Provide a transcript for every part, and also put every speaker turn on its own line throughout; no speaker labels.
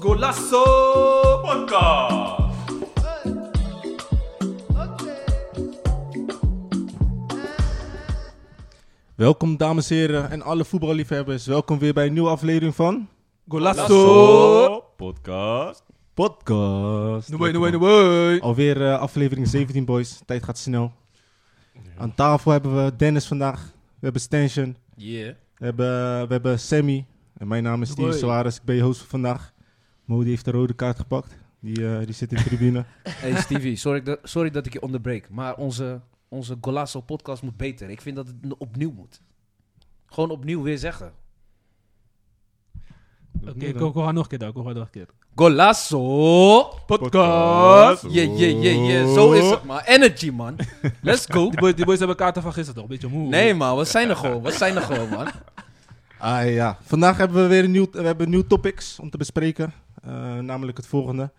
Rolasso Podcast.
Welkom dames en heren en alle voetballiefhebbers. Welkom weer bij een nieuwe aflevering van
Golasso.
Podcast.
Podcast.
Noei, noei, noei.
Alweer eh, aflevering 17 boys. Tijd gaat snel. Aan tafel hebben we Dennis vandaag. We hebben Stension.
Yeah.
We hebben, we hebben Sammy. En mijn naam is Steve
Doei.
Soares. Ik ben je host van vandaag. Mo die heeft de rode kaart gepakt. Die, eh, die zit in de tribune.
Hey Stevie, sorry dat, sorry dat ik je onderbreek, maar onze, onze Golasso podcast moet beter. Ik vind dat het n- opnieuw moet. Gewoon opnieuw weer zeggen.
Oké, go, go, ga nog een keer dan. Go, ga nog een keer.
Golasso!
Podcast.
Yeah, yeah, yeah, yeah. Zo is het, man. Energy, man. Let's go.
Die, boy, die boys hebben kaarten van gisteren toch? Een beetje moe.
Nee, man. We zijn er gewoon. We zijn er gewoon, man.
Ah ja, vandaag hebben we weer een nieuw, we hebben nieuwe topics om te bespreken. Eh, namelijk het volgende.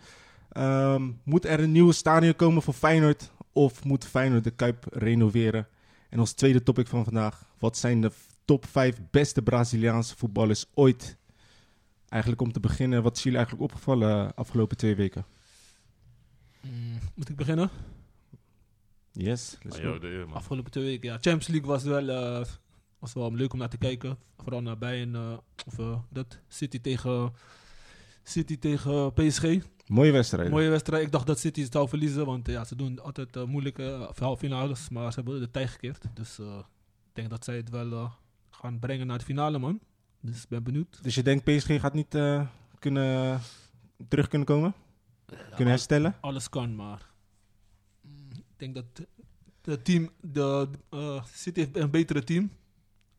Ehm, moet er een nieuwe stadion komen voor Feyenoord? Of moet Feyenoord de Kuip renoveren? En ons tweede topic van vandaag. Wat zijn de f- top 5 beste Braziliaanse voetballers ooit? Eigenlijk om te beginnen, wat is jullie eigenlijk opgevallen eh, afgelopen twee weken?
Mm, Moet ik beginnen?
Yes, let's
Ah,
go.
joh, de- man.
Afgelopen twee weken, ja. Champions League was wel, eh, was wel leuk om naar te kijken. Vooral naar Bayern, eh, of eh, dat, City tegen, City tegen PSG.
Mooie wedstrijd.
Mooie wedstrijd. Ik dacht dat City het zou verliezen, want eh, ja, ze doen altijd eh, moeilijke halve finales. Maar ze hebben de tijd gekeerd. Dus eh, ik denk dat zij het wel eh, gaan brengen naar de finale, man. Dus ik ben benieuwd.
Dus je denkt PSG gaat niet eh, kunnen, terug kunnen komen? Kunnen herstellen?
alles kan, maar mm, ik denk dat het team, de eh, City heeft een betere team.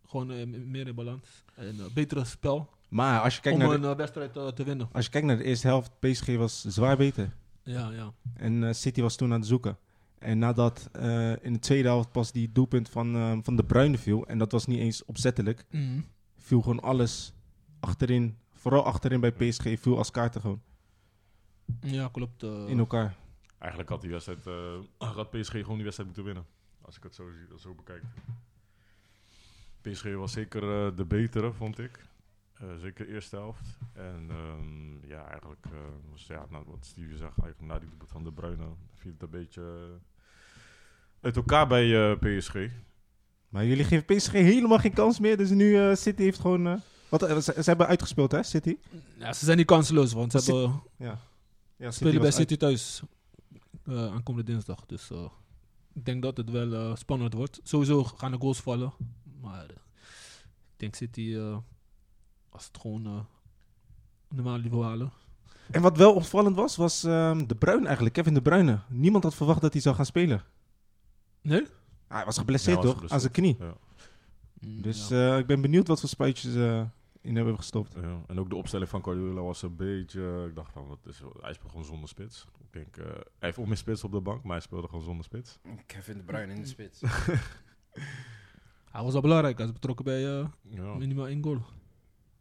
Gewoon eh, m- meer in balans. En een betere spel
Maar als je kijkt
om
naar de-
een eh, wedstrijd eh, te winnen.
Als je kijkt naar de eerste helft, PSG was zwaar beter.
Ja, ja.
En eh, City was toen aan het zoeken. En nadat eh, in de tweede helft pas die doelpunt van, eh, van de Bruyne viel, en dat was niet eens opzettelijk,
Mm.
viel gewoon alles achterin, vooral achterin bij PSG, viel als kaarten gewoon
Ja, klopt. eh.
in elkaar.
Eigenlijk had die wedstrijd, eh, had PSG gewoon die wedstrijd moeten winnen. Als ik het zo, zie- zo bekijk. PSG was zeker eh, de betere, vond ik. Eh, zeker de eerste helft. En ehm, ja, eigenlijk eh, was ja, nou, wat Steve zag, eigenlijk na die doelpunt van de Bruyne viel het een beetje eh, uit elkaar bij eh, PSG.
Maar jullie geven PSG helemaal geen kans meer, dus nu eh, City heeft gewoon... eh, wat, eh, ze, ze hebben uitgespeeld hè, City?
Ja, ze zijn niet kansloos, want ze
City-
hebben,
Ja,
spelen bij
was uit-
City thuis eh aankomende dinsdag. Dus eh, ik denk dat het wel eh, spannend wordt. Sowieso gaan de goals vallen, maar eh, ik denk City eh, als het gewoon eh normaal niveau halen.
En wat wel opvallend was, was ehm, de Bruyne eigenlijk, Kevin de Bruyne. Niemand had verwacht dat hij zou gaan spelen.
Nee?
Ah, hij was geblesseerd
Ja, hij was
toch, aan zijn knie. Dus
Mm,
ja.
eh, ik ben benieuwd wat voor spuitjes eh, in hebben gestopt.
Ja, en ook de opstelling van Guardiola was een beetje... eh, ik dacht van, wat is, hij speelt gewoon zonder spits. Ik denk, eh, hij heeft ook meer spits op de bank, maar hij speelde gewoon zonder spits.
Kevin De Bruyne in de spits.
hij was al belangrijk. Hij is betrokken bij eh,
eh, Ja,
minimaal één goal.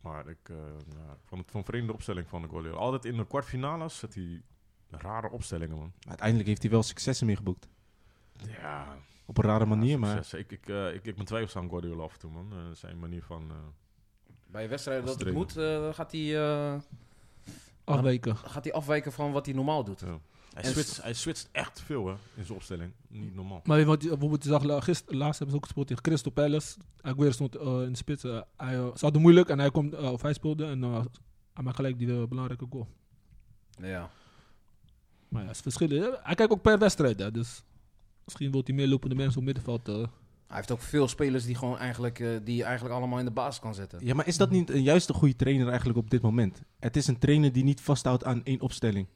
maar ik, eh, ja, ik vond het van vreemde opstelling van de Guardiola. Altijd in de kwartfinales zet hij rare opstellingen, man.
Maar uiteindelijk heeft hij wel successen mee geboekt.
Ja,
Op een rare manier, maar...
succes. Ik, ik, eh, ik, ik ben twijfels aan Guardiola af en toe, man. Eh, zijn manier van... eh,
Bij wedstrijden dat het
Streng.
moet, eh, gaat hij eh,
Afwijken.
gaat hij afwijken van wat hij normaal doet.
ja. hij,
En-
switcht, hij switcht echt veel, hè, in zijn opstelling. Niet normaal.
Maar weet je wat, bijvoorbeeld, je zag la- gister, laatst hebben ze ook gespeeld tegen Crystal Palace. Aguero stond eh, in de spits. eh, hij, eh, ze hadden moeilijk en hij, komt, eh, of hij speelde en eh, hij maakte gelijk die eh, belangrijke goal.
Ja.
Maar ja, het is verschillen. Hij kijkt ook per wedstrijd, hè, dus misschien wil hij meer lopende mensen op middenveld. eh.
Hij heeft ook veel spelers die, gewoon eigenlijk, eh, die je eigenlijk allemaal in de baas kan zetten.
Ja, maar is dat niet eh, juist een goede trainer eigenlijk op dit moment? Het is een trainer die niet vasthoudt aan één opstelling.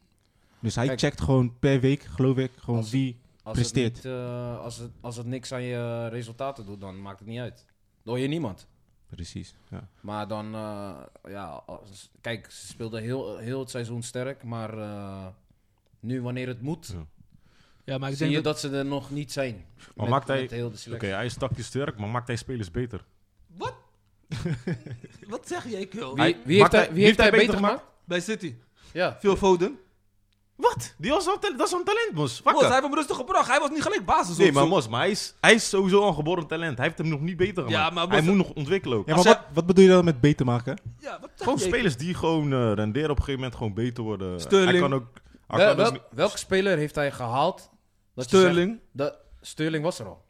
Dus hij
Kijk.
checkt gewoon per week, geloof ik, gewoon
Als-
wie...
Als
presteert.
Het niet, eh, als, het, als het niks aan je eh, resultaten doet, dan maakt het niet uit. Door je niemand.
Precies, ja.
Maar dan, eh, ja, als- kijk, ze speelden heel, heel het seizoen sterk, maar eh, nu wanneer het moet,
Ja, maar ik
zie
denk
je
dat,
dat... ze er nog niet zijn.
Maar maakt hij-
met heel de
Oké,
selectie.
hij is tactisch sterk, maar maakt hij spelers beter?
Wat zeg jij, Kul?
Wie, wie heeft
maakt hij-
hij,
wie
wie heeft hij beter
gemaakt?
gemaakt?
Bij City.
Ja.
Phil Foden.
Wat? Die was zo'n tal- dat is zo'n talent, Mos.
Mos,
Wakker.
hij heeft hem rustig gebracht. Hij was niet gelijk basis.
Nee,
of
maar
zo.
Mos, maar hij is, hij is sowieso een geboren talent. Hij heeft hem nog niet beter gemaakt.
Ja, maar Mos-
hij moet nog ontwikkelen ook.
Ja, maar
Als
wat, wat bedoel je dan met beter maken?
Ja, wat zeg
Gewoon
je?
spelers die gewoon eh, renderen op een gegeven moment gewoon beter worden.
Sterling.
Hij kan ook... Hij
Wel-
kan dus
wel-
niet-
welke speler heeft hij gehaald? Dat je
Sterling.
zegt dat, Sterling was er al.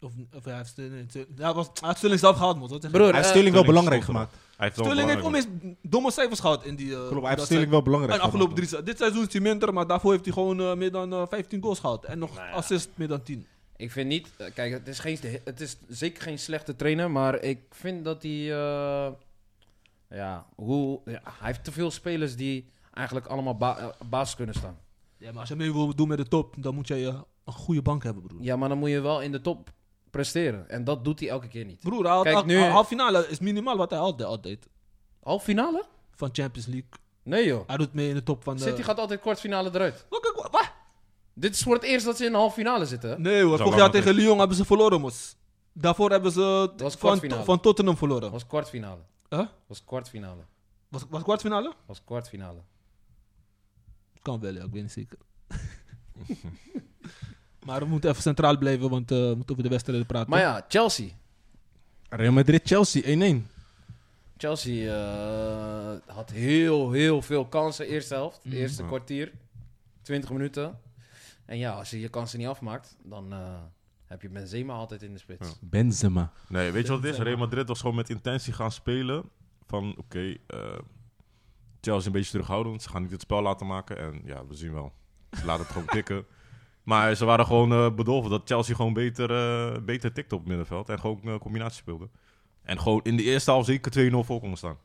Of, of hij heeft Sterling- Sterling- ja, hij was, hij heeft Sterling zelf gehaald, man. Wat zeg je?
Broer,
Hij heeft
eh,
Sterling wel
Sterling
belangrijk
stond er.
gemaakt.
Hij heeft wel
Sterling heeft
belangrijk-
onmeest domme cijfers gehad in die... eh,
Klopt, hij heeft
dat
Sterling wel belangrijk
En afgelopen
gemaakt.
drie se- Dit seizoen is hij minder, maar daarvoor heeft hij gewoon eh, meer dan eh, 15 goals gehad. En nog
Nou ja.
assist meer dan 10.
Ik vind niet, eh, kijk, het is, geen, het is zeker geen slechte trainer, maar ik vind dat hij, eh, ja, hoe, ja, hij heeft te veel spelers die eigenlijk allemaal ba- eh, baas kunnen staan.
Ja, maar als je mee wil doen met de top, dan moet jij eh, een goede bank hebben, broer.
Ja, maar dan moet je wel in de top presteren en dat doet hij elke keer niet.
Broer, hij had
Kijk,
al-
nu-
al- half finale is minimaal wat hij altijd, altijd.
Half finale?
Van Champions League.
Nee joh,
Hij doet mee in de top van de...
City gaat altijd kwartfinale eruit.
Welke goal- wat?
Dit is voor het eerst dat ze in de halve finale zitten. hè?
Nee hoor,
Zo
vorig
lang
jaar tegen Lyon hebben ze verloren, mos. Daarvoor hebben ze
was
van,
kwartfinale.
van Tottenham
Dat
verloren.
was kwartfinale.
Huh?
Dat was kwartfinale.
Was, was kwartfinale?
Dat was kwartfinale.
Kan wel, ja, ik weet niet zeker. maar we moeten even centraal blijven, want eh, we moeten over de wedstrijden praten.
Maar ja, Chelsea.
Real Madrid-Chelsea 1-1.
Chelsea eh, had heel, heel veel kansen. Eerste helft,
Mhm.
eerste
Ja.
kwartier, 20 minuten. En ja, als je je kansen niet afmaakt, dan eh, heb je Benzema altijd in de spits.
Ja.
Benzema.
Nee, weet je wat het is? Real Madrid was gewoon met intentie gaan spelen. Van, oké, eh, Chelsea een beetje terughoudend. Ze gaan niet het spel laten maken. En ja, we zien wel. Ze laten het gewoon tikken. Maar ze waren gewoon eh, bedolven dat Chelsea gewoon beter, eh, beter tikte op het middenveld. En gewoon eh, combinatie speelde. En gewoon in de eerste half zeker 2-0 voor konden staan.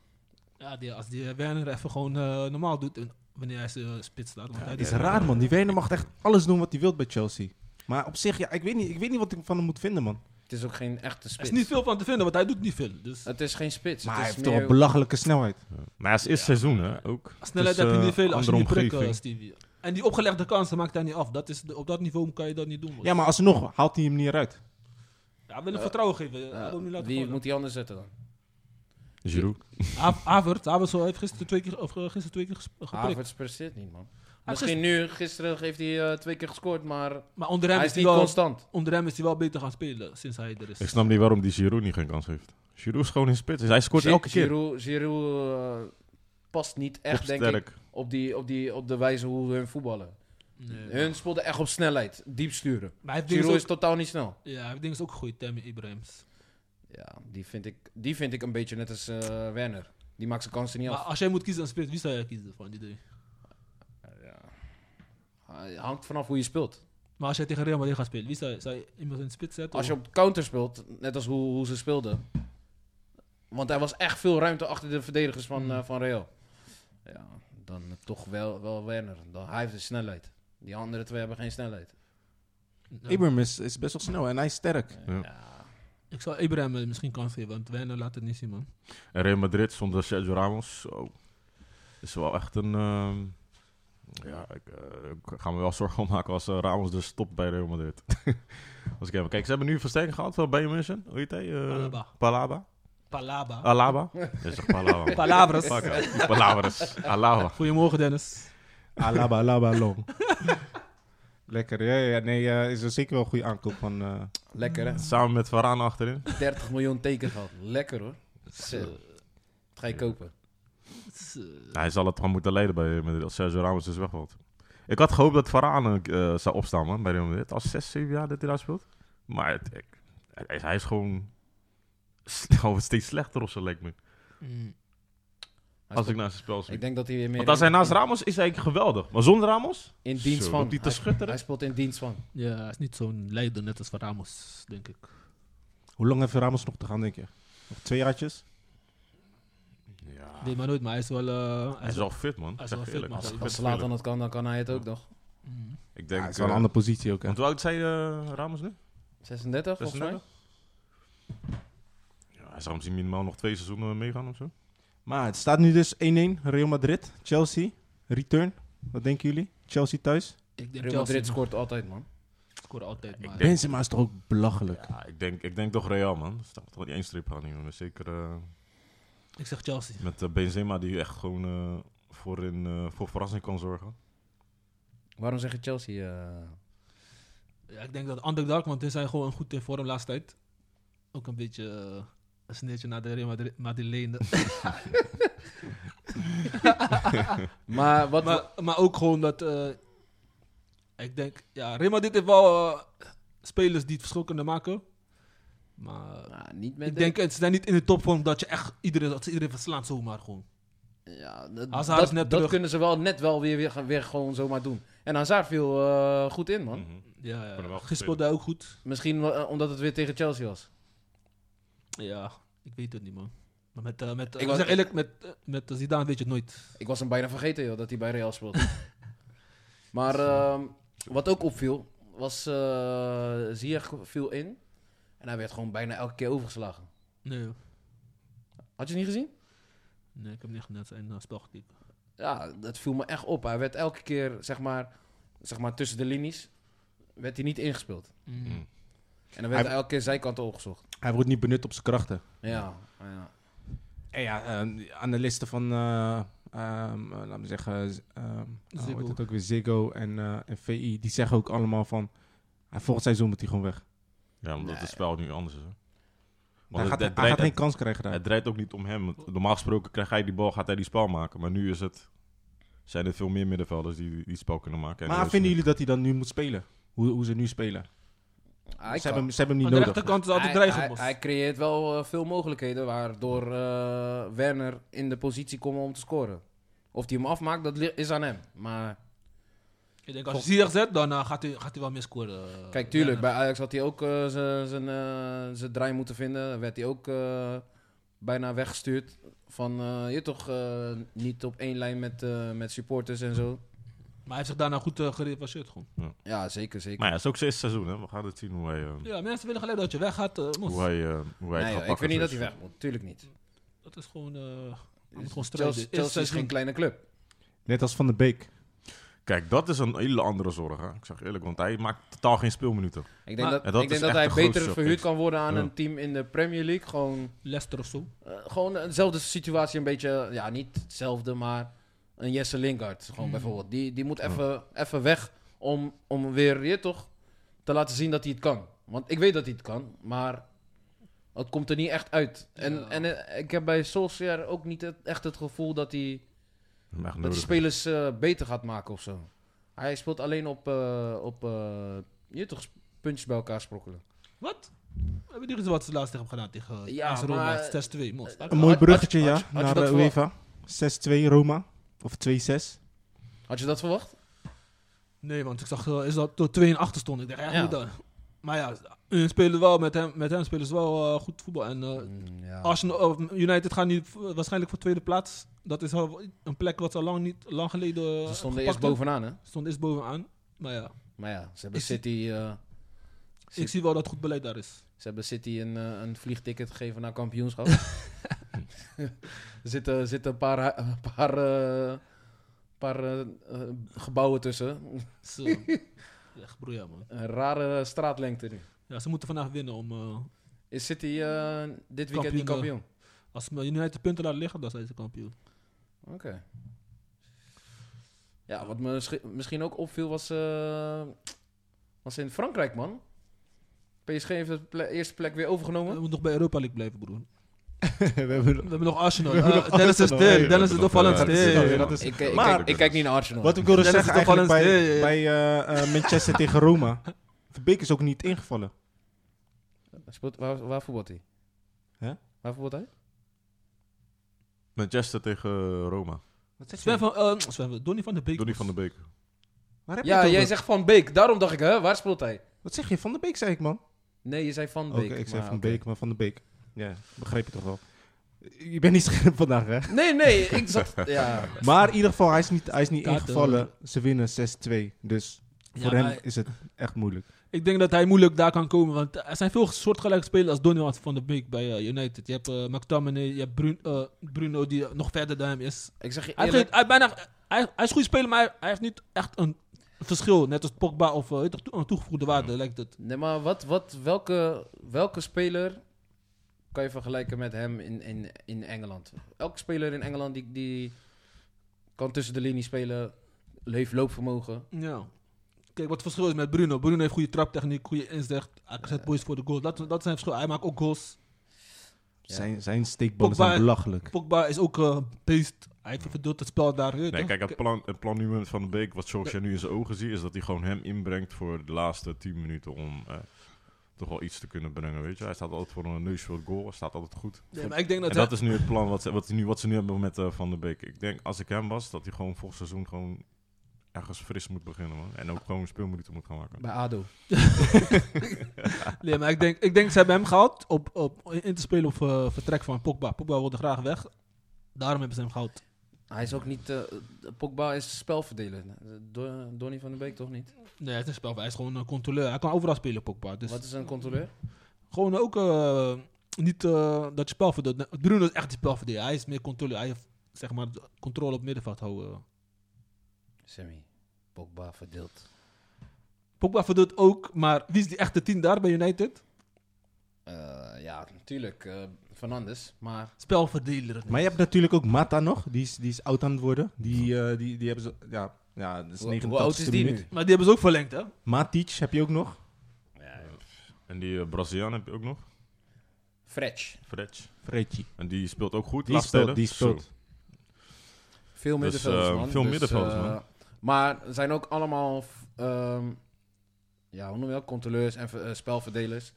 Ja, die, als die Werner even gewoon eh, normaal doet, en wanneer hij zijn eh, spits staat. Want hij
Het
doet-
is raar, man. Die Werner mag echt alles doen wat hij wil bij Chelsea. Maar op zich, ja, ik weet niet, ik weet niet wat ik van hem moet vinden, man.
Het is ook geen echte
Er is
spits.
niet veel van te vinden, want hij doet niet veel. Dus
Het is geen spits.
Maar
het
hij
is
heeft toch
meer-
een belachelijke snelheid.
Maar ja, het is eerste seizoen, hè, ook.
snelheid
Dus,
heb je
eh,
niet veel als je
andere
niet prikt, eh,
omgeving.
Stevie. En die opgelegde kansen maakt hij niet af. Dat is, de- op dat niveau kan je dat niet doen. man.
Ja, maar alsnog haalt hij hem niet eruit.
Ja, hij wil hem vertrouwen geven. Hij
Ja,
wil hem niet laten
eh, wie
vallen.
moet die anders zetten dan?
Giroud.
Ha- Havertz, Havertz heeft gisteren twee keer, of, eh, gisteren twee keer ges- geprikt.
Havertz presteert niet, man. Misschien nu, gisteren heeft hij eh, twee keer gescoord, maar
Maar onder hem,
hij
is
is
hij
niet
wel,
constant.
onder hem is hij wel beter gaan spelen sinds hij er is.
Ik snap niet waarom die Giroud niet geen kans heeft. Giroud is gewoon in spits. Dus Hij scoort
Gi-
elke keer.
Giroud, Giroud eh, past niet echt, denk ik,
Kopsterk.
op, die, op, die, op de wijze hoe hun voetballen.
Nee.
Hun speelden echt op snelheid, diep sturen.
Maar hij heeft
Giroud
dingen
is
ook,
totaal niet snel.
ja, hij heeft dingen ook goed, Tammy Ibrahims.
Ja, die vind ik, die vind ik een beetje net als eh, Werner. Die maakt zijn kansen niet
Maar
af.
als jij moet kiezen een spits, wie zou jij kiezen van die drie?
Hij hangt vanaf hoe je speelt.
Maar als jij tegen Real Madrid gaat spelen, wie zou, je- zou je iemand in de spits zetten?
Als je
of-
op counter speelt, net als hoe, hoe ze speelden. Want er was echt veel ruimte achter de verdedigers
Hmm.
van, eh, van Real. Ja, dan toch wel, wel Werner. Dan, hij heeft de snelheid. Die andere twee hebben geen snelheid.
Ja.
Abram is, is best wel snel en hij is sterk.
Ja.
Ik zou Ibrahim eh, misschien kans geven, want Werner laat het niet zien, man.
En Real Madrid zonder Sergio Ramos. Zo. Is wel echt een. ehm, ja, ik eh, ik ga me wel zorgen om maken als eh, Ramos dus stopt bij Real Madrid. als ik even kijk, ze hebben nu een versterking gehad van Bayern München. Hoe heet hij? Eh,
Alaba.
Palaba.
Palaba.
Ah.
Alaba. Dat is toch Palaba? man.
Palabras.
Fuck, ja. Die Palabras. Alaba.
Ah.
Goedemorgen, Dennis.
Alaba, alaba, long. Lekker, ja, ja, ja. nee, eh, is er zeker wel een goede aankoop van... eh,
Lekker hè?
Samen met Varane achterin.
30 miljoen teken gehad. Lekker hoor. Zo. Wat ga je kopen?
eh,
Hij zal het gewoon moeten leiden bij Real Madrid als Sergio Ramos dus wegvalt. Ik had gehoopt dat Varane eh, zou opstaan man, bij Real Madrid. Als 6, 7 jaar dat hij daar speelt. Maar het- ik- hij, is- hij is gewoon, gewoon steeds slechter of zo lijkt me.
mm,
Hij
Als
speelt-
ik naar zijn spel zie.
ik denk dat hij weer meer
Want als hij
in-
naast Ramos is, is hij geweldig. Maar zonder Ramos?
in dienst
Zo,
van.
loopt hij te
Hij-
schutteren?
Hij speelt in dienst van.
Ja, hij is niet zo'n leider net als van Ramos, denk ik.
hoe lang heeft Ramos nog te gaan, denk je? Nog twee jaartjes?
Ja.
Nee, maar nooit, maar hij is wel... eh,
Hij is wel fit, man.
hij is wel
Zeg je
fit,
eerlijk.
man.
Hij is
Als
fit,
Zlatan
tuurlijk.
dat kan, dan kan hij het ook nog.
Mm.
Ik
Ja,
denk...
het is wel een
eh,
andere positie ook, hè?
Want hoe oud zei eh, Ramos nu?
36 volgens mij.
36? Ja, hij zou misschien minimaal nog twee seizoenen meegaan of zo.
Maar het staat nu dus 1-1, Real Madrid, Chelsea, return. Wat denken jullie? Chelsea thuis?
Ik denk
Real
Chelsea
Madrid
man.
scoort altijd man.
scoren altijd, maar...
denk-
Benzema is toch ook belachelijk?
Ja, ik denk, ik denk toch Real, man. Er staat toch niet één strip aan, jongen. Zeker... eh,
Ik zeg Chelsea.
Met eh, Benzema die echt gewoon eh, voor, in, eh, voor verrassing kan zorgen.
Waarom zeg je Chelsea? eh?
Ja, ik denk dat Ander Darkman is hij gewoon goed in vorm laatste tijd. Ook een beetje eh, een sneertje naar de Real Madri- Madrilene.
maar wat...
maar, maar ook gewoon dat... eh, ik denk, ja, Real Madrid heeft wel eh, spelers die het verschil kunnen maken. Maar
Nou, niet met
ik denk, het ze zijn niet in de topvorm dat je echt iedereen, dat ze iedereen verslaan zomaar gewoon.
Ja, dat,
Hazard
dat,
is net
dat
terug.
kunnen ze wel net wel weer, weer, gaan- weer gewoon zomaar doen. En Hazard viel eh, goed in, man.
Mhm.
Ja,
Kunnen wel
ja.
goed
Gisteren speelde hij ook goed.
Misschien eh, omdat het weer tegen Chelsea was.
Ja, ik weet het niet, man. Maar met, eh, met, eh,
Ik
ik
was-
zeg eerlijk, met, eh, met eh, Zidane weet je het nooit.
Ik was hem bijna vergeten, joh, dat hij bij Real speelde. maar ehm, wat ook opviel, was eh Ziyech viel in. En hij werd gewoon bijna elke keer overgeslagen.
Nee,
Had je het niet gezien?
nee ik heb niet net zijn eh, spel gekeken.
Ja, dat viel me echt op. Hij werd elke keer, zeg maar, zeg maar tussen de linies, werd hij niet ingespeeld.
Mm.
En dan werd
Hij-
elke keer zijkant opgezocht.
Hij wordt niet benut op zijn krachten.
Ja, ja.
En ja, eh, die analisten van, eh, ehm, eh, laten we zeggen, z- ehm, nou, hoe heet
Ziggo.
het ook weer, Ziggo en, eh, en VI, die zeggen ook allemaal van, hij volgend seizoen moet hij gewoon weg.
Ja, omdat het spel nu anders is. Hè? Want
hij gaat,
het- het
hij
draait-
gaat geen kans krijgen daar.
Het draait ook niet om hem. Want Normaal gesproken krijgt hij die bal, gaat hij die spel maken. Maar nu is het, zijn er veel meer middenvelders die die het spel kunnen maken. En
maar
dus-
vinden jullie dat hij dan nu moet spelen? Hoe, hoe ze nu spelen?
Hij
ze,
kan-
hebben, hem- ze hebben hem
Aan
niet
de
nodig.
rechterkant is
hij,
altijd dreigend,
hij,
bos.
hij creëert wel eh, veel mogelijkheden waardoor eh, Werner in de positie komt om te scoren. Of hij hem afmaakt, dat li- is aan hem. Maar
Ik denk, als je Ziyech zet, dan eh, gaat, hij, gaat hij wel meer scoren. eh,
kijk, tuurlijk,
ja.
bij Ajax had hij ook eh, zijn- zijn eh, zijn draai moeten vinden. Dan werd hij ook eh, bijna weggestuurd. Van eh, je toch eh, niet op één lijn met, eh, met supporters en zo.
Maar hij heeft zich daarna goed eh, gerepassieerd gewoon.
Ja, zeker, zeker.
Maar ja, het is ook zijn eerste seizoen. Hè? We gaan het zien hoe hij, eh,
Ja, mensen willen gelijk dat je weggaat. eh mos.
hoe hij, eh, hoe hij het
Nee, joh,
gaat pakken. Dus
ik vind niet dat hij
zoiets.
weg moet. Tuurlijk niet.
Dat is gewoon... eh hij moet
Dus
gewoon strijden.
Chelsea,
Eerste
Chelsea is
seizoen.
geen kleine club.
Net als Van de Beek.
Kijk, dat is een hele andere zorg. Hè? Ik zeg eerlijk, want hij maakt totaal geen speelminuten.
Ik denk
Maar-
dat,
En dat
ik denk
is
dat
echt
hij
de
beter
grootste
verhuurd kan worden aan
Ja.
een team in de Premier League. Gewoon
Leicester of zo.
Eh, gewoon dezelfde situatie, een beetje, ja, niet hetzelfde, maar een Jesse Lingard, gewoon
Mm.
bijvoorbeeld. Die, die moet even even weg om, om weer, je toch, te laten zien dat hij het kan. Want ik weet dat hij het kan, maar het komt er niet echt uit. En,
Ja.
en eh, ik heb bij Solskjaer ook niet het- echt het gevoel dat hij,
Hem echt
dat hij
nodig.
spelers eh, beter gaat maken of zo. Hij speelt alleen op, eh, op eh, je toch, puntjes bij elkaar sprokkelen.
Wat? Hebben die gezien wat ze laatst tegen hem gedaan? Tegen eh,
Ja,
AS Roma,
maar- Eh,
het is test 2. Mos.
Een mooi
Had- had-
bruggetje,
had-
ja,
had je dat
naar de
verwacht?
UEFA. 6-2 Roma. Of 2-6.
Had je dat verwacht?
Nee, want ik zag eh, is dat door 2 en 8 stond. Ik dacht, ja,
Ja.
goed dan. Maar ja, hun spelen wel met hem, met hem spelen ze wel eh, goed voetbal. En eh,
Ja.
Arsenal, of United gaan nu v- waarschijnlijk voor tweede plaats. Dat is al een plek wat ze al lang, niet, lang geleden. eh,
Ze stonden
gepakt
eerst bovenaan, hè?
Stond eerst bovenaan. Maar ja,
Maar ja, ze hebben
Is-
City... eh,
ik zie wel dat goed beleid daar is.
Ze hebben City een, eh, een vliegticket gegeven naar kampioenschap. er zitten, zitten een paar, hu- een paar, eh, paar eh, eh, gebouwen tussen.
Zo. Echt broeia, man.
Een rare straatlengte nu.
Ja, ze moeten vandaag winnen om. eh,
Is City eh, dit weekend niet
Kampioen,
kampioen?
als ze United punten laten liggen, dan zijn ze kampioen. eh.
Oké. Ja, wat me schi- misschien ook opviel was, eh, was in Frankrijk, man. PSG heeft de ple- eerste plek weer
We
overgenomen.
moeten nog bij Europa League blijven, broer.
We hebben-
We hebben nog Arsenal.
We hebben
Eh,
nog
Dennis is
Arsenal.
Ja,
there.
ja,
Dennis
dat
is
eh, is
de Valens
wel-
Ja,
there.
ja, dat is-
eh, Ik, ik,
Maar-
ik, ik kijk niet naar Arsenal.
Wat ik wilde
Dennis
zeggen
is toch
eigenlijk bij,
wel eens-
bij eh, eh, Manchester tegen Roma. Van Beek is ook niet ingevallen.
Speelt, waar, waar voetbalt hij?
Hè?
Waar voetbalt hij?
Manchester tegen eh, Roma.
Wat zeg
Sven van, eh, Sven van- Donny van de Beek.
Donny van der Beek.
Waar heb je
Ja,
het
jij
over?
zegt Van Beek. Daarom dacht ik, hè, waar speelt hij?
Wat zeg je? Van de Beek zei ik, man.
Nee, je zei Van
Oké,
Beek.
ik zei
maar
Van
oké.
Beek, maar Van de Beek. Ja, begreep je toch wel. Je bent niet scherp vandaag, hè?
Nee, nee, ik zat... Ja,
Maar in ieder geval, hij is niet, hij is niet
Kato.
ingevallen. Ze winnen 6-2. Dus
Ja,
voor hem
maar
is het echt moeilijk.
Ik denk dat hij moeilijk daar kan komen, want er zijn veel soortgelijke spelers als Donny van de Beek bij eh, United. Je hebt eh, McTominay, je hebt Bruno, eh, Bruno die nog verder dan hem is.
ik zeg je
Hij, heeft
eerlijk...
geen- hij, heeft bijna, hij, hij is goed speler, maar hij, hij heeft niet echt een verschil. Net als Pogba of eh, weet je, een toegevoegde waarde, lijkt het.
Nee, maar wat, wat, welke, welke speler kan je vergelijken met hem in, in, in Engeland? Elke speler in Engeland die, die kan tussen de linie spelen, heeft loopvermogen.
Ja. Kijk, wat het verschil is met Bruno. Bruno heeft goede traptechniek, goede inzicht. Hij zet boys voor de goal. Dat, dat zijn verschil. Hij maakt ook goals.
Ja.
Zijn, zijn steekballen
Pogba-
zijn belachelijk.
Pogba is ook eh beest. Hij verdeelt het spel daar. je weet
Nee,
toch?
kijk, het plan, het planument van de Beek, wat Solskjaer nu in zijn ogen ziet, is dat hij gewoon hem inbrengt voor de laatste 10 minuten om eh, toch wel iets te kunnen brengen, weet je. Hij staat altijd voor een neus voor het goal, hij staat altijd goed.
Nee, maar ik denk dat,
en
hij-
dat is nu het plan wat ze, wat, hij nu, wat ze nu hebben met eh, Van de Beek. Ik denk, als ik hem was, dat hij gewoon volgend seizoen gewoon ergens fris moet beginnen, man. En ook gewoon speelminuten moet gaan maken.
Bij ADO.
Nee, maar ik denk, ik denk ze hebben hem gehaald op, op, in te spelen op eh, vertrek van Pogba. Pogba wilde graag weg. Daarom hebben ze hem gehaald.
Hij is ook niet... eh, Pogba is spelverdeler. Don- Donny van de Beek toch niet?
Nee, het is een spel. Hij is gewoon een controleur. Hij kan overal spelen, Pogba. Dus
Wat is een controleur?
gewoon ook eh, niet eh, dat je spel verdeelt. Bruno is echt die spel verdeelt. Hij is meer controleur. Hij heeft zeg maar de controle op het middenveld houden.
Sammy. Pogba verdeeld.
Pogba verdeelt ook, maar wie is die echte tien daar bij United?
Eh, ja, natuurlijk. eh Fernandes. Maar
Spelverdeler.
Maar je hebt natuurlijk ook Mata nog. Die is, die is oud aan het worden. Die, eh, die, die hebben ze... Ja, ja dat is
hoe, hoe oud
89
is die
minuut.
nu?
Maar die hebben ze ook verlengd, hè?
Matic heb je ook nog.
Ja,
En die eh, Braziliaan heb je ook nog,
Fretch.
Fretch.
Fredje.
En die speelt ook goed,
Die
laatst
speelt,
spelen.
die
Zo.
speelt.
Veel
Dus,
middenvelders,
eh,
man.
veel
Dus,
middenvelders,
eh,
man.
Maar er zijn ook allemaal... f- ehm, ja, hoe noem je dat? Controleurs en ver- eh, spelverdelers.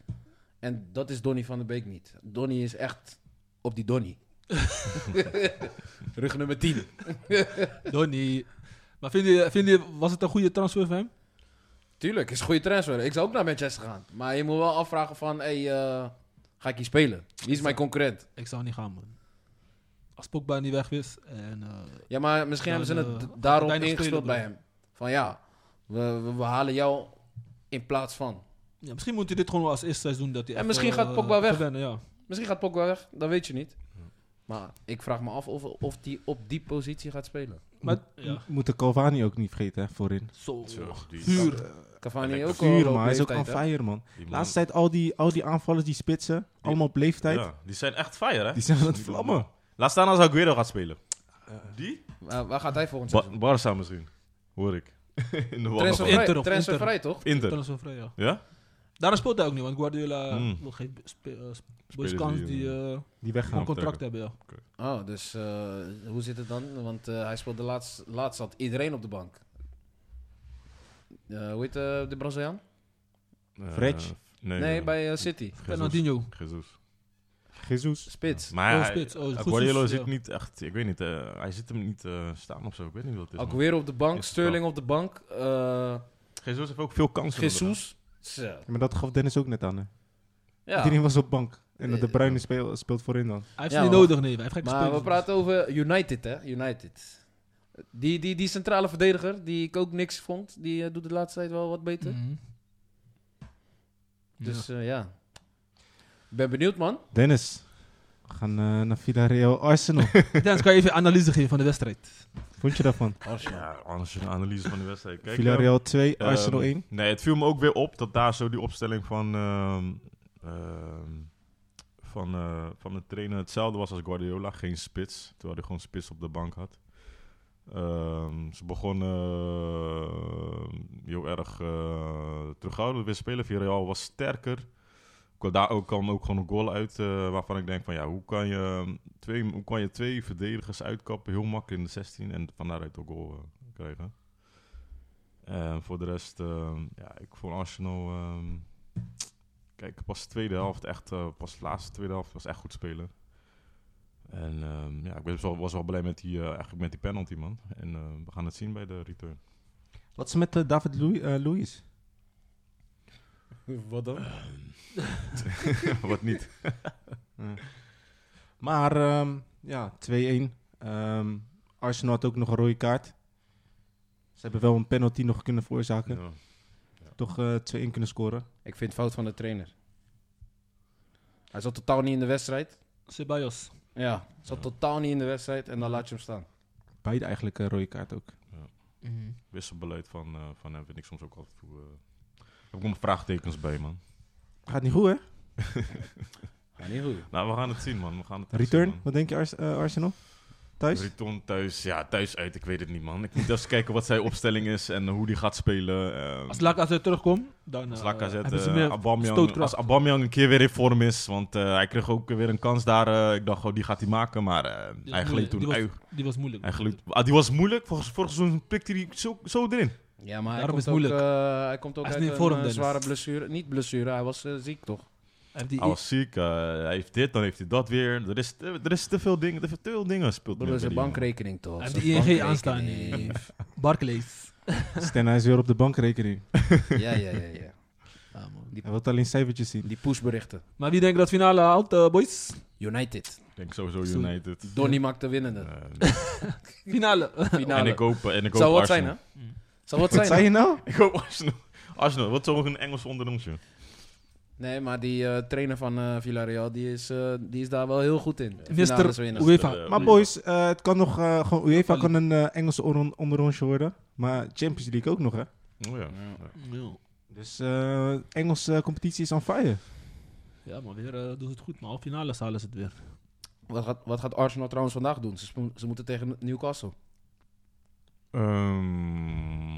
En dat is Donny van de Beek niet. Donny is echt op die Donny. Rug nummer 10.
Donny. Maar vind je, vind je, was het een goede transfer van hem?
Tuurlijk, is een goede transfer. Ik zou ook naar Manchester gaan. Maar je moet wel afvragen van... Hey, eh, ga ik hier spelen? Wie is mijn concurrent?
Ik zou niet gaan, man. Als Pogba niet weg is en... eh,
Ja, maar misschien
Dan,
hebben ze
eh,
het
had hij
daarop
weinig
ingespeeld
spelen,
bij hem. Van ja, we, we, we halen jou in plaats van.
Ja, misschien moet hij dit gewoon als eerste seizoen dat hij
En
even,
misschien gaat
eh,
Pogba weg.
gewennen, ja.
Misschien gaat Pogba weg, dat weet je niet. Maar ik vraag me af of, of die op die positie gaat spelen.
Maar ja.
Moet de Cavani ook niet vergeten, hè, voorin.
Zo.
Zo, die-
Vuur.
Cavani
Lekker
ook al
Vuur,
op
maar hij is ook on
leeftijd, hè?
fire, man.
die man-
Laatste tijd al die, al die aanvallers, die spitsen, allemaal op leeftijd.
Ja, die zijn echt fire, hè?
Die zijn aan het
Die-
vlammen.
Laat staan als Aguero gaat spelen. Die?
Waar- waar gaat hij volgens
Ba
mij?
Barca misschien, hoor ik. In de wandelgangen.
Inter
Transfervrij,
of
transfervrij toch?
Inter.
Transfervrij, ja.
Ja?
Daarom speelt hij ook niet, want Guardiola
Hmm.
wil geen spe- eh, boys kans
die,
die eh,
Die
een
weggaan.
contract hebben. Ja.
Oh, dus eh, hoe zit het dan? Want eh, hij speelde laatst, laatst zat iedereen op de bank. Eh, hoe heet eh, de Braziliaan?
Eh,
Fretch?
Nee,
Nee,
joh.
bij eh, City.
Jesus.
Fernandinho.
Jesus.
Jesus.
Spits.
Maar
Oh,
hij-
spits. Oh, Jesus,
Guardiola
ja.
zit niet echt, ik weet niet, eh, hij zit hem niet eh, staan of zo. Ik weet niet wat het is.
Ook
man.
weer op de bank.
Is
Sterling op de bank. eh
Jesus heeft ook veel kansen.
Jesus. Zo.
Maar dat gaf Dennis ook net aan, hè.
Ja.
Iedereen was op bank. En dat de Bruyne speel- speelt voorin dan.
Hij heeft
Ja,
niet
hoor.
nodig, nee. Hij heeft geen
Maar we
spelers.
praten over United, hè? United. Die, die, die centrale verdediger, die ik ook niks vond, die eh, doet de laatste tijd wel wat beter.
Mhm. Ja.
Dus eh, ja. Ik ben benieuwd, man.
Dennis, we gaan eh, naar Villarreal Arsenal.
Dennis, kan je even analyse geven van de wedstrijd?
Vond je daarvan?
Arsenal.
Ja, anders een analyse van de wedstrijd. Kijk, eh,
Villarreal 2,
Ehm,
Arsenal 1.
Nee, het viel me ook weer op dat daar zo die opstelling van, ehm, ehm, van, eh, van de trainer hetzelfde was als Guardiola. Geen spits, terwijl hij gewoon spits op de bank had. Ehm, ze begonnen eh, heel erg eh terughoudend weer spelen. Villarreal was sterker. Kwa- Daar ook kwam ook gewoon een goal uit eh, waarvan ik denk van ja, hoe kan, je ehm, twee, hoe kan je twee verdedigers uitkappen heel makkelijk in de 16 en van daaruit ook goal eh, krijgen. En voor de rest, ehm, ja, ik vond Arsenal. ehm, kijk, pas de tweede helft, echt, eh, pas de laatste tweede helft was echt goed spelen. En ehm, ja, ik was wel, was wel blij met die, eh, eigenlijk met die penalty, man. En eh, we gaan het zien bij de return.
Wat is er met eh, David Lui- eh, Luiz?
Wat dan?
Ehm, Wat niet.
Maar ehm, ja, 2-1. Ehm, Arsenal had ook nog een rode kaart. Ze hebben wel een penalty nog kunnen veroorzaken.
Ja.
Toch eh, 2-1 kunnen scoren.
Ik vind het fout van de trainer. Hij zat totaal niet in de wedstrijd.
Ceballos.
Ja, zat
Ja.
totaal niet in de wedstrijd en dan laat je hem staan.
Beide eigenlijk een rode kaart ook.
Mhm.
Wisselbeleid van, eh, van hem vind ik soms ook altijd. toe, eh heb ik mijn vraagtekens bij, man.
Gaat niet goed, hè?
Maar niet goed.
Nou, we gaan het zien, man. We gaan het echt
Return,
zien, man.
wat denk je Ars- eh, Arsenal? Thuis?
Riton thuis, ja, thuis uit, ik weet het niet, man. Ik moet even kijken wat zijn opstelling is en hoe die gaat spelen. ehm.
Als Lacazette terugkomt, dan
Als
eh,
Lacazette,
hebben ze
eh,
meer
Aubameyang-
stootkracht.
als Aubameyang een keer weer in vorm is, want eh, hij kreeg ook weer een kans daar. eh, ik dacht, oh, die gaat hij maken, maar eh,
Die
hij
was
gleed
moeilijk.
toen
Die was,
uit.
die was moeilijk.
Hij gleed- ah, die was moeilijk, volgens vorig seizoen pikte hij zo, zo erin.
Ja, maar hij
Daarom
komt,
is het
ook,
moeilijk.
eh, hij komt ook
Hij is
uit
niet
een
in vorm,
eh,
Dennis.
zware blessure. Niet blessure, hij was eh, ziek toch?
Hij heeft die-
Hij was ziek, eh, hij heeft dit, dan heeft hij dat weer. Er is, te- er is te veel dingen, te veel- te veel dingen speelt.
Dat
nu
is
bij
een
die
bankrekening toch?
Hij
Zo'n
heeft die ING aanstaan.
bankrekening.
Barclays.
Sten, hij is weer op de bankrekening.
Ja, ja, ja, ja. Ah,
Ja, man.
Hij wil alleen cijfertjes zien.
Die pushberichten.
Maar wie denkt dat finale haalt, eh, boys?
United.
jongen. Ik denk sowieso United.
Donny maakt de winnende.
Eh,
Finale.
Finale.
en ik hoop, en ik hoop
Zou wat zijn, hè?
Arsenal.
Zou wat
Wat zei
zijn? hè?
je nou?
Ik hoop Arsenal. Arsenal, wat zo'n Engels ondernoemtje.
Nee, maar die eh, trainer van eh, Villarreal, die is, eh, die is daar wel heel goed in. Finales
Mister
winnen.
UEFA.
Maar boys, eh, het kan nog... eh, gewoon UEFA kan een eh, Engelse onder onderrondje worden. Maar Champions League ook nog, hè?
Oh ja.
Dus eh, Engelse competitie is on fire.
Ja, maar weer eh, doen ze het goed. Maar halve finale halen ze het weer.
Wat gaat, wat gaat Arsenal trouwens vandaag doen? Ze, spo- ze moeten tegen Newcastle.
Ehm,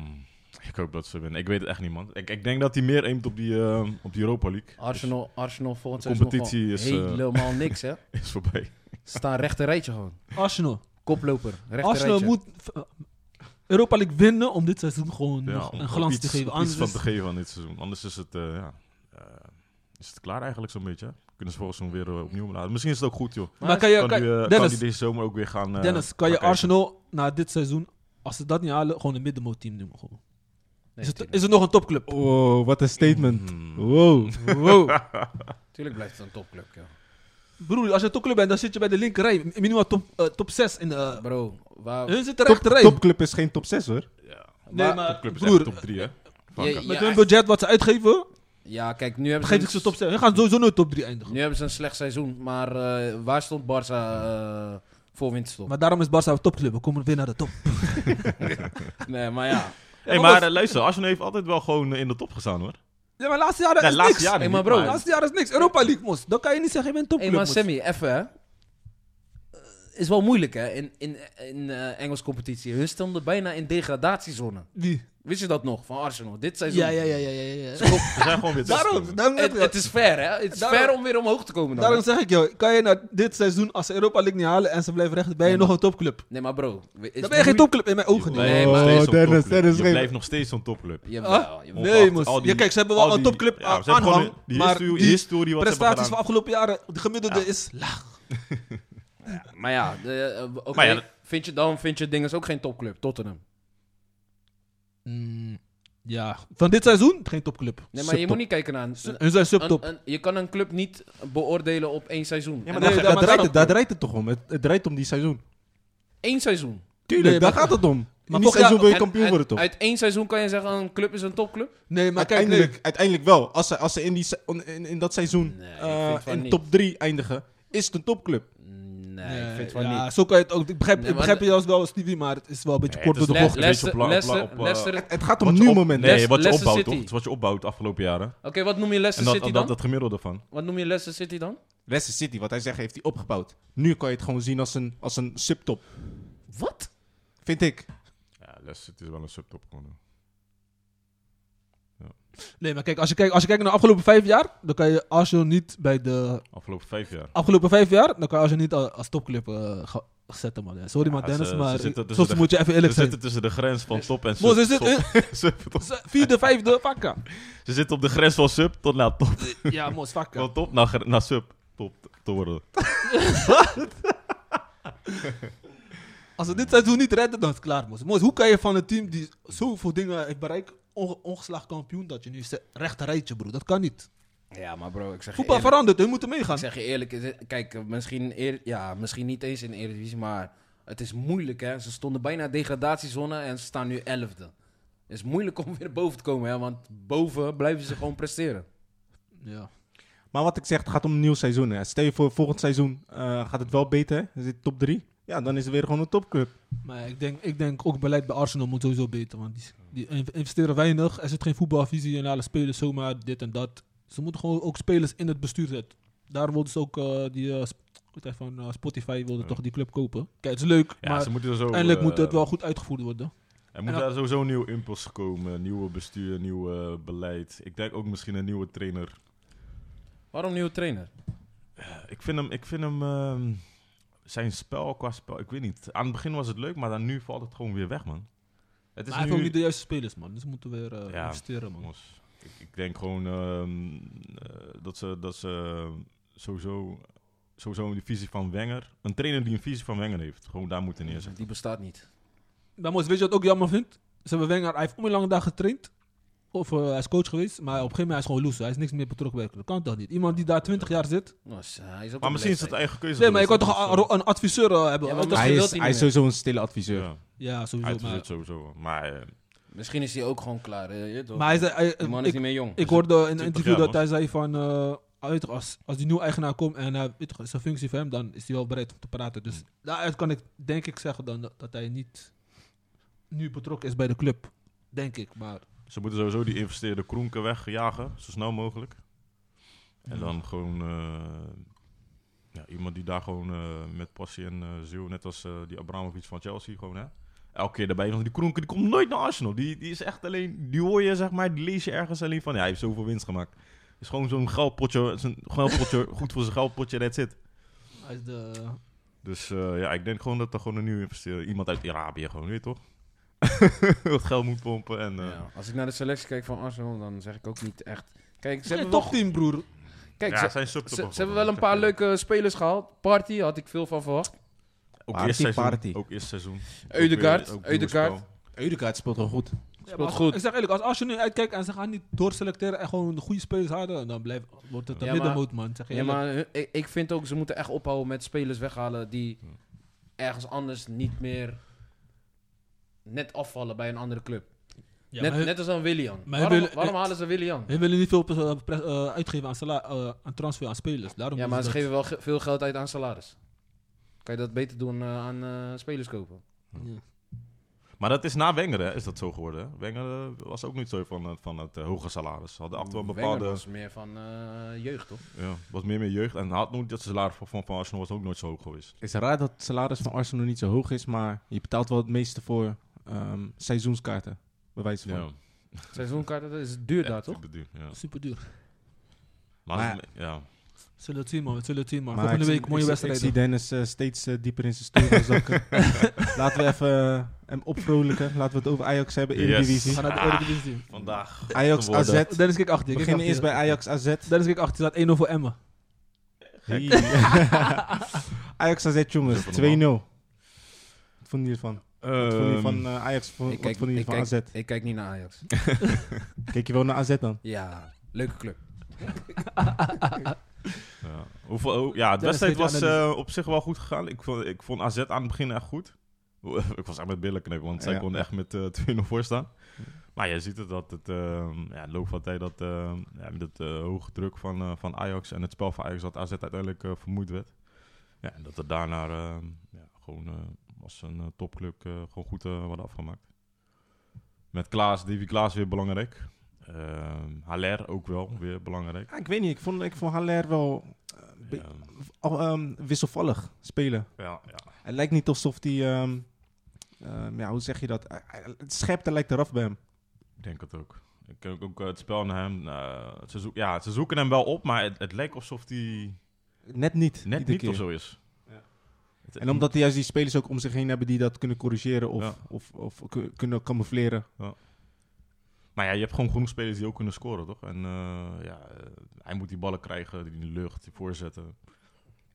ik hoop dat ze winnen. Ik weet het echt niet, man. Ik, ik denk dat hij meer aimt op die, ehm, op die Europa League.
Arsenal, Arsenal volgens
de
mij is,
competitie is,
nog
eh,
gewoon helemaal niks, hè?
Dus is voorbij.
Ze staan rechter rijtje gewoon.
Arsenal.
Koploper, rechter
Arsenal
rijtje.
moet eh, Europa League winnen om dit seizoen gewoon
Ja,
nog
om-
een
om
glans
iets-
te geven.
om Iets van
Anders
te geven aan dit seizoen. Anders is het, eh, ja, eh, is het klaar eigenlijk zo'n beetje. hè? Kunnen ze volgens seizoen weer eh, opnieuw laten. Misschien is het ook goed, joh.
maar kan je,
Kan,
kan-
die, eh, kan die
Dennis,
deze zomer ook weer gaan... eh,
Dennis, kan
gaan
je
kijken.
Arsenal na dit seizoen, als ze dat niet halen, gewoon een middenmootteam doen? Gewoon.
Nee,
Is, het,
tuurlijk.
is het nog een topclub?
Oh, wat een statement.
Eh,
Hmm.
Mm-hmm. Wow.
Wow.
Tuurlijk blijft het een topclub, joh.
Broer, als je topclub bent, dan zit je bij de linkerrij. M- Minimaal top, eh, top 6 in de... eh,
Bro, waar...
hun zitten
Top,
rechterrij.
topclub is geen top 6, hoor.
Ja,
nee,
waar-
maar
topclub is
broer,
echt top 3, hè. Fuck
je-
it.
met
Ja,
hun
echt.
budget wat ze uitgeven,
Ja, kijk, nu hebben, ze
geef ik
een,
ze top 6. Hun gaan sowieso nooit top 3 eindigen.
nu hebben ze een slecht seizoen. Maar eh, waar stond Barça eh, voor winterstop?
Maar daarom is Barca een topclub. We komen weer naar de top.
Nee, maar ja.
Hey, maar eh, luister, Arsenal heeft altijd wel gewoon eh, in de top gestaan, hoor.
Ja, maar laatste jaren
Nee,
is
laatste
niks.
jaren
Hey,
niet,
maar bro,
Laatste jaar is niks. Europa League, mos. Dan kan je niet zeggen, je bent
Hé,
topclub.
maar
mos.
Sammy, even hè. Eh, Is wel moeilijk hè, in, in, in eh, Engels competitie. Hun stonden bijna in degradatiezone.
Wie?
Wist je dat nog, van Arsenal? Dit seizoen. Dus
Ja, ja, ja, ja, ja. ja.
Ze zijn gewoon weer
Daarom, daarom,
Het, het is fair hè. Het is
Daarom-
fair om weer omhoog te komen dan.
daarom
hè?
zeg ik jou, kan je na dit seizoen, als ze Europa League niet halen en ze blijven recht, ben je
Nee,
nog
maar-
een topclub.
Nee, maar bro. we- is
Dan ben je geen
moeilijk-
topclub in mijn ogen. niet.
Nee, maar-
Oh, Dennis,
Dennis,
Dennis,
Je
geen-
blijft nog steeds zo'n topclub.
Jawel, jawel.
Ongeacht
Nee, mos.
al die-
ja, kijk, ze hebben
al
wel een
die-
topclub
ja,
aan-
ze hebben gewoon
aanhang,
die
maar
historie,
die
historie wat ze hebben
prestaties
gedaan.
van afgelopen jaren, de gemiddelde is laag.
Maar ja, de, eh, oké.
Maar ja, dat-
Vind je dan, vind je dinges ook geen topclub, Tottenham.
Mm, ja, van dit seizoen geen topclub.
Nee, maar je moet niet kijken naar... een-
Hun zijn
een-
subtop.
een- je kan een club niet beoordelen op één seizoen.
Ja,
En
maar
dan-
daar,
nee,
daar,
maar
draait
daarom-
het, daar draait het toch om. Het, het draait om die seizoen.
Eén seizoen.
Tuurlijk,
Nee,
daar
maar-
gaat het om. In
maar
die
toch-
seizoen
ja,
wil je
En-
kampioen
en
worden, toch?
Uit één seizoen kan je zeggen, een club is een topclub.
Nee, maar kijk,
uiteindelijk,
nee.
uiteindelijk wel. Als ze, als ze in, die, se- on- in, in dat seizoen
Nee, ik
eh,
vind van
in
niet.
top 3 eindigen, is het een topclub.
Nee,
Nee,
ik vind het wel
ja,
niet.
zo kan je het ook. Ik begrijp,
Nee,
ik
maar
begrijp
de-
je juist wel, Stevie, maar het is wel een beetje
Nee,
kort
het
door
is
de
Le-
bocht.
een beetje op la- op la- op,
Leicester,
eh,
Leicester- Oké,
Het gaat om
Wat je
nu
op-
momenten.
Nee, wat je
Leicester
opbouwt,
City.
toch? Het is Wat je opbouwt de afgelopen jaren.
wat noem je
En
Leicester
dat,
City
dat,
dan?
dat gemiddelde van.
Wat noem je Leicester City dan?
Leicester City, wat hij zegt, heeft hij opgebouwd. Nu kan je het gewoon zien als een, als een subtop.
Wat?
Vind ik.
Ja, Leicester City is wel een subtop geworden.
Nee, maar kijk, als je kijkt, als je kijkt naar de afgelopen vijf jaar, dan kan je Arsenal niet bij de
Afgelopen vijf jaar.
afgelopen vijf jaar, dan kan je Arsenal niet al- als topclub eh, ge- zetten, man. Ja, Sorry,
Ja,
maar Dennis,
ze- ze
maar
zitten tussen
soms
de-
moet je even
Ze
eerlijk zijn.
zitten tussen de grens van top en sub.
Moes, ze zitten
Top- sub- top.
Ze- vierde, vijfde, vakka.
Ze zitten op de grens van sub tot naar top.
Ja, mos, vakka.
Van top naar, gr- naar sub. Top te worden.
Als ze dit seizoen niet redden, dan is het klaar, mos. Mos, hoe kan je van een team die zoveel dingen heeft bereikt, onge ongeslagen kampioen, dat je nu zegt, rechter rijtje, broer. Dat kan niet.
Ja, maar bro, ik zeg je
Voetbal
eerlijk.
verandert, hun moeten
Ik
meegaan.
zeg je eerlijk, is het- kijk, eh, misschien, eer, ja, misschien niet eens in de Eredivisie, maar het is moeilijk hè. Ze stonden bijna degradatiezone en ze staan nu elfde. Het is moeilijk om weer boven te komen hè, want boven blijven ze gewoon presteren.
Ja.
Maar wat ik zeg, het gaat om een nieuw seizoen. Hè. Stel je voor, volgend seizoen eh, gaat het wel beter. hè. Dan zit top 3. Ja, dan is het weer gewoon een topclub.
Maar ik denk, ik denk ook beleid bij Arsenal moet sowieso beter. Want die, die in- investeren weinig. Er zit geen voetbalvisie en alle spelers zomaar dit en dat. Ze moeten gewoon ook spelers in het bestuur zetten. Daar worden ze ook eh, die eh, sp- Goed, hij van eh, Spotify wilde toch die club kopen. Kijk, het is leuk,
Ja,
maar
ze moeten er zo...
eindelijk
eh,
moet het wel goed uitgevoerd worden.
Er moet
en
daar sowieso een nieuw impuls komen. Nieuwe bestuur, nieuw eh, beleid. Ik denk ook misschien een nieuwe trainer.
Waarom nieuwe trainer?
Ik vind hem... Ik vind hem ehm, zijn spel qua spel, ik weet niet. Aan het begin was het leuk, maar dan nu valt het gewoon weer weg, man. Het
Maar hij heeft ook niet de juiste spelers, man. Dus we moeten weer eh,
Ja.
investeren, man.
Jongens, ik, ik denk gewoon ehm, eh, dat ze, dat ze eh, sowieso, sowieso een visie van Wenger... Een trainer die een visie van Wenger heeft. Gewoon daar moeten neerzetten.
Die bestaat niet.
Dan moet, weet je wat ik ook jammer vind? Ze hebben Wenger, hij heeft om een lange dag getraind. Of eh, hij is coach geweest, maar op een gegeven moment hij is gewoon loose. Hij is niks meer betrokken bij de club. Kan toch niet? Iemand die daar 20 jaar zit.
Nou, is- hij is op
Maar
een
misschien is het
leeftijd.
eigen keuze.
Nee, maar je kan
geweest,
toch
dat is,
een, een adviseur eh, hebben?
Ja,
Ja,
maar
dat
misschien
Hij
wil
is,
hij
hij is
niet
sowieso een stille adviseur.
Ja,
ja
hij
sowieso.
doet
Maar,
het sowieso. Maar eh,
Misschien is hij ook gewoon klaar. eh, je weet toch?
maar hij zei, hij-
die man is
ik,
niet meer jong. Dus
ik hoorde in een
20
interview
jaar,
dat
man.
hij zei van... eh, ah, weet je, als, als die nieuwe eigenaar komt en hij weet je, is een functie voor hem, dan is hij wel bereid om te praten.
Hmm.
Dus daaruit kan ik denk ik zeggen dan dat, dat hij niet nu betrokken is bij de club. Denk ik, maar...
ze moeten sowieso die investeerde kronken wegjagen. Zo snel mogelijk. En dan gewoon eh, ja, iemand die daar gewoon eh, met passie en eh ziel... Net als eh, die Abramovic van Chelsea gewoon, hè. Elke keer daarbij. Want die kronken die komt nooit naar Arsenal. Die, die is echt alleen... Die hoor je, zeg maar. Die lees je ergens alleen van... Ja, hij heeft zoveel winst gemaakt. is gewoon zo'n geldpotje. Zo'n geldpotje goed voor zijn geldpotje. That's it.
Hij is de...
Dus eh, ja, ik denk gewoon dat er gewoon een nieuwe investeerder... Iemand uit Arabië gewoon, weet je toch? Wat geld moet pompen en... eh,
Ja, als ik naar de selectie kijk van Arsenal, dan zeg ik ook niet echt. Kijk, ze
Ze
hebben,
toch
toch...
team, broer.
kijk,
ja,
ze,
zijn
ze-
subtop
ze
ook
hebben wel een
hè.
paar leuke spelers gehaald. Party had ik veel van verwacht.
Ook
Party,
eerst seizoen.
party.
Ook eerst seizoen.
Eudegaard,
Ook weer- ook
Eudegaard.
nieuw
Eudegaard speelt wel goed.
Ja,
Speelt
maar
goed.
Ik zeg eerlijk, als, als je nu uitkijkt en ze gaan niet doorselecteren en gewoon de goede spelers halen, dan blijft, wordt het een
Ja, maar-
middenmoot, man. Zeg je
Ja,
eerlijk.
maar hun- ik, ik vind ook, ze moeten echt ophouden met spelers weghalen die ergens anders niet meer net afvallen bij een andere club.
Ja,
net,
maar hun-
net als een Willian.
maar
Waarom,
willen-
waarom halen ze Willian?
hun willen niet veel eh, pre- eh, uitgeven aan, sala- eh, aan transfer, aan spelers. Daarom
Ja,
doen
maar ze
dat.
geven wel ge- veel geld uit aan salaris. Kan je dat beter doen eh, aan eh, spelers kopen?
Ja.
spel. Maar dat is na Wenger, hè, is dat zo geworden. hè? Wenger eh, was ook niet zo van, het- van het eh, hoge salaris. Ze hadden achter een
Wenger
bepaalde...
was meer van eh, jeugd, toch?
Ja, was meer meer jeugd. En had nooit dat salaris van, van, van Arsenal was ook nooit zo hoog geweest.
Het is raar dat het salaris van Arsenal niet zo hoog is, maar je betaalt wel het meeste voor ehm, seizoenskaarten. Bij wijze van.
Ja,
Seizoenkaarten, dat is duur daar, toch?
ik bedoel, ja.
Super duur.
Maar,
Maar-
ja.
Zullen het zien, man. We zullen het zien, man.
Maar
Volgende
ik zie-
week mooie
ik zie-
wedstrijden.
Ik zie Dennis eh, steeds eh, dieper in zijn stoel gaan zakken. Laten we even eh, hem opvrolijken. Laten we het over Ajax hebben in de
Yes.
We
divisie.
gaan naar de
Ah.
Eredivisie.
vandaag.
Ajax
geworden.
AZ.
Dennis, kijk achter
We
je. kijk
beginnen eerst
achter
bij Ajax AZ.
je. Dennis, kijk achter je. Staat 1-0 voor Emmen.
Ajax AZ jongens, 2-0.
Super
Wat vonden jullie ervan? Wat vonden jullie
Ehm,
van eh, Ajax? Wat
Ik kijk,
vonden jullie
ik,
van
kijk,
AZ?
ik kijk niet naar Ajax.
Kijk je wel naar AZ dan?
ja, leuke club.
Ja, Hoeveel, oh, ja de
Dennis
wedstrijd
heeft
was
de
eh, op zich wel goed gegaan. Ik vond, ik vond AZ aan het begin echt goed. ik was echt met billen knippen, want zij
Ja.
konden echt met eh 2-0 voor staan. Maar je ziet het dat het, ehm, ja, in de loop van de tijd dat, ehm, ja, met het eh, hoge druk van, eh, van Ajax en het spel van Ajax, dat AZ uiteindelijk eh, vermoeid werd. Ja, en dat het daarna ehm, ja, gewoon eh, als een eh, topclub eh, gewoon goed eh worden afgemaakt. Met Klaas, Davy Klaas weer belangrijk. Ehm Haller ook wel weer belangrijk.
Ja, ik weet niet, ik vond, ik vond Haller wel eh, be-
Ja,
al, ehm, wisselvallig spelen.
ja, ja.
Het lijkt niet alsof hij... ehm, ehm, ja, hoe zeg je dat? Hij- hij- Het scherpte lijkt eraf bij hem.
Ik denk het ook. Ik heb ook eh, het spel naar hem. eh, ze zoek- ja, ze zoeken hem wel op, maar het, het lijkt alsof hij
Net niet.
net
iedere
niet
keer.
of zo is. Het-
En omdat hij juist die spelers ook om zich heen hebben die dat kunnen corrigeren of,
Ja.
of, of ku- kunnen camoufleren.
Maar ja, je hebt gewoon genoeg spelers die ook kunnen scoren, toch? En eh, ja, eh, hij moet die ballen krijgen, die in de lucht, die voorzetten.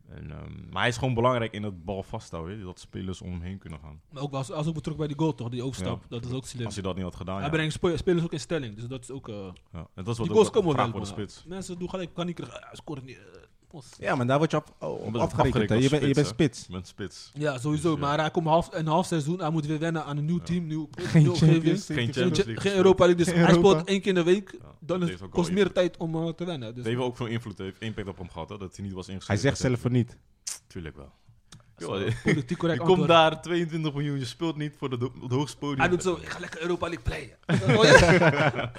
En, ehm, maar hij is gewoon belangrijk in dat bal vasthouden, weet je, dat spelers om hem heen kunnen gaan.
Maar ook was, was ook betrokken bij die goal, toch? Die overstap.
Ja.
dat is ook slim.
Als hij dat niet had gedaan,
Hij
ja.
brengt spe- spelers ook in stelling. Dus dat is ook... eh,
ja. En dat is wat
die goals
ook wel
komen wel,
gevraagd wordt
man.
de spits.
Mensen doen gelijk paniek. Uh, scoren niet. eh, ons.
Ja, maar daar word je af, oh, op
bent
afgerekend.
afgerekend
hè.
als
Je, bent- je bent
spits,
spits.
Met spits.
Ja, sowieso.
Dus, ja.
Maar hij komt half, een half seizoen. Hij moet weer wennen aan een nieuw team. Nieuw, nieuwe
Geen
omgeving.
Champions
Geen
League.
Geen,
Champions
cha-
League.
geen Europa League. Dus
Geen
hij
Europa.
speelt één keer in de week.
Ja,
Dan
dat
is,
heeft ook wel
kost meer
invloed.
tijd om eh, te wennen.
Het
Dus
heeft ook veel invloed, heeft impact op hem gehad, hè, dat hij niet was
Hij
ingeschreven.
zegt zelf van niet.
Tuurlijk wel.
dat
Joh,
is wel eh, politiek
Je
correct
komt
antwoord.
daar 22 miljoen, je speelt niet voor de, do- het hoogste podium.
Hij doet zo. Ik ga lekker Europa League playen. Oh, ja.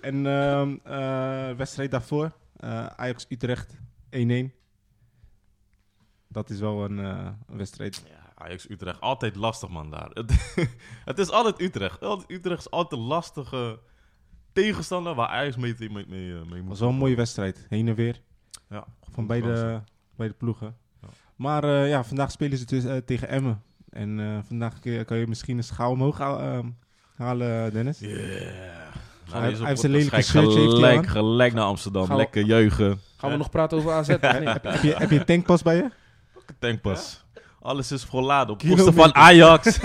En ehm, eh, wedstrijd daarvoor, eh, Ajax-Utrecht 1-1. Dat is wel een eh, een wedstrijd.
Ja, Ajax-Utrecht, altijd lastig man daar. Het, het is altijd Utrecht. Altijd Utrecht is altijd een lastige tegenstander waar Ajax mee, mee, mee, eh, mee
Het was
moet.
wel een mooie wedstrijd. Heen en weer.
Ja,
Van beide, beide ploegen.
Ja.
Maar eh, ja, vandaag spelen ze dus, eh, tegen Emmen. En eh, vandaag kun je- kan je misschien een schaal omhoog haal- ehm, halen, Dennis.
Yeah. Nou,
Hij- hij heeft een lelijke shirt, heeft hij
gelijk,
aan.
gelijk naar Amsterdam.
Gaan we-
Lekker juichen.
Gaan we nog praten over AZ? of niet?
Heb, je, heb je een tankpas bij je?
Tankpas. Alles is volladen. Op
Kilometer.
kosten van Ajax.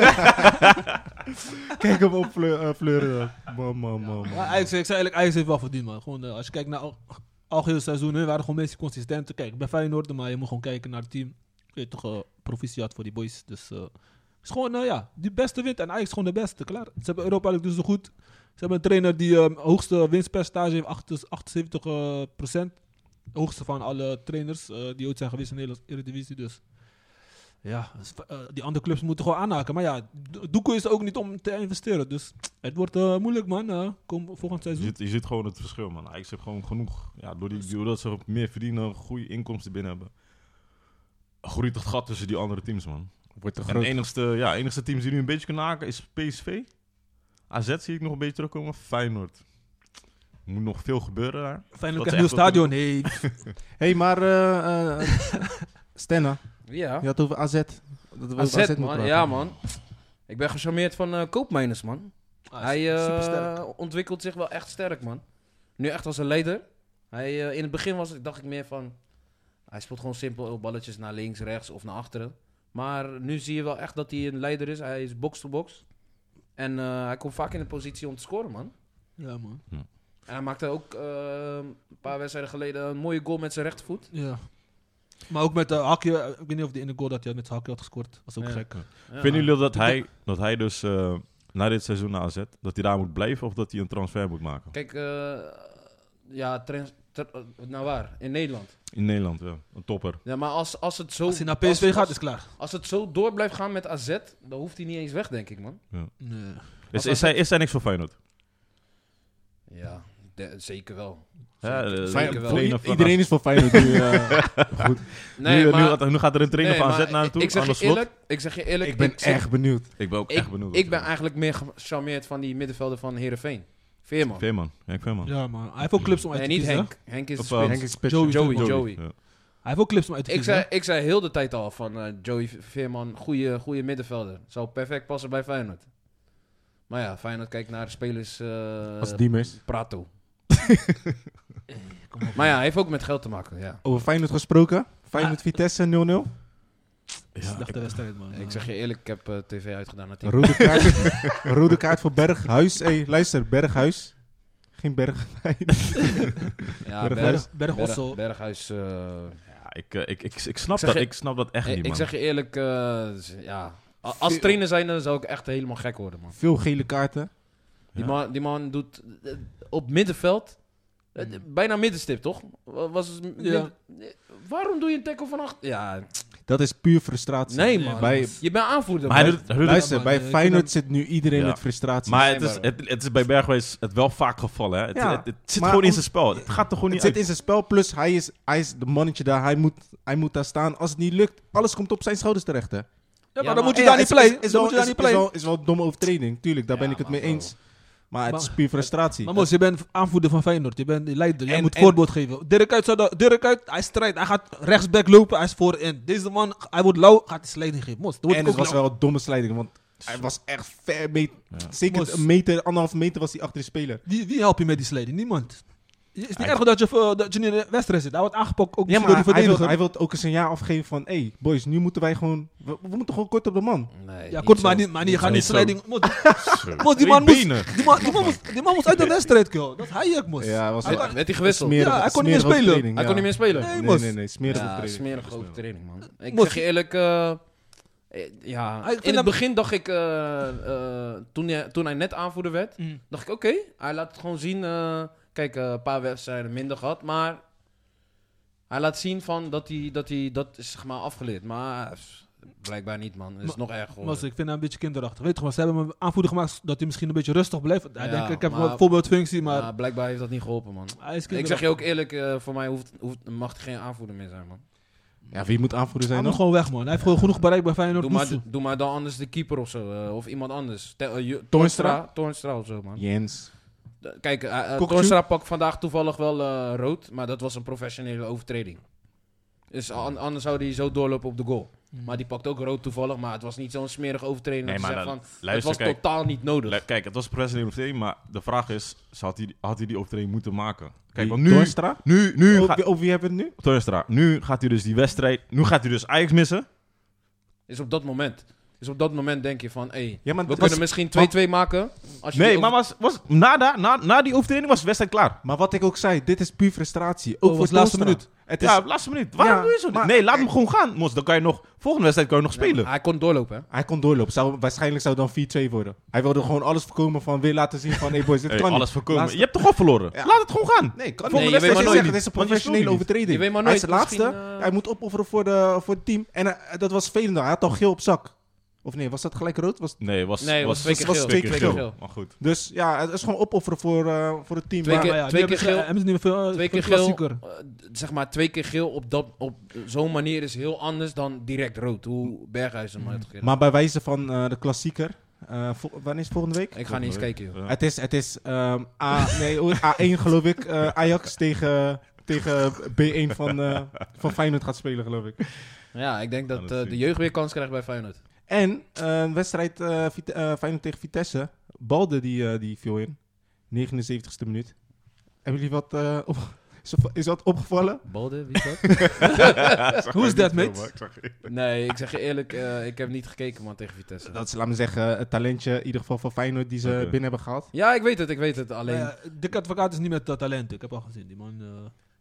Kijk hem op, fleur, eh, fleuren. Man, man, man,
Maar
man.
Ajax, ik zei eigenlijk, Ajax heeft wel verdiend, man. Gewoon, eh, als je kijkt naar al, algeheel seizoen, hun waren gewoon meest consistent. Kijk, ik ben Feyenoord, maar je moet gewoon kijken naar het team. Je hebt toch eh, proficiat voor die boys. Dus eh, is gewoon, eh, ja, die beste wint. En Ajax is gewoon de beste, klaar. Ze hebben Europa League dus zo goed. Ze hebben een trainer die eh, hoogste winstpercentage heeft, 8 78 eh, procent. Hoogste van alle trainers eh, die ooit zijn geweest in de Nederlandse Eredivisie, dus... Ja, dus, eh, die andere clubs moeten gewoon aanhaken. Maar ja, Do- Doekoe is er ook niet om te investeren. Dus het wordt eh, moeilijk, man. eh, kom volgend
Je
seizoen.
ziet, je ziet gewoon het verschil, man. Ajax heeft gewoon genoeg. Ja, door
Dus-
die, doordat ze meer verdienen, goede inkomsten binnen hebben. Groeit het gat tussen die andere teams, man.
Wordt te
En
groot.
de enigste, ja, enigste teams die nu een beetje kunnen haken is PSV. AZ zie ik nog een beetje terugkomen. Feyenoord. Er moet nog veel gebeuren daar.
Feyenoord
Dat
krijgt een nieuw
is echt
stadion. Hey,
hey, maar eh, eh, eh, Stenna,
Ja.
je had het over AZ. Dat we over
AZ,
moeten
man.
praten.
Ja, man. Ik ben gecharmeerd van eh Koopmijners, man. hij eh, ontwikkelt zich wel echt sterk, man. Nu echt als een leider. Hij, eh, in het begin was, het- dacht ik meer van... Hij speelt gewoon simpel balletjes naar links, rechts of naar achteren. Maar nu zie je wel echt dat hij een leider is. Hij is box-to-box. En eh, hij komt vaak in de positie om te scoren, man.
Ja, man.
En hij maakte ook eh, een paar wedstrijden geleden een mooie goal met zijn rechtervoet.
Ja. Maar ook met eh, hakje. eh, Ik weet niet of die ene goal dat hij had met zijn hakje had gescoord. was ook
Ja.
gek.
Ja.
Vinden jullie dat hij, dat hij dus eh, na dit seizoen naar AZ, dat hij daar moet blijven of dat hij een transfer moet maken?
Kijk, eh, ja, trans- tra- eh, naar waar? In Nederland.
In Nederland, ja. Een topper.
Ja, maar als, als het zo...
Als hij naar PSV gaat, is
als,
klaar.
als het zo door blijft gaan met AZ, dan hoeft hij niet eens weg, denk ik, man.
Nee.
Is, is, hij, is hij niks voor Feyenoord?
Ja, de- zeker wel.
Ja,
Zeker-
eh,
zeker
Feyenoord-
wel.
trainer van-
Iedereen is van Feyenoord nu. eh, goed.
nu, nu, gaat, nu gaat er een trainer
nee,
van
maar
AZ naartoe.
Ik, ik zeg
Arne
je
Slot.
eerlijk, ik zeg je eerlijk.
Ik ben
zeg-
echt benieuwd.
Ik ben ook
ik,
echt benieuwd.
Ik ben eigenlijk meer gecharmeerd van die middenvelder van Heerenveen. Veerman.
Veerman. Henk Veerman.
Ja, man. Hij heeft ook clips om uit
Nee,
te
niet
kiezen. hè.
Henk. Henk is de
Of, eh,
spits.
Henk is pitcher.
Joey.
Joey.
Veerman.
Joey.
Ja.
Hij heeft ook clips om uit te
Ik
kiezen.
zei, ik zei heel de tijd al van eh, Joey Veerman, goede, goede middenvelder. Zou perfect passen bij Feyenoord. Maar ja, Feyenoord kijkt naar spelers eh,
Als Diemers.
Prato. maar ja, heeft ook met geld te maken. Ja.
Over Feyenoord gesproken. Feyenoord
Ah.
Vitesse 0-0.
hè. Slechte wedstrijd, man.
Ik zeg je eerlijk, ik heb eh, tv uitgedaan. naar tien.
Rode kaart, rode kaart voor Berghuis. Hey, luister, Berghuis. Geen Bergwijn.
Ja,
Berghuis.
Berg,
Berg
Berg-
Ossel.
Berghuis. eh,
Ja, ik, eh, ik, ik, ik, snap
Ik zeg
dat,
je-
ik snap dat echt
ik-
niet,
ik
man.
zeg je eerlijk, eh, z- ja. A- Als trainer zijn, dan zou ik echt helemaal gek worden, man.
Veel gele kaarten.
Die,
Ja.
man, die man doet eh, op middenveld. eh, bijna middenstip, toch? Wa- Was het midden-
Ja.
eh, Waarom doe je een tackle van achter? Ja,
Dat is puur frustratie.
nee
nee,
man.
bij-
je bent aanvoerder.
maar hij
man.
doet, hij doet het-
Luister,
man,
bij
eh, ik
Feyenoord
vind
zit nu iedereen
Ja.
met frustratie.
maar het is,
schijnbaar.
het, het is bij Bergwijs het wel vaak gevallen. Hè? Het,
Ja,
het, het zit
maar
gewoon in
om-
zijn spel. Het gaat er gewoon
het
niet
zit
uit.
in zijn spel, plus hij is, hij is de mannetje daar. Hij moet, hij moet daar staan. Als het niet lukt, alles komt op zijn schouders terecht. Hè.
Ja,
Ja,
maar dan moet je
Ja,
daar
is-
niet
is-
playen.
Is
Dan
wel-
moet je daar
is-
niet
is
playen.
wel- is wel een domme overtreding, tuurlijk. Daar
Ja,
ben ik het
maar
mee
bro.
eens. Maar het is
Maar-
puur frustratie.
Maar Mos, je bent aanvoerder van Feyenoord. Je bent die leider. Jij
En-
moet
en-
voorbeeld geven. Dirk uit, zou dat- Dirk uit, hij strijdt. Hij gaat rechtsback lopen. Hij is voorin. Deze man, hij wordt lauw. Gaat de slijding geven. Mos, dat wordt
en
ook
het was
lauw.
wel een domme slijding, want hij was echt ver mee. Zeker
Mos.
een meter, anderhalf meter was hij achter de speler.
Wie, wie helpt je met die slijding? Niemand. Je- Het is niet
Hij-
erg dat je, eh, dat je niet in de wedstrijd zit. Hij wordt aangepakt ook
Ja,
door de
maar hij wil,
verdediger.
hij wil ook een signaal afgeven van... Hé, hey, boys, nu moeten wij gewoon... We, we moeten gewoon kort op de man.
Nee,
ja, kort,
zo.
maar niet, maar niet,
Niet
ga niet
zo.
slijding. Mos,
Zo.
Mos, die
Drie
man moest-
benen.
die man- die man moest- die man moest uit de wedstrijd, joh. Dat is hij, Mos.
Ja, hij was
Hij
Werd-
kan-
werd hij gewisseld?
Ja, hij kon niet meer spelen.
Hij kon niet meer spelen.
Nee,
Nee, nee,
Mos.
nee, nee smerige
ja,
overtreding.
smerige overtreding, man. Ik
Mos-
zeg je eerlijk... eh, eh, ja,
Ah, ik vind
in het
dat-
begin dacht ik... eh, eh, toen, hij, toen hij net aanvoerder werd,
Mm.
dacht ik... Oké, hij laat het gewoon zien. eh, kijk, eh, een paar wedstrijden minder gehad, maar... Hij laat zien van dat hij dat, hij, dat is zeg maar afgeleerd. Maar eh, blijkbaar niet, man. Het is
Maar-
nog erg geworden.
Mos, ik vind hem een beetje kinderachtig. Weet je, maar ze hebben hem aanvoerder gemaakt dat hij misschien een beetje rustig blijft. Hij
Ja,
denkt, ik heb
maar-
een voorbeeldfunctie, maar
Ja, blijkbaar heeft dat niet geholpen, man.
hij is
Ik zeg
kinderachtig.
je ook eerlijk, eh, voor mij hoeft, hoeft, mag er geen aanvoerder meer zijn, man.
Ja, wie moet aanvoerder
Hij
zijn
moet
nog?
gewoon weg, man. Hij heeft gewoon genoeg bereik bij Feyenoord.
Doe maar,
Moestu.
doe maar dan anders de keeper of zo. eh, of iemand anders. Te, eh, je-
Toornstra?
Toornstra of zo, man.
Jens.
D- Kijk, eh, eh,
Kokchu?
Toornstra pakt vandaag toevallig wel eh, rood. Maar dat was een professionele overtreding. Dus an- anders zou hij zo doorlopen op de goal. Maar die pakt ook rood toevallig. Maar het was niet zo'n smerige overtreding.
Nee,
dat
maar
je zegt
dan-
van, het
luister,
was
kijk.
totaal niet nodig.
Le- Kijk, het was een professionele overtreding, maar de vraag is, ze had, hij, had hij die overtreding moeten maken? Kijk,
Wie?
want nu...
Toornstra? Oh.
Nu, nu,
Over
gaat-
over wie hebben we het nu?
Toornstra, nu gaat hij dus die wedstrijd... Nu gaat hij dus Ajax missen.
Is op dat moment. Dus op dat moment denk je van, hé,
Ja, maar
we
dat
kunnen
is-
misschien 2-2
want-
maken. Als je
Nee,
die
maar
over-
was, was, na, da- na, na die overtreding was de wedstrijd klaar.
Maar wat ik ook zei, dit is puur frustratie. Ook
was
voor de
de
laatste
laatste
minuut. Het is,
ja, Oh, laatste minuut. Waarom
Ja,
doe je zo? niet?
maar-
nee, laat hem gewoon gaan, Mos. Dan kan je nog... Volgende wedstrijd kan je nog
Ja,
spelen.
maar hij kon doorlopen, hè.
Hij kon doorlopen. Zou, waarschijnlijk zou het dan 4-2 worden. Hij wilde gewoon alles voorkomen van weer laten zien van... Hey boys, dit
Hey,
kan
alles
niet.
voorkomen.
Laatste-
Je hebt toch al verloren?
Ja.
Laat het gewoon gaan.
Nee, kan
Volgende
wedstrijd
niet. Dit is
weet maar
zeggen,
nooit.
Dit is een
Want je speelt
professionele
niet.
overtreding.
Je weet maar
Hij is de
nooit.
laatste.
Misschien, eh,
Hij moet opofferen voor, de, voor het team. En eh, dat was vervelend. Hij had al geel op zak. Of nee, was dat gelijk rood? Was...
Nee, was,
Nee, was twee keer
was
geel.
twee
keer
keer
geel.
Maar goed.
Dus ja, het is gewoon opofferen voor, eh, voor het team.
Twee
Maar-
keer-
Maar ja,
twee
die
keer
hebben-
geel.
hebben ze niet meer veel, eh,
Twee
voor
keer
de
geel,
klassieker.
eh, d- zeg maar twee keer geel op, dat- op zo'n manier is heel anders dan direct rood. Hoe Berghuis hem had gegeven.
Maar bij wijze van eh, de klassieker. eh, vol- wanneer is het volgende week?
Ik ga niet eens kijken, joh.
Ja.
Het is, het is ehm, A, nee, hoe- A1 geloof ik. eh, Ajax tegen, tegen B1 van, eh, van Feyenoord gaat spelen geloof ik.
Ja, ik denk
Ja,
dat
dat
eh,
zie
de
ik.
jeugd weer kans krijgt bij Feyenoord.
En eh, een wedstrijd eh, Vite- eh, Feyenoord tegen Vitesse. Balde die, eh, die viel in. 79ste minuut. Hebben jullie wat, eh, op- is, is wat opgevallen?
Balde, wie is dat?
Hoe is dat, mate?
nee, ik zeg je eerlijk, eh, ik heb niet gekeken, man, tegen Vitesse.
Dat is, laat me zeggen, het talentje in ieder geval van Feyenoord die ze
Oké.
binnen hebben gehaald.
Ja, ik weet het, ik weet het. Alleen,
Alleen. Dick Advocaat is niet met eh, talent. Ik heb al gezien. Die man.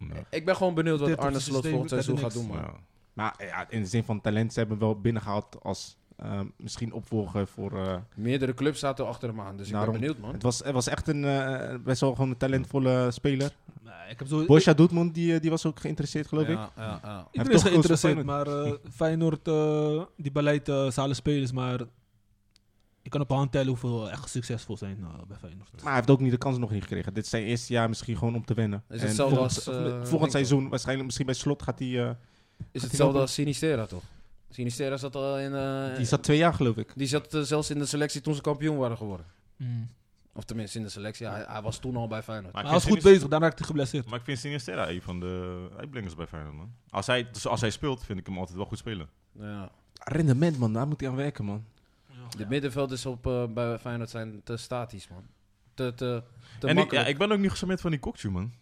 eh,
ik ben gewoon benieuwd wat
dit
Arne
is-
Slot
dit-
volgend
dit- dit
seizoen gaat
niks.
doen, man.
Maar eh, ja, in de zin van talent, ze hebben hem wel binnengehaald als ehm, misschien opvolger voor... eh,
Meerdere clubs zaten achter hem aan, dus ik ben
Daarom-
benieuwd, man.
Het was, het was echt een eh, best wel gewoon een talentvolle speler.
nou, ik heb zo.
Borussia Dortmund die, eh, die was ook geïnteresseerd, geloof ik.
Ja, ja, ja.
Hij
Iedereen
heeft
is
toch
geïnteresseerd,
gekozen
maar eh, Feyenoord, eh, die beleid eh zalen spelers, maar ik kan op een hand tellen hoeveel echt succesvol zijn eh, bij Feyenoord.
Maar hij heeft ook niet de kans nog niet gekregen. Dit is zijn eerste jaar misschien gewoon om te wennen.
Is
En
hetzelfde
volgend,
als, eh, Winkel.
volgend seizoen waarschijnlijk misschien bij slot gaat hij... eh,
Is
die
hetzelfde
wel-
als Sinistera, toch? Sinistera zat al in... eh,
die zat twee jaar geloof ik.
Die zat eh, zelfs in de selectie toen ze kampioen waren geworden. Of tenminste in de selectie. Hij, hij was toen al bij Feyenoord.
Maar hij was goed bezig, daarna raakte hij geblesseerd.
Maar ik vind Sinisterra een van de uitblinkers bij Feyenoord, man. Als hij, dus als hij speelt, vind ik hem altijd wel goed spelen.
Ja.
Rendement man, daar moet hij aan werken man.
De middenvelders op, eh, bij Feyenoord zijn te statisch, man. Te, te, te
en ik, ja,
makkelijk.
ik ben ook niet gesommeerd van die Kokju, man.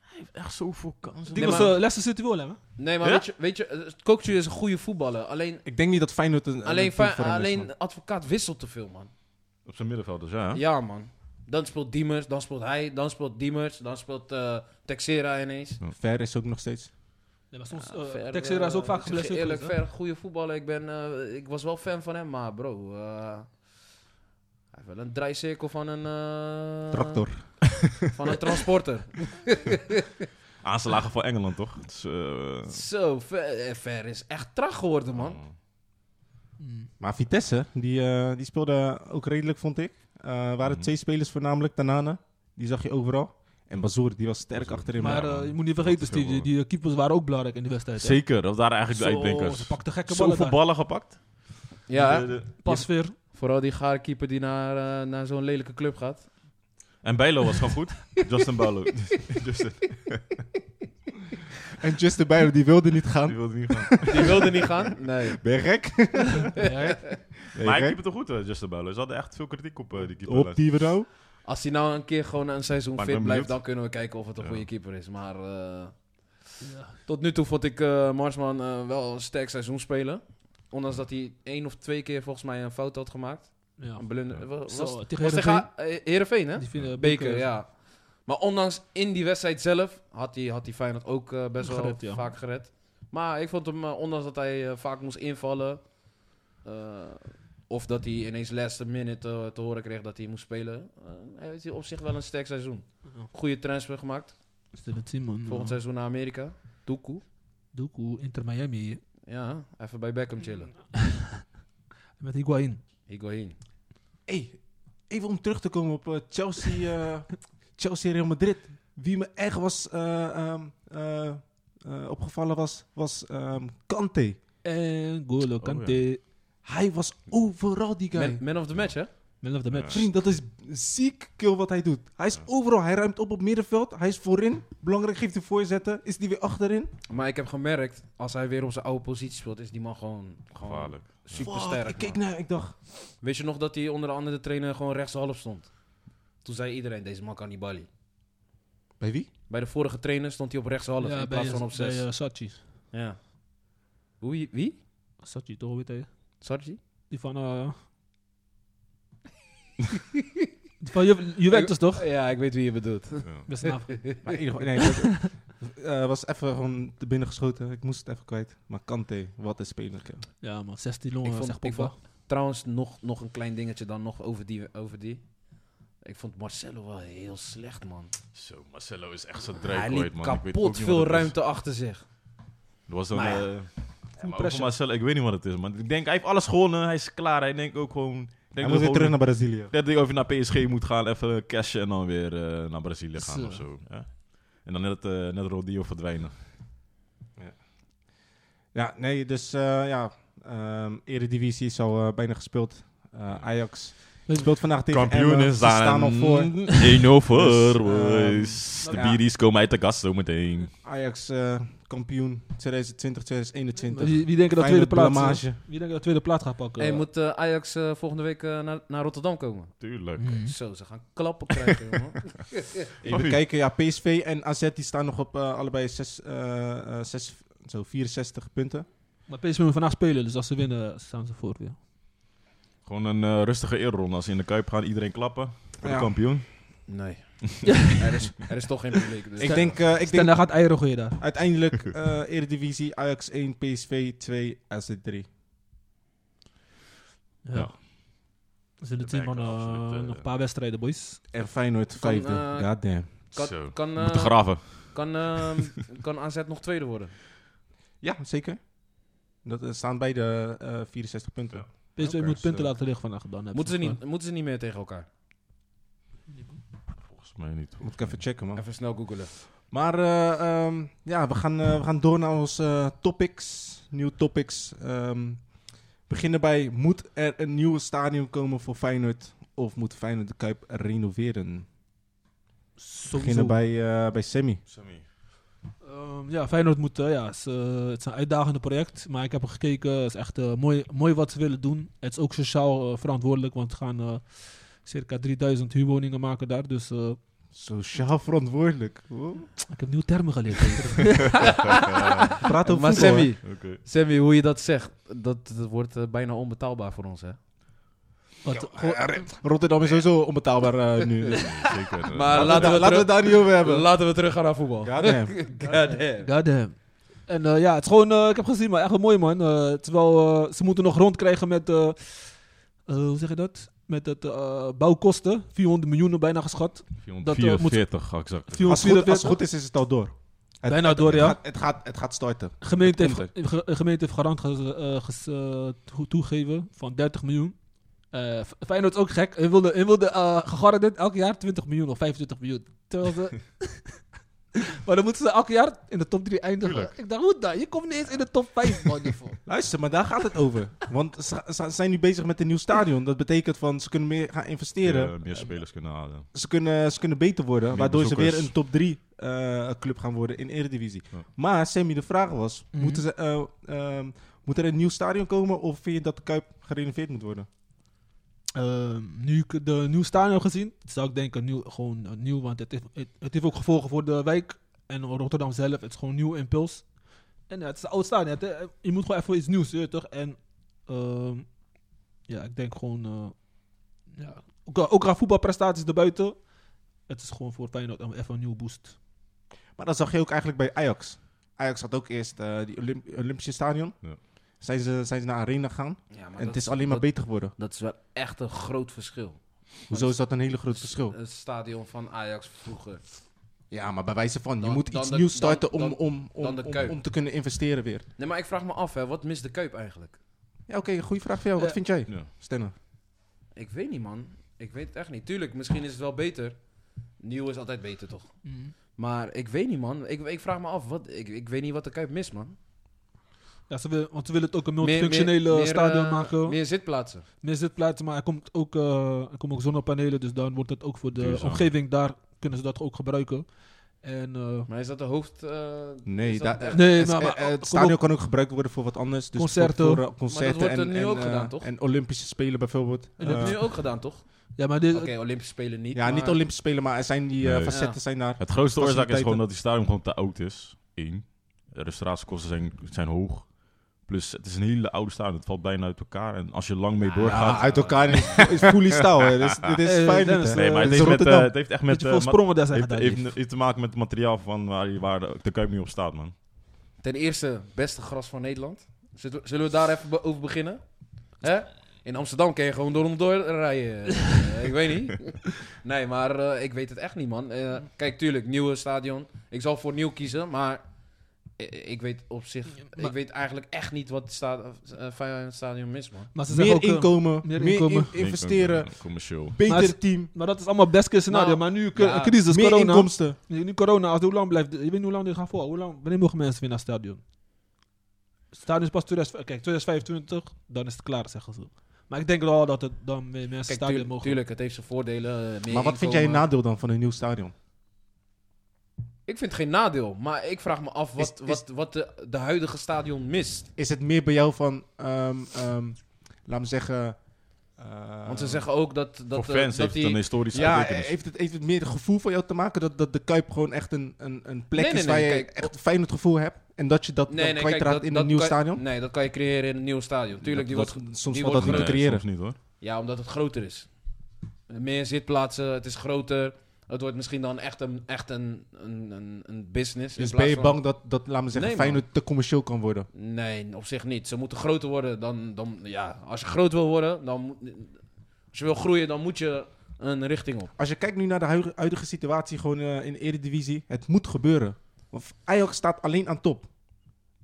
Hij heeft echt zoveel kansen.
Die
Nee,
was
maar-
eh, Leicester City wel, hè?
Nee, maar
Ja?
weet je, weet je eh, Kokcu is een goede voetballer. Alleen,
Ik denk niet dat Feyenoord een...
alleen,
een team
Fe-
voor hem is,
alleen
man.
advocaat wisselt te veel, man.
Op zijn middenveld dus, ja.
Ja, man. Dan speelt Diemers, dan speelt hij, dan speelt Diemers, dan speelt eh, Texera ineens.
Ver is ook nog steeds.
Nee, maar soms,
Ja,
eh,
Ver,
Texera is
eh,
ook vaak
ik zeg je
geblesseerd. dus,
Eerlijk,
geweest,
ver, goede voetballer. Ik, ben, eh, ik was wel fan van hem, maar bro. eh, hij heeft wel een draaicirkel van een. eh,
Tractor.
Van een transporter.
Aanslagen van Engeland, toch? Het is, eh,
Zo, ver, eh, Ver is echt traag geworden,
Oh.
man.
hè? Mm.
Maar Vitesse, die, eh, die speelde ook redelijk, vond ik. Eh waren
Mhm.
twee spelers voornamelijk, Tanane. Die zag je overal. En Bazoer, die was sterk
Bazoer.
achterin.
Maar
man.
eh, je moet niet
Dat
vergeten,
is heel
Steve, die, die keepers waren ook belangrijk in de wedstrijd. hè?
eh, Zeker, dat waren eigenlijk de
Zo,
uitblinkers.
Ze pakte gekke ballen.
Zoveel
daar.
ballen gepakt.
Ja,
De-
hè?
de-
Pas weer.
vooral die gaarkeeper die naar, eh, naar zo'n lelijke club gaat.
en Bijlo was gewoon goed. Justin Bijlo. Justin,
En Justin Bijlo, die wilde niet
die
gaan.
wilde niet gaan.
Die wilde niet gaan. Nee.
Ben je gek? Ben je
Maar hij
gek?
keeper toch goed, eh, Justin Bijlo. Ze hadden echt veel kritiek op eh, die keeper.
Op die bureau.
Als hij nou een keer gewoon een seizoen
Maar ik
fit
ben
blijft,
benieuwd.
dan kunnen we kijken of het een
Ja.
goede keeper is. Maar eh, tot nu toe vond ik eh, Marsman eh, wel een sterk seizoen spelen. Ondanks dat hij één of twee keer volgens mij een fout had gemaakt.
Ja.
Een blunder. wa- Was,
Zo,
was
tegen
tegen eh, Heerenveen, hè?
Die vinden
Beker, ja. Maar ondanks in die wedstrijd zelf had hij, had hij Feyenoord ook eh, best
Gered,
wel
ja.
vaak gered. Maar ik vond hem, eh, ondanks dat hij eh, vaak moest invallen... eh, of dat hij ineens laatste minute eh, te horen kreeg dat hij moest spelen... eh, hij heeft op zich wel een sterk seizoen.
Ja.
Goede transfer gemaakt.
Is dit het zien, man?
Volgend
Ja.
seizoen naar Amerika. Doekoe.
Doekoe, Inter Miami.
Ja, even bij Beckham chillen.
Met Higuain.
Higuain.
Hey, even om terug te komen op eh, Chelsea, eh, Chelsea Real Madrid. Wie me echt was eh, ehm, eh, eh, opgevallen was, was ehm, Kante.
En Golo
ja.
Kante.
Hij was overal die guy.
Man, man of the match, hè?
Man of the match.
Vriend, dat is ziek kill wat hij doet. Hij is overal. Hij ruimt op op middenveld. Hij is voorin. Belangrijk geeft hij voorzetten. Is die weer achterin?
Maar ik heb gemerkt, als hij weer op zijn oude positie speelt, is die man gewoon, gewoon
Gevaarlijk.
Fuck,
supersterk.
Ik keek
man.
naar. Ik dacht.
Weet je nog dat hij onder de andere trainer gewoon rechtshalf stond? Toen zei iedereen, deze man kan niet balie.
Bij wie?
Bij de vorige trainer stond hij op rechtshalf
Ja,
in
bij,
plaats van op
bij
zes.
eh, Sachi.
ja. Wie? wie?
Sachi, toch weet hij?
Sargi?
Die van... eh die van Ju- Juventus, toch?
Ja, ik weet wie je bedoelt.
Oh.
Ja.
Best naaf.
Maar in ieder geval. Nee, dat, eh, was even gewoon te binnen geschoten. Ik moest het even kwijt. Maar Kante, wat een speler. kill.
Ja, man. 16
Ik
longen,
vond-
zegt
ik
Pogba.
Trouwens, nog, nog een klein dingetje dan nog over die, over die. Ik vond Marcelo wel heel slecht, man.
Zo, Marcelo is echt zo'n
Hij
dreikooit,
liet
man. Ik weet ook
kapot
niet wat
veel
het is.
ruimte achter zich.
Er was dan...
Maar ja,
eh, maar ook
pressure.
voor Marcelo, ik weet niet wat het is, man. Ik denk, hij heeft alles gewonnen. Hij is klaar. Hij denkt ook gewoon... Ik
Hij
denk
moet
dat
weer
gewoon-
terug naar Brazilië.
Dat hij over naar PSG moet gaan, even cashen en dan weer eh, naar Brazilië gaan
Zo.
of zo. Ja? En dan net, eh net Rodillo verdwijnen.
Ja, nee, dus eh, ja. ehm, Eredivisie is al eh, bijna gespeeld. Eh, Ajax speelt vandaag tegen
Kampioen
Emmen.
is
Ze
daar.
staan al voor.
1-0
Dus,
voor.
ehm,
boys. de
ja.
bieries komen uit de kast zometeen.
Ajax eh, kampioen 2020, 2021.
Wie, wie denken dat tweede
Feyenoord
plaats... eh,
blamage.
Wie denken dat tweede plaats gaat pakken?
En je moet eh, Ajax eh, volgende week eh, naar, naar Rotterdam komen.
Tuurlijk.
Mm.
Zo, ze gaan klappen krijgen, jongen.
Even kijken, ja, PSV en AZ die staan nog op eh, allebei zes, eh, eh, zes, zo 64 punten.
Maar PSV moet vandaag spelen, dus als ze winnen, staan ze voor weer.
Gewoon een eh, rustige eerronde. Als ze in de Kuip gaan, iedereen klappen. Voor
Ja.
de kampioen.
Nee. er, is, er is toch geen publiek. Dus.
Ik denk, eh, ik
Stel,
denk
daar gaat Eiro gooien daar.
uiteindelijk eh Eredivisie, Ajax 1, PSV 2, AZ 3.
Ja.
Ja.
Er zijn er
De
tien man,
Bergen,
eh,
absoluut, eh.
nog een paar wedstrijden, boys.
En Feyenoord
Kan,
5e.
eh,
God damn.
kan,
Zo.
kan,
We
eh,
moeten graven.
kan, ehm, kan AZ nog tweede worden?
Ja, zeker. Dat eh, staan beide eh 64 punten.
Ja.
PSV
Oké,
moet punten
zo.
laten liggen vandaag. Dan hebben
Moeten ze,
nog,
niet, moeten ze niet meer tegen elkaar?
Volgens mij niet.
Moet ik even checken, man.
Even snel googelen.
Maar eh, ehm, ja, we gaan, eh, we gaan door naar onze eh, topics. Nieuwe topics. Ehm, beginnen bij, moet er een nieuw stadion komen voor Feyenoord? Of moet Feyenoord de Kuip renoveren?
eh, sowieso.
Beginnen bij, eh, bij Sammy.
Sammy.
Ehm, ja, Feyenoord moet, eh, ja, is, eh, het is een uitdagende project, maar ik heb er gekeken, het is echt eh, mooi, mooi wat ze willen doen. Het is ook sociaal eh, verantwoordelijk, want ze gaan eh, circa 3000 huurwoningen maken daar, dus eh,
Sociaal verantwoordelijk.
ik heb nieuwe termen geleerd.
Praat
Ah, eh,
over
Maar
voetbal, hè?
Sammy,
eh, Oké.
Sammy, hoe je dat zegt, dat, dat wordt eh, bijna onbetaalbaar voor ons, hè?
Wat,
Rotterdam is sowieso onbetaalbaar eh, nu. Laten
Zeker. eh,
Maar
we-
laten we,
Laten we het daar niet over hebben.
laten we teruggaan naar voetbal.
God damn.
Goddamn.
Goddamn. En eh, ja, het is gewoon, eh, ik heb gezien, maar echt wel mooi man. Eh, het is wel, eh, ze moeten nog rondkrijgen met, eh, eh, hoe zeg je dat? Met het eh, bouwkosten, 400 miljoen bijna geschat.
eh,
440 ga ik zeggen. Dus,
Als het goed, als
444.
het goed is, is het al door. Het,
Bijna door,
het
ja.
Gaat, het, gaat, het gaat starten.
Gemeente
het
heeft, ge- eh, gemeente heeft garant ge- eh, ges- eh, toe- toegegeven van 30 miljoen. Eh, F- Feyenoord is ook gek. Hij wilde, hij wilde eh, gegarandeerd elk jaar 20 miljoen of 25 miljoen. Terwijl ze... maar dan moeten ze elk jaar in de top 3 eindigen.
Tuurlijk.
Ik dacht, hoe dan? Je komt niet eens in de top 5, man. hiervoor.
Luister, maar daar gaat het over. Want ze, ze zijn nu bezig met een nieuw stadion. Dat betekent van ze kunnen meer gaan investeren.
Eh, meer spelers kunnen halen.
Ze, kunnen, ze kunnen beter worden.
Meer
waardoor ze weer
bezoekers.
een top 3 eh, club gaan worden in Eredivisie.
Ja.
Maar Sammy, de vraag was:
Mhm.
moeten ze, eh, ehm, moet er een nieuw stadion komen? Of vind je dat de Kuip gerenoveerd moet worden?
Ehm, nu ik de nieuw stadion heb gezien, zou ik denken nieuw, gewoon eh, nieuw, want het heeft, het, het heeft ook gevolgen voor de wijk en Rotterdam zelf. Het is gewoon een nieuw impuls. En ja, het is een oud stadion. het, eh, je moet gewoon even iets nieuws, je weet toch? En ehm, ja, ik denk gewoon, eh, ja, ook, ook qua voetbalprestaties erbuiten, het is gewoon voor Feyenoord een- even een nieuwe boost.
Maar dat zag je ook eigenlijk bij Ajax. Ajax had ook eerst eh die Olymp- Olympische Stadion.
Ja.
Zijn, ze, zijn ze naar Arena gegaan.
Ja, maar
en
dat,
het is alleen
dat,
maar beter geworden.
dat is wel echt een groot verschil.
Hoezo is dat een hele groot verschil?
Het stadion van Ajax vroeger.
Ja, maar bij wijze van, je
Dan-
moet
dan
iets
de-
nieuws
dan-
starten om,
dan-
om,
dan
om,
de
om,
Kuip.
om te kunnen investeren weer.
Nee, maar ik vraag me af, hè, wat mist de Kuip eigenlijk?
Ja, oké, goede vraag voor jou. Wat
Ja.
vind jij,
Ja.
Stenne?
Ik weet niet, man. Ik weet het echt niet. Tuurlijk, misschien is het wel beter. Nieuw is altijd beter, toch? Maar ik weet niet, man. Ik, ik vraag me af, wat, ik, ik weet niet wat de Kuip mist, man.
Ja, ze willen, want ze willen het ook een
Meer- meer-
multifunctionele
meer,
stadion
eh,
maken. Meer,
Meer zitplaatsen.
zitplaatsen, maar er, komt ook, eh, er komen ook zonnepanelen. Dus dan wordt het ook voor de
Duurzaam.
omgeving daar, kunnen ze dat ook gebruiken. En eh,
Maar is dat de hoofd... eh,
Nee,
is dat-
daar-
eh,
Nee,
Het-
maar-
eh,
maar-
eh,
kom
het stadion kan ook gebruikt worden voor wat anders. Dus
Concerten.
Voor, voor, eh,
dat
concerten
wordt er
en,
nu
en,
ook
eh,
gedaan, toch?
En Olympische Spelen bijvoorbeeld.
Dat hebben
Eh,
we nu ook gedaan, toch?
ja, maar dit,
Oké, Olympische Spelen niet.
ja, niet
maar-
Olympische Spelen, maar er zijn die eh,
Nee.
facetten
Ja.
zijn daar.
Het grootste oorzaak is
Faciliteiten.
gewoon dat die stadion gewoon te oud is. Eén. De restauratiekosten zijn, zijn hoog. Plus, het is een hele oude stadion. Het valt bijna uit elkaar. En als je lang mee doorgaat...
Ja, uit elkaar is, is fully stijl. hè. Dit is, dit is
Eh,
Hey,
fijn.
Dennis,
dit, hè.
Nee, maar het
Dit is
heeft, met, eh,
Rotterdam.
het heeft echt
met
met...
je
eh,
veel
ma-
sprongen daar zijn
heeft,
gedaan.
heeft,
lief.
heeft te maken met het materiaal van waar, die- waar de, de Kuip nu op staat, man.
Ten eerste, beste gras van Nederland. Zullen we, zullen we daar even be- over beginnen? Hè? In Amsterdam kun je gewoon door en door rijden. Eh, ik weet niet. Nee, maar eh, ik weet het echt niet, man. Eh, kijk, tuurlijk, nieuwe stadion. Ik zal voor nieuw kiezen, maar i- ik weet op zich...
maar-
Ik weet eigenlijk echt niet wat het sta- eh, Feyenoord stadion mist, man.
Maar ze
Meer
zeggen ook, eh,
inkomen,
meer
meer,
inkomen.
in- investeren,
Denk, eh, Commercieel.
Maar
beter
het-
team,
maar dat is allemaal best keer scenario.
Nou,
maar nu eh,
ja.
crisis,
meer
corona.
inkomsten.
Nee, Nu corona, als de- hoe lang blijft... Je weet niet hoe lang dit gaat voor. Hoe lang, wanneer mogen mensen weer naar het stadion? Het stadion is pas 2000, kijk, 2025, dan is het klaar, zeggen ze. Maar ik denk wel dat het dan meer mensen
Kijk,
stadion
tuurlijk,
mogen.
tuurlijk, het heeft zijn voordelen. eh, meer
Maar wat vind jij een
inkomen.
nadeel dan van een nieuw stadion?
Ik vind geen nadeel, maar ik vraag me af wat,
Is- is-
wat, wat de, de huidige stadion mist.
Is het meer bij jou van, ehm ehm laat me zeggen... eh,
Want ze zeggen ook dat... dat
Voor
eh,
fans
dat
heeft
die-
het een historische
Ja,
betekenis.
heeft het, heeft het meer het gevoel van jou te maken dat, dat de Kuip gewoon echt een, een, een plek
Nee, nee,
is
nee,
waar je
kijk,
echt fijn het gevoel hebt en dat je dat dan
kijk,
kwijtraakt
dat-
in
dat
een nieuw
kan-
stadion?
Nee, dat kan je creëren in een nieuw stadion. Tuurlijk, die
Dat-
wordt,
dat- soms
die
valt
wordt
dat niet te
Nee,
creëren.
soms niet, hoor.
ja, omdat het groter is. Meer zitplaatsen, het is groter. Het wordt misschien dan echt een, echt een, een, een, een business. in
Dus ben
plaats
je
van-
bang dat, dat laat me zeggen,
Nee, man.
Feyenoord te commercieel kan worden?
Nee, op zich niet. Ze moeten groter worden. Dan, dan, ja, als je groot wil worden, dan, moet- als je wil groeien, dan moet je een richting op.
Als je kijkt nu naar de huidige, huidige situatie gewoon eh, in de Eredivisie, het moet gebeuren. Want Ajax staat alleen aan top.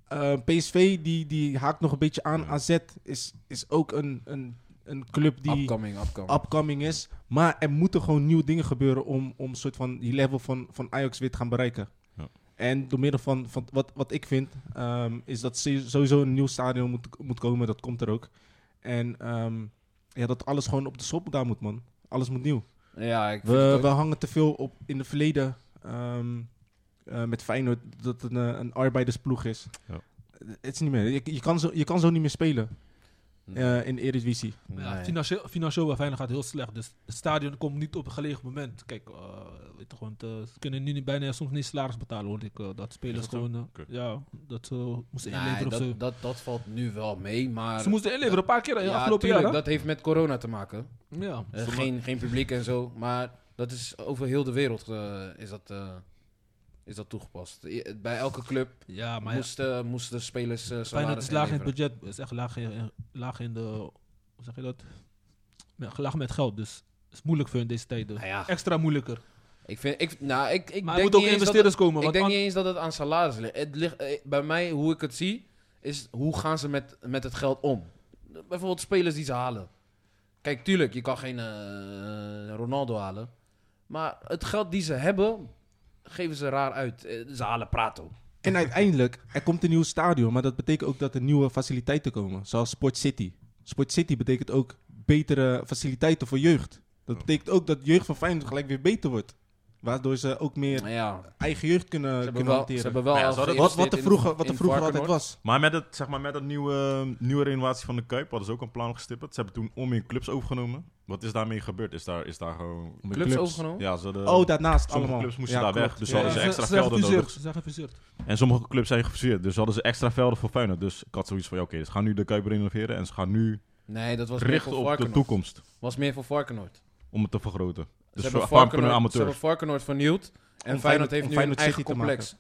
Eh, PSV die, die haakt nog een beetje aan.
Ja.
AZ is, is ook een, een, een club die
upcoming, upcoming.
upcoming is. Maar er moeten gewoon nieuwe dingen gebeuren om, om soort van die level van, van Ajax weer te gaan bereiken.
Ja.
En door middel van, van wat, wat ik vind, ehm, is dat se- sowieso een nieuw stadion moet, moet komen. Dat komt er ook. En ehm, ja, dat alles gewoon op de schop gedaan moet, man. Alles moet nieuw.
ja, ik vind het
We,
ook-
we hangen te veel op in het verleden ehm, eh, met Feyenoord dat het een, eh, een arbeidersploeg is.
Ja.
Het is niet meer. Je, je, kan zo, je kan zo niet meer spelen eh, in de Eredivisie.
nee.
Ja, financieel, financieel bij Feyenoord gaat heel slecht. Dus het stadion komt niet op een gelegen moment. Kijk, eh, weet je, gewoon, eh, ze kunnen nu niet- bijna soms niet salaris betalen, hoor ik. eh, dat spelers
dat zo?
gewoon... eh,
Oké.
Ja, dat ze moesten
Nee,
inleveren of zo.
dat, dat, dat valt nu wel mee, maar...
Ze moesten inleveren, een paar keer in de
ja,
afgelopen
tuurlijk,
jaar, hè?
dat heeft met corona te maken.
Ja.
Eh, geen, geen publiek en zo. Maar dat is over heel de wereld eh, is, dat, eh, is dat toegepast. I- bij elke club
ja, maar ja,
moesten, moesten spelers eh
Feyenoord
salaris
is laag in het
inleveren.
budget. is echt laag in, eh, laag in de... Hoe zeg je dat? Ja, Laag met geld, dus het is moeilijk voor in deze tijden.
Nou ja,
Extra moeilijker.
ik vind... Ik, nou, ik, ik
dus. Maar er
denk
moeten
niet
ook
eens dat
investeerders komen.
het- Ik
Want
denk
an-
niet eens dat het aan salaris ligt. Het ligt eh, bij mij, hoe ik het zie, is hoe gaan ze met, met het geld om. Bijvoorbeeld spelers die ze halen. Kijk, tuurlijk, je kan geen eh, Ronaldo halen. Maar het geld die ze hebben, geven ze raar uit. Eh, Ze halen Prato.
En uiteindelijk, er komt een nieuw stadion, maar dat betekent ook dat er nieuwe faciliteiten komen, zoals Sport City. Sport City betekent ook betere faciliteiten voor jeugd. Dat
Ja.
betekent ook dat jeugd van Feyenoord gelijk weer beter wordt. Waardoor ze ook meer
Maar ja,
eigen jeugd
Ze
kunnen,
hebben
kunnen
wel, ze
hanteren.
hebben wel
Maar ja, ze
al
hadden-
wat, wat
geïnvesteerd
er
in-
vroeger, wat er
in
vroeger altijd
Varkenoord.
was.
Maar met, het, zeg maar met dat nieuwe, nieuwe renovatie van de Kuip hadden ze ook een plan gestippeld. Ze hebben toen om meer clubs overgenomen. Wat is daarmee gebeurd? Is daar, is daar gewoon...
Clubs overgenomen?
Ja, ze hadden,
Oh, daarnaast
sommige
allemaal.
clubs moesten
Ja,
daar
klopt.
weg, dus
Ja.
hadden ze
ze-
extra
ze
velden
zijn gefuseerd,
nodig.
Ze zijn gefuseerd.
En sommige clubs zijn gefuseerd. Dus hadden ze extra velden voor Feyenoord. Dus ik had zoiets van, ja, oké, ze gaan nu de Kuip renoveren. En ze gaan nu
Nee, dat was meer
richten
voor
op de
Varkenoord.
toekomst.
was meer voor Varkenoord. Ze
Om het te vergroten. Dus
hebben
voor farm kunnen
Varkenoord- Ze hebben
amateurs.
Varkenoord vernieuwd. En
Om
Feyenoord
Feyenoord-
heeft
om
nu een
Feyenoord
eigen
City te
complex.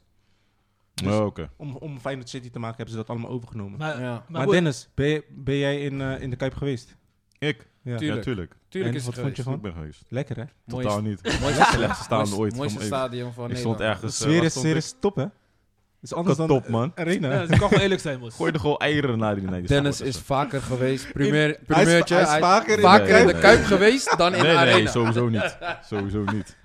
Varkenoord-
Oh, oké.
Om, om Feyenoord City te maken hebben ze dat allemaal overgenomen.
Maar,
Ja,
Maar,
hoe-
Dennis, ben, je- ben jij in, eh, in de Kuip geweest?
Ik?
Ja.
Ja,
tuurlijk.
tuurlijk.
Tuurlijk
En
is het
wat vond je
geweest.
Ik
van?
ben geweest.
Lekker, hè?
Mooiste,
Totaal niet.
mooiste,
Slechtste staan
mooiste-
ooit.
mooiste
Kom even.
stadion van
Ik stond
Nederland.
De
ergens... eh,
sfeer
waar
is,
stond
sfeer
ik?
is top, hè? is anders dan
Top, man.
Arena.
Ja, ik kan gewoon eerlijk zijn, man.
Gooi er gewoon eieren naar die naar die dus, eh.
Dennis
supporters.
is vaker geweest, primeer,
hij, is,
primeurtje.
hij is
hij-
vaker in
vaker
de Kuip.
in de Kuip geweest dan in de
Nee,
Arena.
nee, sowieso niet. Sowieso niet.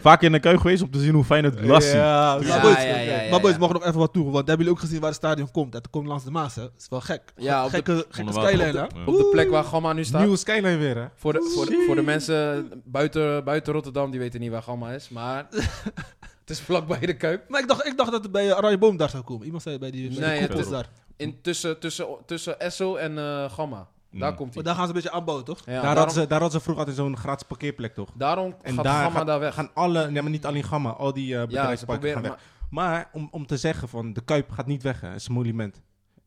Vaak in de kuik geweest om te zien hoe fijn het las ziet.
Ja,
Ja,
maar boys,
ja, ja, ja,
maar boys
ja.
mag nog even wat toe. Want hebben jullie ook gezien waar het stadion komt? Dat komt langs de Maas, hè? Dat is wel gek.
Ja, op de-
gekke gekke
Onderwater.
skyline, hè?
Ja.
Op de plek waar Gamma nu staat.
Nieuwe skyline weer, hè?
Voor de, voor, de, voor de mensen buiten, buiten Rotterdam, die weten niet waar Gamma is. Maar het is vlakbij de Kuip.
Maar ik dacht, ik dacht dat het bij eh, Aranje Boom daar zou komen. Iemand zei bij die, bij die
Nee,
koepel
het-
is daar.
In tussen, tussen, tussen Esso en eh, Gamma. Daar
Mm.
komt hij.
Maar daar gaan ze een beetje aanbouwen, toch?
Ja,
Oh, daar,
daarom,
hadden ze, daar hadden ze vroeger altijd zo'n gratis parkeerplek, toch?
daarom
En
gaat
daar
Gamma
gaat-
daar
We
weg.
gaan alle, nee, maar niet alleen Gamma, al die eh,
ja, ze
bedrijfsparken
proberen.
gaan weg.
Maar,
Maar om, om te zeggen van, de Kuip gaat niet weg, hè. Het is een monument.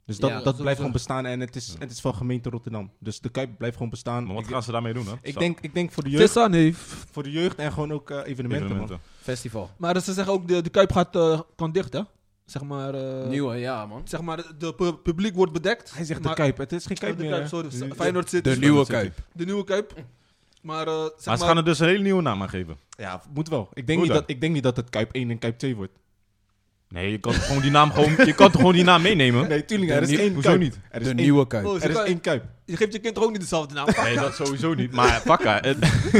Dus dat,
Ja,
dat blijft
sowieso.
gewoon bestaan en het is,
Ja.
het is van gemeente Rotterdam. Dus de Kuip blijft gewoon bestaan.
Maar
ik,
wat gaan ze daarmee doen, hè?
ik,
Zo,
denk, ik denk voor de jeugd,
Tessa, nee. f-
voor de jeugd en gewoon ook eh, evenementen, man.
evenementen.
festival.
Maar ze zeggen ook, de, de Kuip gaat, eh, kan dicht, hè? Zeg maar... eh,
Nieuwe, ja man.
Zeg maar, de- de pu- publiek wordt bedekt.
Hij zegt
maar-
de Kuip, het is geen
Oh,
Kuip
de
meer.
Kuip,
hè.
sorry.
De-
Feyenoord City.
De nieuwe Kuip.
De nieuwe Kuip. Maar, eh, zeg
Maar
maar,
ze gaan er dus een hele nieuwe naam aan geven.
Ja, moet wel. Ik denk,
Moet
niet
wel.
dat, ik denk niet dat het Kuip 1 en Kuip 2 wordt.
Nee, je kan toch gewoon die naam, gewoon, je kan toch gewoon die naam meenemen?
Nee, tuurlijk,
De
er is
nieuw-
één
Hoezo
Kuip.
niet?
Er is
De
één-
nieuwe Kuip.
Oh,
Er is
ze-
één Kuip.
je geeft je kind toch ook niet dezelfde naam.
Nee, dat sowieso niet. Maar pakka. Oké,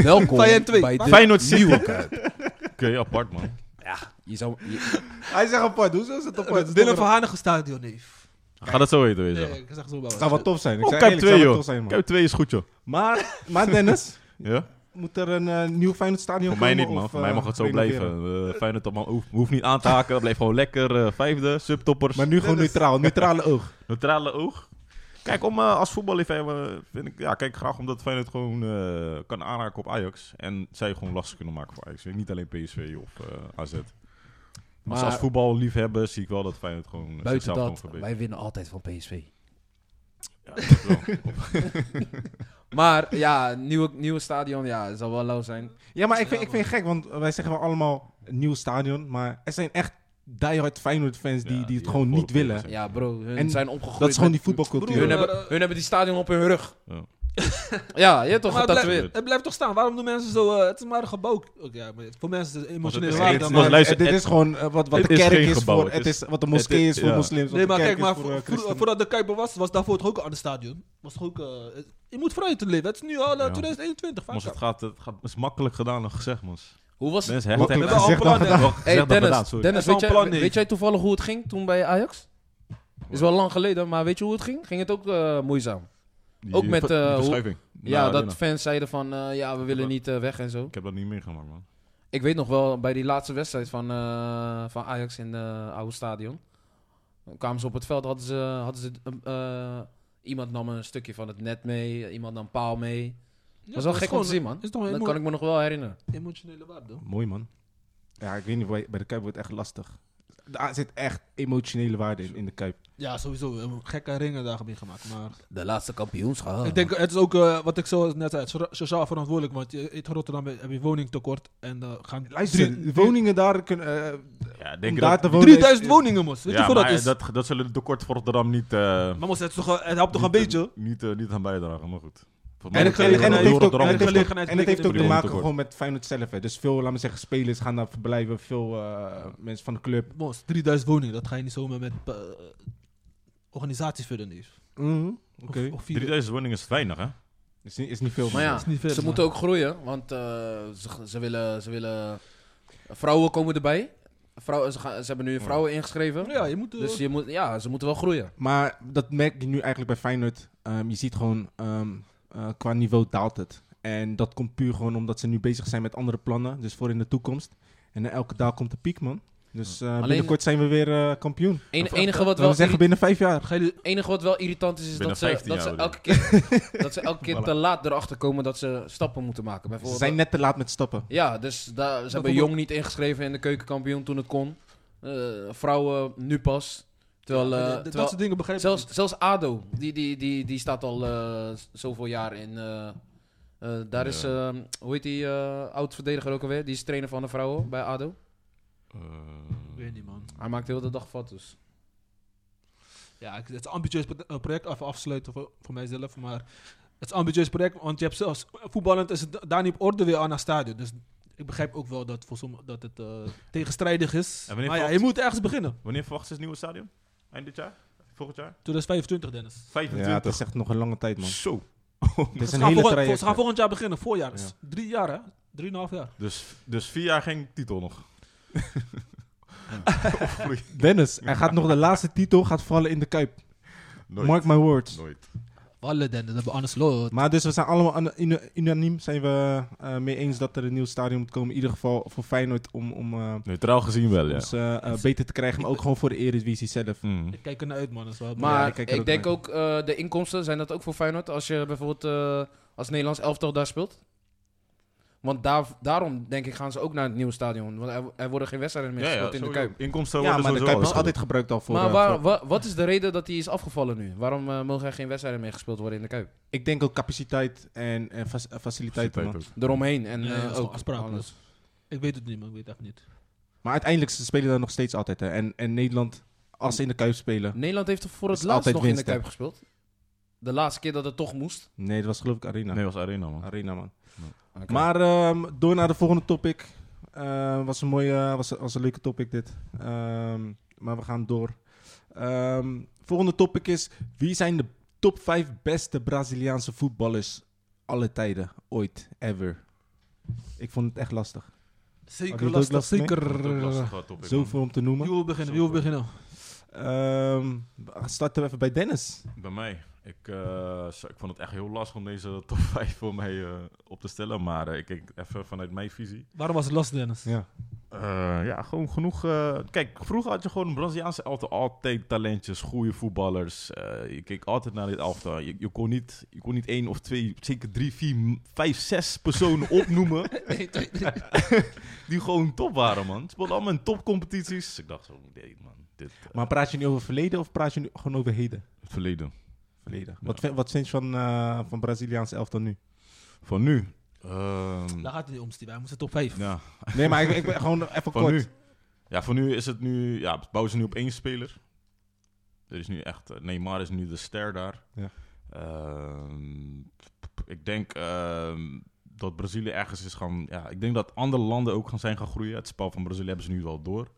Welkom
Fijn en twee.
bij de
Feyenoord City.
nieuwe Kuip.
apart, man.
Je zou, je-
Hij zegt apart, hoezo is het apart?
Willem van Hanegem stadion, nee.
Gaat dat zo heten, weet je
Nee,
wel.
ik zeg zo
Het zou
wel.
wel tof zijn. Ik
Oh,
zeg
Kuip
eerlijk, het zou wel
2, joh.
tof zijn, man.
Kuip 2 is goed, joh.
Maar, maar Dennis,
Ja?
moet er een eh, nieuw Feyenoord stadion
Voor mij
komen
niet, man.
of,
Voor mij
eh,
mag het zo
renoveren?
blijven. Eh, Feyenoord dat man, hoeft, hoeft niet aan te haken. Blijf gewoon lekker. eh, vijfde, subtoppers.
Maar nu gewoon
Dennis.
neutraal, neutrale oog.
Neutrale oog. Kijk, om, eh, als voetballiefhebber vind ik... Ja, kijk, graag omdat Feyenoord gewoon eh, kan aanraken op Ajax. En zij gewoon lastig kunnen maken voor Ajax. Niet alleen PSV of eh, AZ. Maar als,
Maar-
als voetballiefhebber zie ik wel dat Feyenoord gewoon eh,
buiten
zichzelf gewoon
dat,
verbetert.
wij winnen altijd van PSV.
Ja, dat is wel.
Maar ja, nieuwe, nieuwe stadion, ja, zal wel lauw zijn.
Ja, maar ik vind, ik vind het gek, want wij zeggen wel allemaal een nieuw stadion. Maar er zijn echt diehard Feyenoord fans die,
Ja,
die het
die
gewoon niet
volop
willen.
tegen
Ja bro, hun
En
zijn opgegroeid.
Dat is gewoon
met-
die voetbalcultuur.
Broer,
Hun,
Ja.
hebben, hun hebben die stadion op hun rug.
Ja.
Ja, je hebt toch
Maar het
dat
blijft-
weer.
Het blijft toch staan. Waarom doen mensen zo... eh, het is maar een gebouw. Oké, ja, maar voor mensen is het emotioneel
is
waarde,
geen-
maar-
Maar luister,
dit
het-
is gewoon eh, wat, wat
het
de
is
kerk
geen
is,
gebouw,
voor,
het
het
is-
is, wat de moskee
het
is
is-
voor
ja.
moslims. wat
Nee,
de
maar
kerk
kijk,
is
maar
voor, eh,
voor-
christenen.
voor- voordat de Kuiper was, was daarvoor toch ook een ander stadion. Was toch ook... eh, je moet vooruit in leven. Het is nu al eh,
Ja.
2021. vaak
Mons,
al.
het, gaat, het, gaat, het is makkelijk gedaan dan gezegd, man.
Hoe was het?
Mensen hechten
We
Makkelijk
echt
hebben al
gezegd dan
plannen.
gedaan.
gezegd
Hey
dat gedaan,
Dennis,
sorry.
Dennis
Dat
weet,
is
jij,
wel een plan,
weet jij toevallig hoe het ging toen bij Ajax? Is wel lang geleden, maar weet je hoe het ging? Ging het ook eh, moeizaam?
Die-
ook met,
die
eh, hoe-
verschuiving.
Ja,
Nou,
dat
Arena.
fans zeiden van, eh, ja, we willen niet eh, weg en zo.
Ik heb dat niet meegemaakt, man.
Ik weet nog wel, bij die laatste wedstrijd van, eh, van Ajax in het oude stadion. Dan kwamen ze op het veld, hadden ze, hadden ze eh, eh, iemand nam een stukje van het net mee, iemand nam paal mee.
Ja,
dat was wel
is
gek om
gewoon-
te zien, man.
is toch een
Dat
emo-
kan ik me nog wel herinneren.
emotionele waarde.
Mooi, man. Ja, ik weet niet, bij bij de Kuip wordt het echt lastig. Daar zit echt emotionele waarde in, in de Kuip.
Ja, sowieso. We hebben Gekke ringen daar mee gemaakt. Maar
De laatste kampioenschap.
ik denk, het is ook eh, wat ik zo net zei, so- sociaal verantwoordelijk. Want je, in Rotterdam heb je woningtekort. En eh gaan
Luister,
drie-
de woningen daar kunnen... eh,
Ja,
om
denk je
daar
dat...
te wonen is-
3000 woningen, mos. Weet je
ja,
hoeveel dat
maar
is?
Dat, dat zullen de kort voor Rotterdam niet... eh,
Maar mos, het, is toch, eh, het helpt toch een
niet,
beetje?
eh, Niet, eh, niet aan bijdragen, maar goed. Volgens mij
En, het, en, het- en het
heel
heeft ook, en
Rotterdam
het
is
heeft,
dat.
gelegenheid
en het heeft ook te
prikkelen.
maken
Tekort.
gewoon met Feyenoord zelf. Hè. Dus veel, laten we zeggen, spelers gaan daar verblijven. Veel eh, mensen van de club.
Mos, 3000 woningen, dat ga je niet zomaar met eh, organisaties verder neef.
Mhm.
Of-
Oké.
Of, vier.
3000 woningen is weinig, hè?
Is, niet- is niet veel.
Maar ja,
is niet veel,
ze
maar-
moeten ook groeien, want eh, ze, ze, willen, ze willen... Vrouwen komen erbij. Vrouwen, ze, gaan, ze hebben nu een vrouwen ingeschreven.
Ja, je moet... eh,
Dus je moet, ja, ze moeten wel groeien.
Maar dat merk je nu eigenlijk bij Feyenoord. Ehm, je ziet gewoon, ehm, eh, qua niveau daalt het. En dat komt puur gewoon omdat ze nu bezig zijn met andere plannen. Dus voor in de toekomst. En eh, elke dag komt de piek, man. Dus eh,
Alleen-
binnenkort zijn we weer eh, kampioen.
Het enige wat
Dat we
wel
zeggen binnen vijf jaar.
ga je-
enige wat wel irritant is, is
Binnen
dat ze,
15
dat, ze
jaar
elke keer, dat ze elke keer te laat erachter komen dat ze stappen moeten maken.
Ze
Bijvoorbeeld,
zijn net te laat met stappen.
Ja, dus daar, ze hebben
komt
Jong niet ingeschreven in de keukenkampioen toen het kon. Eh, vrouwen nu pas. Terwijl, eh,
Ja, dat- dat
terwijl
soort dingen begrijp ik
zelfs,
niet.
zelfs ADO, die, die, die, die staat al eh, z- zoveel jaar in... eh, eh, daar is, eh, hoe heet die eh, oud-verdediger ook alweer? Die is trainer van de vrouwen bij ADO.
Eh,
Ik weet niet, man.
Hij maakt heel de dag foto's.
Ja, ik- het is een ambitieus pro- eh, project, even afsluiten voor, voor mijzelf, maar het is een ambitieus project, want je hebt zelfs, voetballend is het da- daar niet op orde weer aan het stadion. Dus
ik begrijp ook wel dat, voor somm- dat het eh, tegenstrijdig is.
En
Maar
wanneer
ja,
valt-
je moet ergens beginnen.
Eh, Wanneer verwacht ze het nieuwe stadion? Eind dit jaar? Volgend jaar?
2025, Dennis.
25?
Ja, dat is echt nog een lange tijd, man.
Zo.
Dit is
Ze gaan,
een hele
volgend,
traject.
ze gaan volgend jaar beginnen, voorjaar. is
Ja.
Drie jaar, hè? Drieënhalf jaar.
Dus, dus vier jaar geen titel nog.
Dennis, hij gaat nog de laatste titel gaat vallen in de Kuip.
Nooit.
Mark my words.
Nooit.
Wallen, Dennis, dat hebben we anders lood.
Maar dus we zijn allemaal an- unu- unaniem zijn we eh, mee eens dat er een nieuw stadion moet komen. In ieder geval voor Feyenoord om, om eh,
Neutraal gezien wel, ja.
ons eh, eh, beter te krijgen. Maar ook gewoon voor de Eredivisie zelf.
Mm.
Ik kijk er naar uit, man. Dat is wel
Maar
ik kijk er
ik
ook
denk
naar.
ook eh, de inkomsten, zijn dat ook voor Feyenoord als je bijvoorbeeld eh, als Nederlands elftal daar speelt? Want daar, daarom denk ik gaan ze ook naar het nieuwe stadion. Want er, er worden geen wedstrijden meer
Ja, ja,
gespeeld in de
sowieso.
Kuip.
Inkomsten
Ja,
worden
maar de
sowieso
Kuip is
alles
altijd gebruikt al voor...
Maar
eh,
waar-
voor-
wa- wat is de reden dat die is afgevallen nu? Waarom eh, mogen er geen wedstrijden meer gespeeld worden in de Kuip?
ik denk ook capaciteit en, en fac- eh,
altijd
faciliteiten.
tijd
man.
ook.
Eromheen en
Ja,
eh,
ja,
ook
afspraken.
alles.
Ik weet het niet, man. Ik weet het echt niet.
Maar uiteindelijk ze spelen daar nog steeds altijd. Hè. En, en Nederland, als ze in de Kuip spelen...
Nederland heeft er voor
Dat
het
is
laatst
altijd
nog in
winst,
de
hè?
Kuip gespeeld. De laatste keer dat het toch moest.
Nee, dat was geloof ik Arena.
Nee, was Arena, man.
Arena, man.
Oké.
Maar ehm, door naar de volgende topic. Eh, was een mooie, was, was een leuke topic dit. Ehm, maar we gaan door. Ehm, volgende topic is: wie zijn de top 5 beste Braziliaanse voetballers alle tijden, ooit, ever? Ik vond het echt lastig. Had je
Zeker
het
lastig,
ook lastig, nee?
zeker.
Lastig, eh, topic, man.
Zoveel om te
Wie
noemen.
wil beginnen? Wie wil beginnen?
Ehm, we starten we even bij Dennis.
Bij mij. Ik, eh, zo- ik vond het echt heel lastig om deze top 5 voor mij eh, op te stellen. Maar eh, ik kijk even vanuit mijn visie.
Waarom was het lastig, Dennis?
Ja.
Eh, ja, gewoon genoeg. eh, kijk, vroeger had je gewoon een Braziliaanse elftal altijd talentjes, goede voetballers. Eh, je keek altijd naar dit elftal. Je, je, kon niet, je kon niet één of twee, zeker drie, vier, m- vijf, zes personen opnoemen. die gewoon top waren, man. Ze speelden allemaal in topcompetities. Ik dacht zo, nee, man. Dit, eh,
Maar praat je nu over verleden of praat je nu gewoon over heden?
het verleden.
Verleden. Wat, vind- wat vind je van, eh van Braziliaanse elftal nu?
Van nu. Ehm,
Daar gaat het niet om, Steve. Hij moest het top 5.
ja,
Nee, maar ik, ik ben gewoon even
Van
kort.
nu. Ja, voor nu is het nu... Ja, bouwen ze nu op één speler. Er is nu echt... eh, Neymar is nu de ster daar.
Ja.
Ehm, ik denk ehm, dat Brazilië ergens is gaan... Ja, ik denk dat andere landen ook gaan zijn gaan groeien. Het spel van Brazilië hebben ze nu wel door.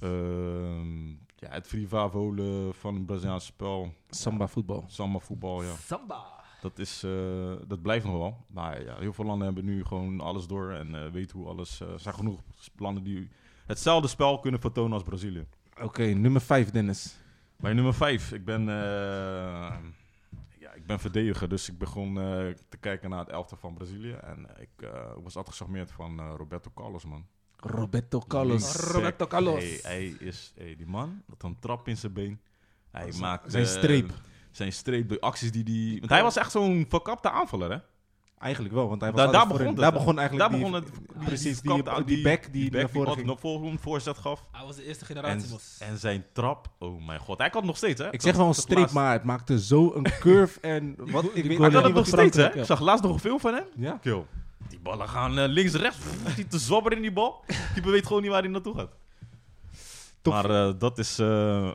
Ehm, ja, het frivavolen van het Braziliaanse spel.
Samba voetbal.
Samba voetbal, ja.
Samba.
Dat, is, eh, dat blijft nog wel. Maar ja, heel veel landen hebben nu gewoon alles door en eh, weten hoe alles. eh, Er zijn genoeg landen die hetzelfde spel kunnen vertonen als Brazilië.
Oké, nummer 5, Dennis.
Bij nummer 5, ik ben. eh, ja, ik ben verdediger, dus ik begon eh, te kijken naar het elftal van Brazilië. En ik eh, was altijd gecharmeerd van eh, Roberto Carlos, man.
Roberto Carlos.
Linksback.
Roberto Carlos.
Hey, hij is, hey, die man, wat een trap in zijn been. Hij
Z-
maakt...
zijn
eh,
streep.
zijn streep, de acties die die Want hij was echt zo'n verkapte aanvaller, hè?
Eigenlijk wel, want hij was
Daar- daar
altijd
begon
voorin.
het.
daar begon eigenlijk
Daar
die-
begon het...
precies, die,
verkapte-
die, back die,
back
naar voren
altijd
ging.
naar voren een voorzet gaf.
Hij was de eerste
En,
generatie, mos.
en zijn trap, oh mijn god. Hij kan het nog steeds, hè?
Ik zeg wel een
Dat
streep,
laatst-
maar het maakte zo een curve en wat
go-
ik
die goal-
weet
Hij
niet
kan
Ja,
het nog
wat
steeds, hè?
Frankrijk, ja.
Ik zag laatst nog een film van hem.
Ja.
Kill. Die ballen gaan eh, links en rechts. Pff, Die te zwabber in die bal. Die weet gewoon niet waar hij naartoe gaat.
Top.
Maar eh, dat is... eh, eh,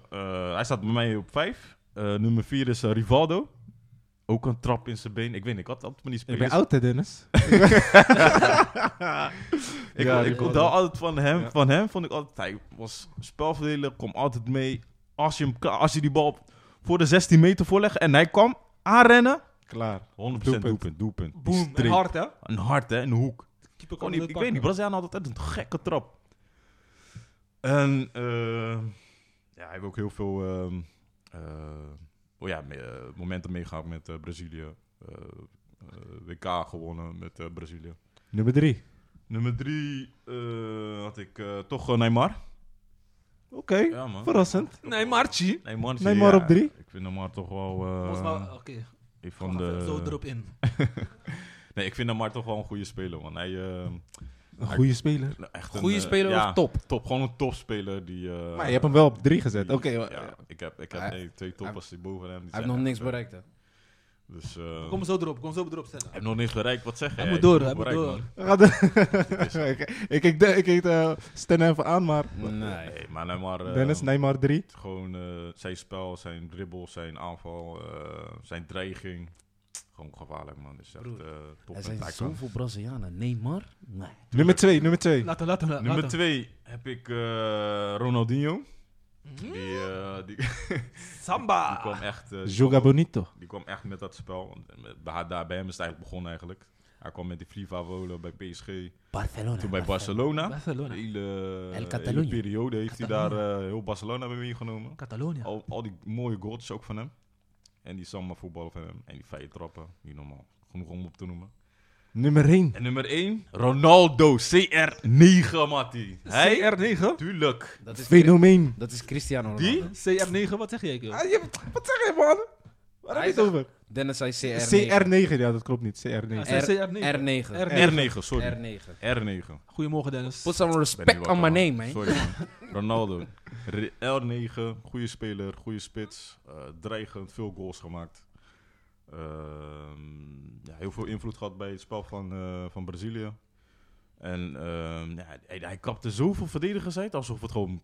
hij staat bij mij op vijf. Eh, nummer vier is eh, Rivaldo. Ook een trap in zijn been. Ik weet niet, ik had altijd maar die
Ik
spelers.
ben oud hè, Dennis?
Ik,
Ja,
ik
Rivaldo.
onthoud altijd van hem,
Ja.
van hem vond ik altijd... Hij was spelverdeler, kwam altijd mee. Als je, hem, ka- als je die bal voor de 16 meter voorlegt en hij kwam aanrennen... 100%
Klaar.
doelpunt, doelpunt. Die
Boom. En
streep.
hard, hè?
Een hart, hè, in de hoek.
Keeper
Kon
kon
niet-
het
ik weet niet,
pakken.
Braziliaan had altijd een gekke trap. En eh, ja, hij heeft ook heel veel ehm, eh, oh ja, me- eh, momenten meegehaald met eh, Brazilië. Eh, eh, WK gewonnen met eh, Brazilië.
Nummer 3.
Nummer drie eh, had ik eh, toch eh, Neymar.
Oké,
Ja, man.
verrassend.
Nee, Marchi.
Neymar, is-
Neymar
ja,
op drie?
Ik vind Neymar toch wel... eh,
Volgens mij, oké.
een
we
van
gaan
de,
Zo erop in.
nee, ik vind Neymar toch wel een goede speler, man. Hij, eh,
Een goede speler.
echt een,
Goede
eh,
speler
ja,
of top?
Top, gewoon een topspeler die... eh,
Maar je hebt hem wel op 3 gezet. Oké,
ja,
eh,
ik heb, ik heb
Hij-
nee, twee toppers die boven hem. die
Hij
zijn
heeft nog
echt,
niks
eh,
bereikt. Hè.
Dus, eh
Kom zo erop, kom zo erop stellen.
heb nog niks bereikt, wat zeg je?
Hij moet door,
Ik heb
hij moet
bereikt,
door.
man.
we gaan door. Ik- Ik keek de- ik keek eh, Stan even aan, maar
Nee.
Nee, maar Neymar... eh,
Dennis, Neymar 3.
Gewoon eh, zijn spel, zijn dribbel, zijn aanval, eh, zijn dreiging. Gewoon gevaarlijk, man. Is echt
Broer.
eh, top.
Er
en
zijn
hij kan-
zoveel Brazilianen. Neymar? Nee.
Nummer 2, nummer 2.
Laten, laten, laten.
Nummer twee heb ik eh, Ronaldinho. Die, eh, die, die
Samba.
kwam echt, eh,
Joga Bonito.
die kwam echt met dat spel. Bij, daar, bij hem is het eigenlijk begonnen eigenlijk. Hij kwam met die Fliva Volen bij PSG.
Oh, Barcelona.
Toen bij Barcelona. Een
Barcelona.
hele, eh, hele
Catalunya.
periode heeft hij daar eh, heel Barcelona bij meegenomen.
Catalonia.
Al, al die mooie goals ook van hem. En die samba voetballen van hem. En die vrije trappen. Niet normaal. Genoeg om op te noemen.
Nummer 1.
En nummer 1. Ronaldo. CR9, Mattie. Hij?
CR9?
Tuurlijk.
Dat is, Chris-
Fenomeen.
dat is Cristiano Ronaldo.
Die?
CR9, wat zeg jij, joh?
Ah, je- wat zeg je, man? Waar heb
Hij
je het over?
Dennis zei CR9.
CR9, ja, dat klopt niet. CR9.
Ah, CR9.
R9.
R9.
R9, sorry.
R9.
R9.
Goedemorgen, Dennis.
Put some
Ben nu
respect
wakker,
on my
man.
name, man.
Sorry, man. Ronaldo. R- R9. Goede speler. Goede spits. eh, dreigend. Veel goals gemaakt. Ehm, ja, heel veel invloed gehad bij het spel van, eh, van Brazilië. En ehm, ja, hij, hij kapte zoveel verdedigers uit alsof het gewoon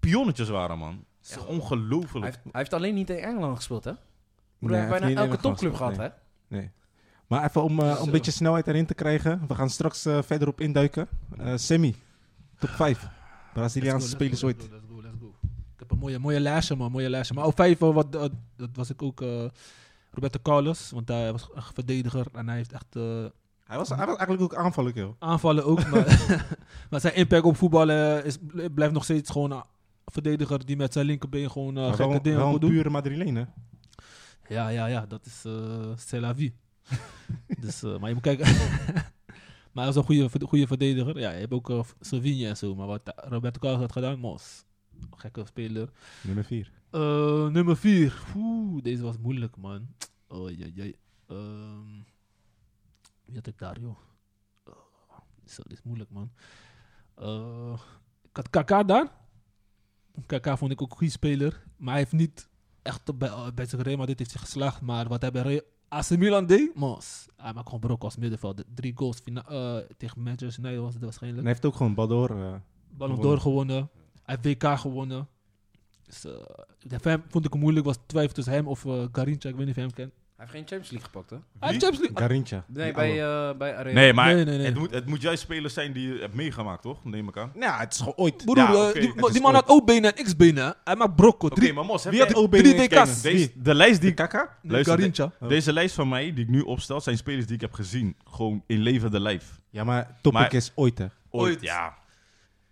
pionnetjes waren, man. Echt
Hij
ongelooflijk.
heeft, hij heeft alleen niet in Engeland gespeeld, hè? Broer,
Nee,
hij
hij
heeft
heeft
bijna elke
niet in Engeland
topclub gehad,
gespeeld,
hè?
Maar even om, eh, om
Zo.
een beetje snelheid erin te krijgen. We gaan straks eh, verder op induiken. Eh Sammy, top 5. Braziliaanse spelers ooit.
Let's go, let's go. Ik heb een mooie, mooie lijstje, man. Mooie lijstje. Maar op vijf, eh, wat, eh, dat was ik ook... eh, Roberto Carlos, want hij was echt verdediger en hij heeft echt eh,
Hij was, hij was eigenlijk ook aanvallig,
Oh,
joh.
aanvallen ook. maar, maar zijn impact op voetballen is, blijft nog steeds gewoon een verdediger die met zijn linkerbeen gewoon eh,
Maar
gekke
wel,
dingen
wel
wil
een
doen.
pure Madrileen, hè?
Ja, ja, ja, dat is eh c'est la vie. dus, eh, maar je moet kijken. maar hij is een goede, verd- goede verdediger. Ja, je hebt ook eh, Silvinho en zo. Maar wat Roberto Carlos had gedaan, mos. Gekke speler.
Nummer 4.
Eh, nummer 4. Oeh, deze was moeilijk, man. Oh, jee, jee. Ehm, wie had ik daar, joh? Oh, zo, dit is moeilijk, man. Eh, ik had Kaka daar. Kaka vond ik ook een goede speler. Maar hij heeft niet echt bij, eh, bij zijn Real Madrid heeft hij geslaagd. Maar wat hij bij Real- AC Milan deed, mos. Hij maakt gewoon brok als middenveld. Drie goals fina- eh, tegen Manchester United was het
En
waarschijnlijk.
hij heeft ook gewoon Bador. eh,
Ballon d'Or gewonnen. Hij heeft WK gewonnen. Dus, eh, de FM vond ik het moeilijk. was twijfel tussen hem of eh Garincha. Ik weet niet of je hem kent.
Hij heeft geen Champions League gepakt, hè?
Hij heeft Champions League. Ah,
Garrincha.
Nee,
Die
bij,
oude.
eh bij Arena.
Nee, maar
Nee, nee, nee.
Het, moet, het moet juist spelers zijn die je hebt meegemaakt, toch? Neem ik aan. Oké,
Nou, het is gewoon ooit.
eh, Broer,
Ja,
eh,
oké,
die,
het
ma-
is
die man
ooit.
had O-benen en X-benen. Hij maakt brokko. Drie,
maar Mos, heb
Wie
jij-
had OB?
drie
in
DK's.
Kenya?
Deze,
Wie?
de lijst die
Die Kaka?
nee,
Luister,
Garincha.
Oh.
Deze lijst van mij, die ik nu opstel, zijn spelers die ik heb gezien. Gewoon in levende lijf.
Ja, maar Topic
Maar-
is ooit, hè?
Ooit.
Ja.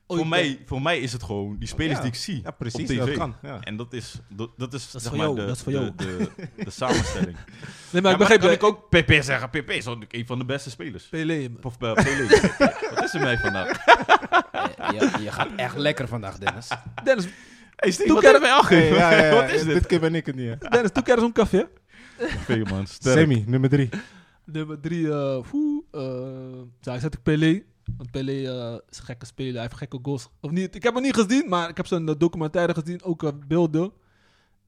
Ooit,
voor, mij, voor mij is het gewoon die spelers
Ja.
die ik zie
Ja, precies.
op tv.
Dat kan. Ja.
En dat is, dat, dat is,
Dat is
zeg
voor
maar
jou,
de,
dat is voor
de,
jou.
De, de samenstelling. Ja,
Nee, maar
maar
ik begrijp
dan
dat
kan
ik
ik ook PP zeggen. PP is ook een van de beste spelers.
Pelé. man.
Of eh, Pelé. Wat is er mij vandaag?
Je, Eh, je- je gaat echt lekker vandaag, Dennis.
Dennis,
Hey, Steve,
Doe
wat
ik
hebben wij al
Hey, ja, ja, ja.
Wat is dit?
Dit keer ben ik het niet, hè?
Dennis, doe kerst een café.
Veel man, sterk.
Sammy, nummer 3.
Nummer drie. eh foe, eh, daar zet ik Pelé. Want Pelé eh, is een gekke speler. Hij heeft gekke goals. Of niet? Ik heb hem niet gezien, maar ik heb zijn eh, documentaire gezien. Ook eh, beelden.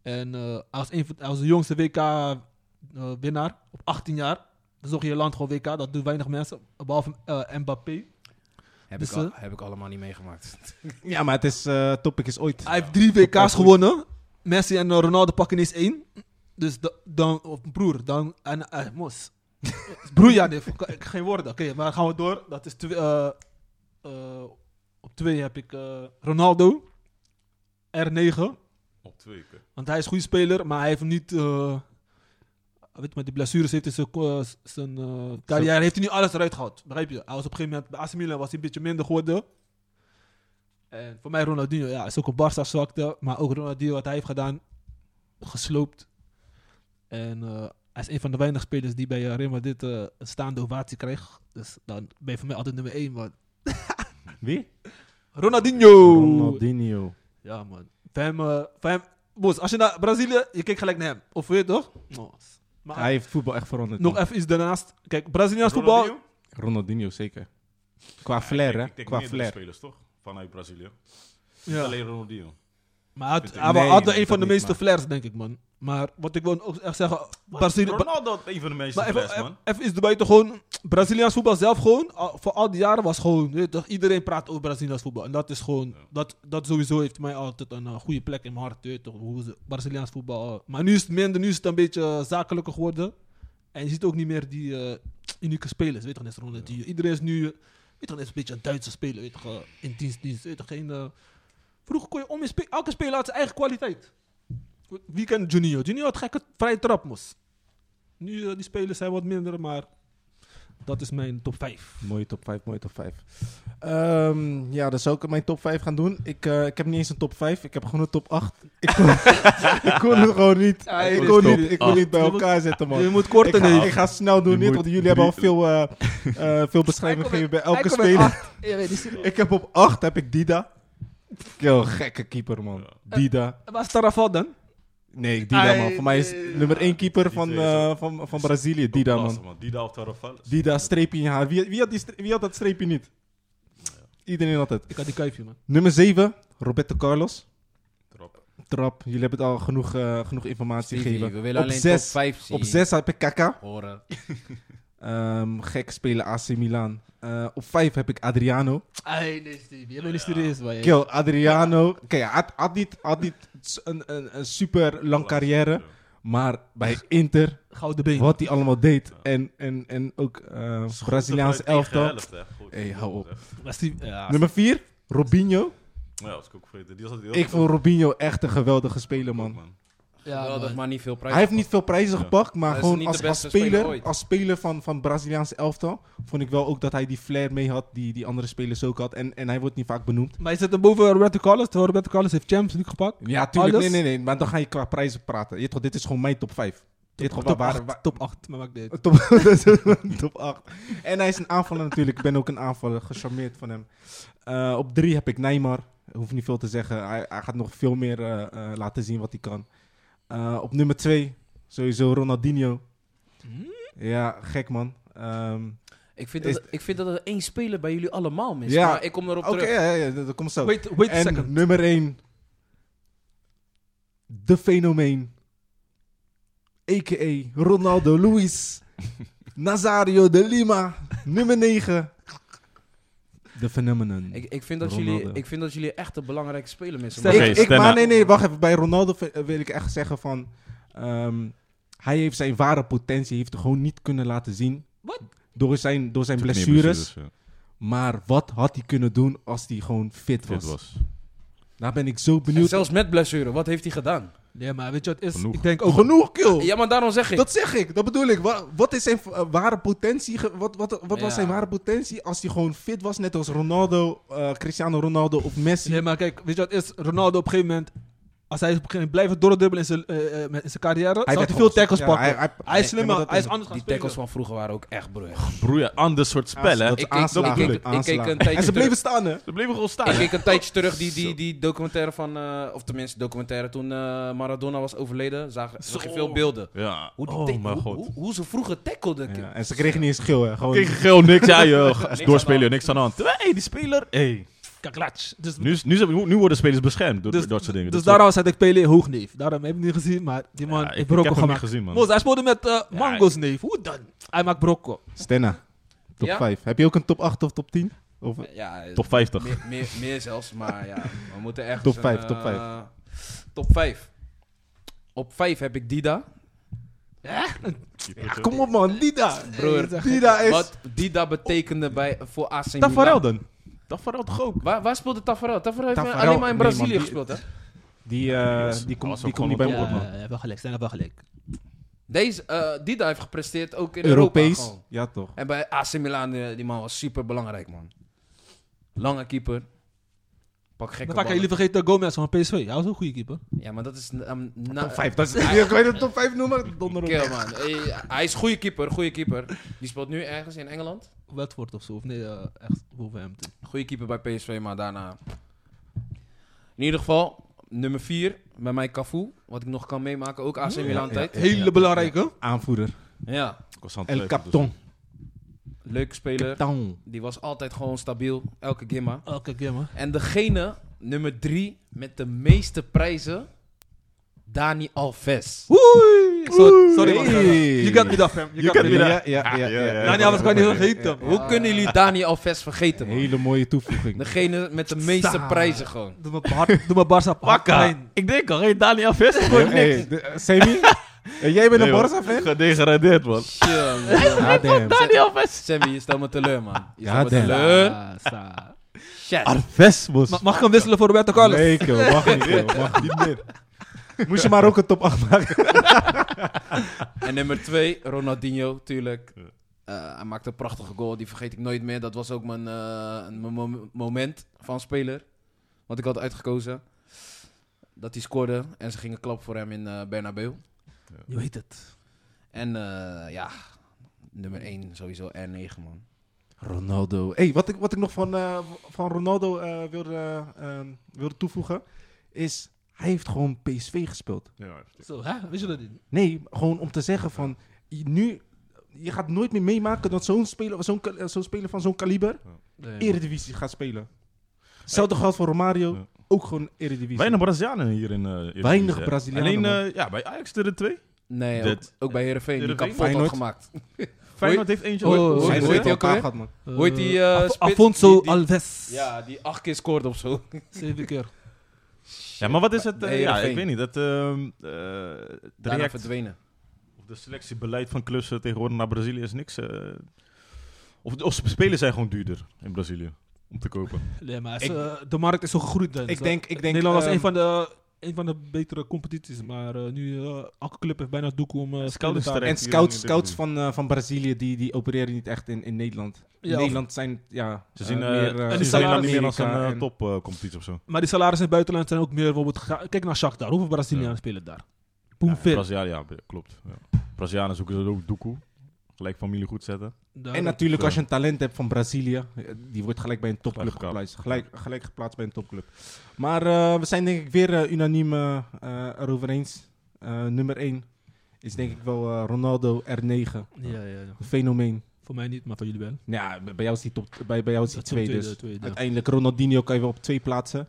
En eh, hij als een van hij was de jongste WK-winnaar op 18 jaar. Dan zag je land gewoon WK. Dat doen weinig mensen. Behalve eh, Mbappé.
Heb,
Dus,
ik, al-
eh,
heb ik allemaal niet meegemaakt.
Ja, maar het is eh, Topic is ooit.
Hij heeft drie WK's
goed.
gewonnen. Messi en eh, Ronaldo pakken ineens één. Dus da- dan, of broer, dan, en eh, mos. broer, ja, nee, ik- ik- geen woorden. Oké, maar gaan we door. Dat is twee, eh, eh, op twee heb ik eh, Ronaldo, R9.
Op twee keer.
Want hij is een goede speler, maar hij heeft niet. eh, weet je, met die blessures heeft hij zijn, eh, zijn eh, carrière heeft hij niet alles eruit gehaald. Begrijp je? Hij was op een gegeven moment bij AC Milan was hij een beetje minder geworden. En voor mij Ronaldinho, ja, is ook een Barca zwakte, maar ook Ronaldinho wat hij heeft gedaan, gesloopt. En eh, hij is een van de weinig spelers die bij eh, Real Madrid eh, een staande ovatie krijgt. Dus dan ben je voor mij altijd nummer 1, man.
Wie?
Ronaldinho!
Ronaldinho.
Ja, man. Van hem, eh, van hem- Boos, als je naar Brazilië, je kijkt gelijk naar hem. Of weet je toch?
Oh.
Boos. Maar
Hij heeft voetbal echt veranderd.
nog
man.
even iets daarnaast. Kijk, Braziliaans voetbal.
Ronaldinho?
Ronaldinho, zeker. Qua flair,
Ik-
hè?
Ik denk
Qua
meerdere
flair.
spelers, toch? Vanuit Brazilië.
Ja.
Alleen Ronaldinho.
Maar hij had,
Nee,
hij was altijd een
dat
van de
niet,
meeste
maar-
flairs, denk ik, man. Maar wat ik wil ook echt zeggen. Brazilië. Ba-
Ronaldo, een van de meeste
maar even,
flares,
even,
man.
even iets erbij, toch gewoon. Braziliaans voetbal zelf gewoon. al- voor al die jaren was gewoon. weet je toch, iedereen praat over Braziliaans voetbal. En dat is gewoon. Dat, dat sowieso heeft mij altijd een eh, goede plek in mijn hart. Weet je toch, hoe ze Braziliaans voetbal. eh, maar nu is het minder. Nu is het een beetje eh, zakelijker geworden. En je ziet ook niet meer die eh, unieke spelers, weet je toch, net zoals Ronaldinho. Iedereen is nu, eh, weet je toch, net een beetje een Duitse speler, weet je toch, eh, in dienstdienst, weet je toch, geen... eh, vroeger kon je om je spe- elke speler had zijn eigen kwaliteit. Wie kent Juninho? Juninho had gekke vrije trap, mos. Nu, eh, die spelers zijn wat minder, maar dat is mijn top 5.
Mooie top 5, mooie top 5. Ehm, ja, dan zou ik mijn top 5 gaan doen. Ik, eh, ik heb niet eens een top 5, ik heb gewoon een top 8. Ik kon, ik kon het gewoon niet. ik kon,
top
niet, ik kon niet bij
acht.
elkaar zetten, man.
Je moet kort
Ik
en
ga,
even.
ik ga snel doen,
Je
niet,
moet
want jullie hebben al
drie-
veel, eh eh, veel beschrijvingen gegeven bij elke speler. Ik heb op 8 heb ik Dida. Yo, gekke keeper, man. Dida.
Waar is Tarafal dan?
Nee, Dida, man. Voor mij is nummer 1 keeper van,
twee is ook-
eh, van, van Brazilië. Dida, man.
Dida of Tarafal.
Dida, streepje in je haar. Wie, wie, had die stre- wie had dat streepje niet? Iedereen had het.
Ik had die kuifje, man.
Nummer 7, Roberto Carlos.
Trap.
Trap, jullie hebben het al genoeg, eh, genoeg informatie
Stevie,
gegeven.
we willen
op
alleen top
6
5 zien.
op zes heb ik Kaka.
Horen.
Ehm, gek spelen AC Milan. Eh, op 5 heb ik Adriano.
Ai, nee, Steve. Je bent niet serieus, man.
Kill, Adriano. Kijk, hij had, had niet, had niet s- een, een, een super lang carrière. Maar bij Inter,
Gouden been.
wat hij allemaal deed. En, en, en ook eh Braziliaans elftal. Hey,
Hé,
hou op.
Maar Steve, ja,
Nummer 4, Robinho.
Ja, dat is ook vergeten. Die was altijd heel
Ik vond Robinho echt een geweldige speler, man.
ja,
Geweldig,
man.
maar niet veel prijs.
Hij heeft niet veel prijzen gepakt, maar
Hij is
gewoon
niet
als,
de
als
beste speler
speler,
ooit.
als speler van, van Braziliaanse elftal, vond ik wel ook dat hij die flair mee had die, die andere spelers ook had. En, en hij wordt niet vaak benoemd.
Maar je zit hem boven Roberto Carlos, terwijl Roberto Carlos heeft Champions League gepakt.
Ja, tuurlijk.
Alles?
Nee, nee, nee. Maar dan ga je qua prijzen praten. Je weet toch, dit is gewoon mijn top 5. Dit gewoon
top
waar-
8,
waar- Oh.
top 8, maar maakt niet uit.
top, dat is een top 8. En hij is een aanvaller natuurlijk. Ik ben ook een aanvaller. Gecharmeerd van hem. Eh, op 3 heb ik Neymar. Hoef niet veel te zeggen. Hij, hij gaat nog veel meer eh, eh, laten zien wat hij kan. Eh, op nummer 2 sowieso Ronaldinho. Ja, gek man. Ehm,
Ik vind, dat, ik vind dat er één speler bij jullie allemaal mist.
Ja.
Maar ik kom erop
Oké,
terug.
ja, ja, dat dat komt zo.
Wait, wait a
en
second.
nummer 1. De fenomeen. A.k.a. Ronaldo Luis. Nazario de Lima. Nummer 9. De phenomenon.
Ik, ik, vind dat
Ronaldo.
jullie, ik vind dat jullie echt een belangrijke speler missen.
Stel-
man.
Oké,
ik, ik,
Stenna.
maar nee, nee, wacht even. Bij Ronaldo v- eh, wil ik echt zeggen van... ehm, hij heeft zijn ware potentie heeft gewoon niet kunnen laten zien.
Wat?
Door zijn, door zijn blessures. Maar wat had hij kunnen doen als hij gewoon fit was?
Dit was.
Daar ben ik zo
En
benieuwd.
zelfs met blessure, wat heeft hij gedaan?
Nee, maar weet je wat het is?
Genoeg.
Oh. Ik denk ook...
Genoeg, kill.
Ja, maar daarom zeg ik.
Oh. Dat zeg ik, dat bedoel ik. Wa- Wat is zijn eh, ware potentie? ge- Wat, wat, wat
Ja.
was zijn ware potentie als hij gewoon fit was, net als Ronaldo, eh, Cristiano Ronaldo of Messi?
Nee, maar kijk, weet je wat het is? Ronaldo op een gegeven moment, als hij op een gegeven moment blijft doordubbelen in zijn, eh, eh, met- in zijn carrière, hij
werd
hij veel
gewoon-
tackles
ja,
pakken.
hij-
Hij,
hij-
is slimmer,
nee, maar dat
hij
is
is anders gaan
Die
spelen.
tackles van vroeger waren ook echt broer.
Broer, ander soort spel, hè?
Dat is
Ik- ik-
aanslagen.
ik- ik- ik keek een
Aanslagen.
tijdje
En ze bleven
terug.
staan, hè?
Ze bleven gewoon staan.
Ik
hè?
keek een tijdje terug die, die, die documentaire van, eh, of tenminste documentaire toen eh, Maradona was overleden, zag, zag je veel beelden.
Ja.
Hoe, die
oh,
ta-
mijn
hoe,
god.
hoe, hoe ze vroeger tackelden.
Ja, en ze kregen niet eens geel, hè? Gewoon,
Tegen geel, niks. Ja, je
hand.
doorspelen, niks aan de hand. Hé, hey, die speler. Hey.
Kaklatsch. Dus,
Nu, is- nu, zijn- nu worden spelers beschermd door
dus,
door dat soort dingen.
dus
Dat
daarom zat ik Pele hoog neef. Daarom heb ik hem niet gezien, maar die man
Ja, ik-
heeft
ik
brokko
heb hem
gemaakt.
niet gezien, man.
Moos, hij speelde met eh, Mango's neef. Hoe dan? Hij maakt brokko.
Stenna, top
Ja?
5. Heb je ook een top 8 of top 10? Of,
Ja, eh,
is Top 50.
meer, meer, meer zelfs, maar ja, we moeten echt.
Top vijf, top vijf.
Top 5. Op 5 heb ik Dida.
ja, Ah, kom op, man. Dida.
Broer,
Dida is...
Wat Dida betekende bij, voor AC Milan.
Tafarel dan?
Dat verhaalt toch ook?
Waar, waar speelde Tafarel? Tafarel heeft
Tafarel,
alleen maar in
nee, man,
Brazilië
die-
gespeeld, hè?
Die, eh,
was-
die komt
was
die
ook
komt niet bij
gewoon
me
een
op, man.
Ja, wel gelijk. Zijn wel gelijk.
Deze, eh, Dida heeft gepresteerd ook in Europa.
Europees?
gewoon.
Ja, toch.
En bij AC Milan, eh, die man was super belangrijk, man. Lange keeper. Pak gekke
Dan pakken
ballen.
jullie vergeten Gomez van PSV. Hij was ook een goede keeper.
Ja, maar dat is... ehm, na-
Nou,
Top 5. Dat is, ik weet het top 5 noemen. Donder op.
Kill, man. Eh, hij is goede keeper, goede keeper. Die speelt nu ergens in Engeland.
Watford of zo. Of nee, eh, echt Wolverhampton.
Goede keeper bij PSV, maar daarna... In ieder geval, nummer 4 bij mij Cafu. Wat ik nog kan meemaken, ook AC Milan tijd. Ja,
Hele belangrijke.
Aanvoerder. El Capton.
leuke speler.
Capton.
Die was altijd gewoon stabiel, elke gimma.
Elke keer, Oh, man.
En degene, nummer 3, met de meeste prijzen... Dani Alves.
Oei! Sorry, sorry man.
Hey.
You got me dat, fam. You, got me
Ja,
that.
ja, ja. ja, ja,
Ja, Nou, nee, anders kan je niet vergeten.
Hoe kunnen jullie Dani Alves vergeten, man?
Hele mooie toevoeging.
Degene met de meeste
Sa-
prijzen gewoon.
Doe me, hard, doe me Barca
Pakka. Ik denk al, hey, Daniel Vis.
Hey, de- eh, Sammy, En jij bent
Nee,
een
man.
Barca-fan?
Gedegradeerd, man.
Ja, damn.
Daniel Sammy, je stelt me teleur, man. Je stelt me
damn.
teleur. Shit.
Arves, bos.
Eh? Ma- Mag ik hem wisselen voor Roberto Carlos?
Nee, kill. Mag niet, kill. Mag niet meer. Moest je maar ook een top 8 maken.
En nummer twee, Ronaldinho, tuurlijk.
Ja.
Eh, hij maakte een prachtige goal, die vergeet ik nooit meer. Dat was ook mijn, eh, mijn mom- moment van speler. Wat ik had uitgekozen. Dat hij scoorde en ze gingen klap voor hem in eh Bernabeu.
Je weet het.
En eh, ja, nummer 1 sowieso R9, man.
Ronaldo. hey, wat, ik, wat ik nog van, eh, van Ronaldo eh, wilde, eh, ehm, wilde toevoegen is... Hij heeft gewoon PSV gespeeld.
Ja,
Zo, hè? Wist je dat niet?
Nee, gewoon om te zeggen van... je- Nu, je gaat nooit meer meemaken dat zo'n speler, zo'n ka- eh, zo'n speler van zo'n kaliber... Eredivisie gaat spelen. Hetzelfde geldt voor Romario.
Ja.
Ook gewoon Eredivisie.
Weinig Brazilianen hier in. eh, Eredivisie,
Weinig
hè.
Brazilianen,
Alleen eh, ja, bij Ajax er twee.
Nee, ook,
Dit-
ook bij Heerenveen. Die
Heerenveen?
kapot had
Feyenoord?
gemaakt.
Feyenoord heeft eentje.
Oh,
ooit-
oh,
Hoe
Hoe
ooit-
heet
ooit-
die ook alweer?
Gehad, man.
Hoe heet die, eh,
Af-
spits?
Afonso
Die- die-
Alves.
Ja, die acht keer scoorde of zo.
Zeven keer.
Ja, maar wat is het? eh,
Nee,
ja,
Heerenveen.
ik weet niet. Dat ehm, eh, het
Daarna
traject
verdwenen.
of de selectiebeleid van clubs eh, tegenwoordig naar Brazilië is niks. eh. of, of spelers zijn gewoon duurder in Brazilië om te kopen.
Nee, maar
Ik-
ze- eh, de markt is zo gegroeid. Dan.
Ik
Zo.
denk, ik denk...
eh, Nederland was
ehm,
een, van de, een van de betere competities. Maar eh, nu, eh elke club heeft bijna doek om... eh
Scouting
spelers te halen.
direct
En
hier
scouts,
in dit
scouts
doen.
van, eh, van Brazilië, die, die opereren niet echt in, in Nederland. In
Ja, of-
Nederland zijn, ja...
Ze
eh,
zien eh
meer, eh,
en
ze
die
zien Nederland
salaris-
niet meer als een
Amerika
eh,
en-
topcompetitie of zo.
Maar die salarissen in het buitenland zijn ook meer... Bijvoorbeeld, ga- kijk naar Shakhtar. Hoeveel Brazilianen spelen daar?
Ja,
Boemveel.
Brazilianen, ja, be- klopt. Ja. Brazilianen zoeken ze ook doekoe. Gelijk familie goed zetten.
En natuurlijk, als je een talent hebt van Brazilië, eh, die wordt gelijk bij een topclub
Gelijk gekapt.
geplaatst. Gelijk, gelijk geplaatst bij een topclub. Maar eh, we zijn denk ik weer eh, unaniem eh, eh, erover eens. Eh, nummer 1 is denk ik wel eh, Ronaldo R9.
Ja, ja, ja.
Een fenomeen.
Voor mij niet, maar voor jullie wel.
Ja, bij bij jou is die, top, bij, bij jou is die
Dat is
twee
de
dus.
tweede, tweede, ja.
Uiteindelijk Ronaldinho kan je wel op twee plaatsen.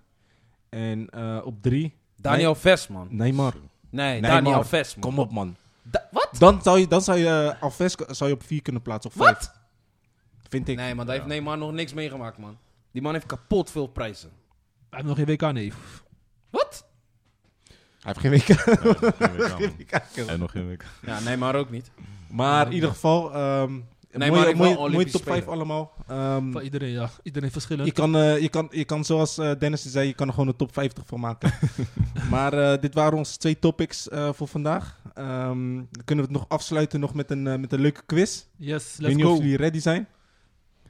En eh, op drie,
Daniel Ves, man.
Neymar.
Nee,
Neymar.
Daniel Ves, man.
Kom op man.
Da- wat?
Dan zou je, dan zou je eh, Alves k- zou je op vier kunnen plaatsen. Of vijf.
Wat?
Vind ik.
Nee, maar daar heeft Neymar nog niks meegemaakt, man. Die man heeft kapot veel prijzen.
Hij heeft nog geen WK, nee.
Wat?
Hij heeft geen week.
Ja, nog geen WK, man. en nog geen week.
Ja, Neymar ook niet.
Maar in ieder geval, ehm
maar
mooie,
ik wil
mooie,
Olympisch
mooie top 5
spelen.
allemaal. Ehm,
Van iedereen, ja. Iedereen verschillend.
je, kan, eh, je, kan, je kan, zoals eh, Dennis zei, je kan er gewoon een top 50 van maken. maar eh, dit waren onze twee topics eh, voor vandaag. Ehm, dan kunnen we het nog afsluiten nog met een, eh, met een leuke quiz.
Yes,
Ik weet
let's
niet of
go.
jullie ready zijn.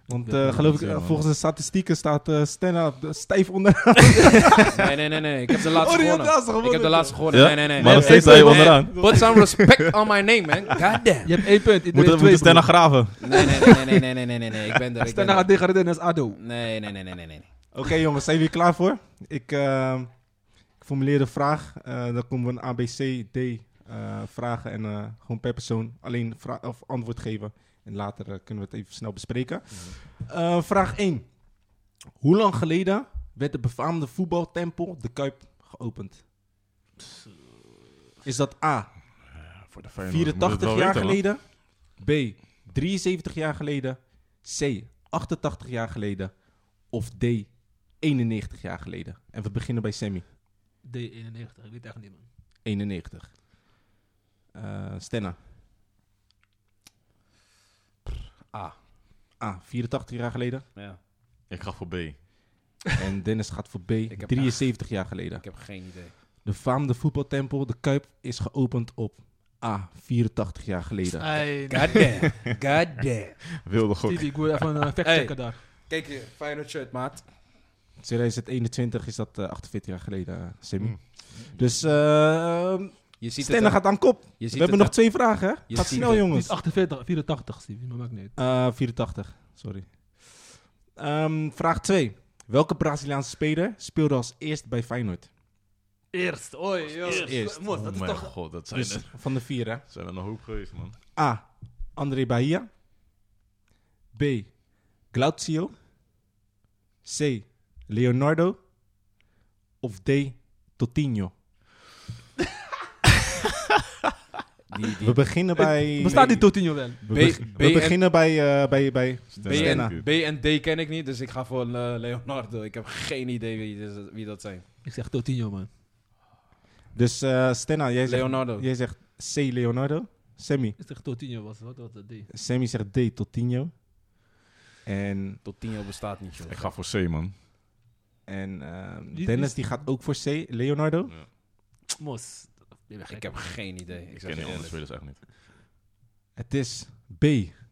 Want
Ik ben
eh,
er
geloof ik,
niet, ja,
eh,
man.
volgens de statistieken staat eh Stenna op de- stijf onder.
Nee, nee, nee, nee. Ik heb de laatste
Oh, die had
gewonnen.
de laatste
Ik heb de
gewonnen,
laatste gewonnen.
Ja?
Nee, nee, nee.
Maar nog
Nee,
steeds
nee,
sta je
nee.
onderaan.
Put some respect on my name, man. Goddamn.
Je hebt één punt. Iedereen
Moeten we
twee.
moeten Stenna graven.
Nee, nee, nee, nee, nee, nee, nee, nee, nee. Ik ben er. Ik ben
nou
Stenna gaat
er.
degraderen als ADO.
Nee, nee, nee, nee, nee, nee.
Oké jongens, zijn jullie klaar voor? Ik, eh, ik formuleer de vraag. Eh, dan komen we een ABC, D eh, vragen en eh, gewoon per persoon alleen vra- of antwoord geven. En later eh, kunnen we het even snel bespreken. Eh, vraag 1. Hoe lang geleden werd de befaamde voetbaltempel De Kuip geopend? Is dat A,
Voor de Feyenoord eh, moet je het
84
wel
jaar
weten, man.
geleden. B. 73 jaar geleden. C. 88 jaar geleden. Of D. 91 jaar geleden. En we beginnen bij Sammy.
D91, ik weet echt niet, man.
91. Eh, Stenna.
A.
A. 84 jaar geleden.
Ja.
Ik ga voor B.
En Dennis gaat voor B.
heb
73 jaar geleden.
Ik heb geen idee.
De faamde voetbaltempel De Kuip is geopend op A. 84 jaar geleden.
Goddamn. Goddamn.
Wilde gok.
Stevie, ik wil even een
Hey.
factchecken daar.
Kijk hier, Feyenoord shirt, maat.
2021 is dat eh, 48 jaar geleden, eh, Sammy.
Mm.
Dus eh
Je ziet
Stenna
het. hè?
gaat aan kop.
Je ziet
We hebben
het,
nog twee vragen, hè?
Je
Gaat
ziet
snel,
het.
Niet
jongens.
48, 84, Stevie, maar maakt niet uit.
Eh, 84, sorry. Ehm, vraag 2. Welke Braziliaanse speler speelde als eerst bij Feyenoord?
Eerst, oei, joh.
eerst.
Moord, dat
Oh
is
mijn
toch...
god, dat zijn
Dus
er,
van de vier, hè?
zijn er een hoop geweest, man.
A. André Bahia. B. Glaucio. C. Leonardo. Of D. Totinho.
Die,
We
die
beginnen bij...
Bestaat die Totinho wel?
We,
B-
beg-
B-
we beginnen bij, eh, bij, bij
B,
Stenna.
en, B en D ken ik niet, dus ik ga voor eh, Leonardo. Ik heb geen idee wie, dit- wie dat zijn.
Ik zeg Totinho, man.
Dus eh, Stenna, jij zegt,
Leonardo.
jij zegt C. Leonardo. Sammy.
Is tegen Totinho was, wat was dat? D.
Sammy zegt D. Totinho. En,
Tot tien jaar bestaat niet, joh.
Ik ga voor C, man.
en ehm,
Die-
Dennis die gaat ook voor C. Leonardo.
Mos. Ik
Ik heb geen idee. Ik
Ik
zeg
ken
je
die andere
eerlijk.
spelers echt niet.
Het is B.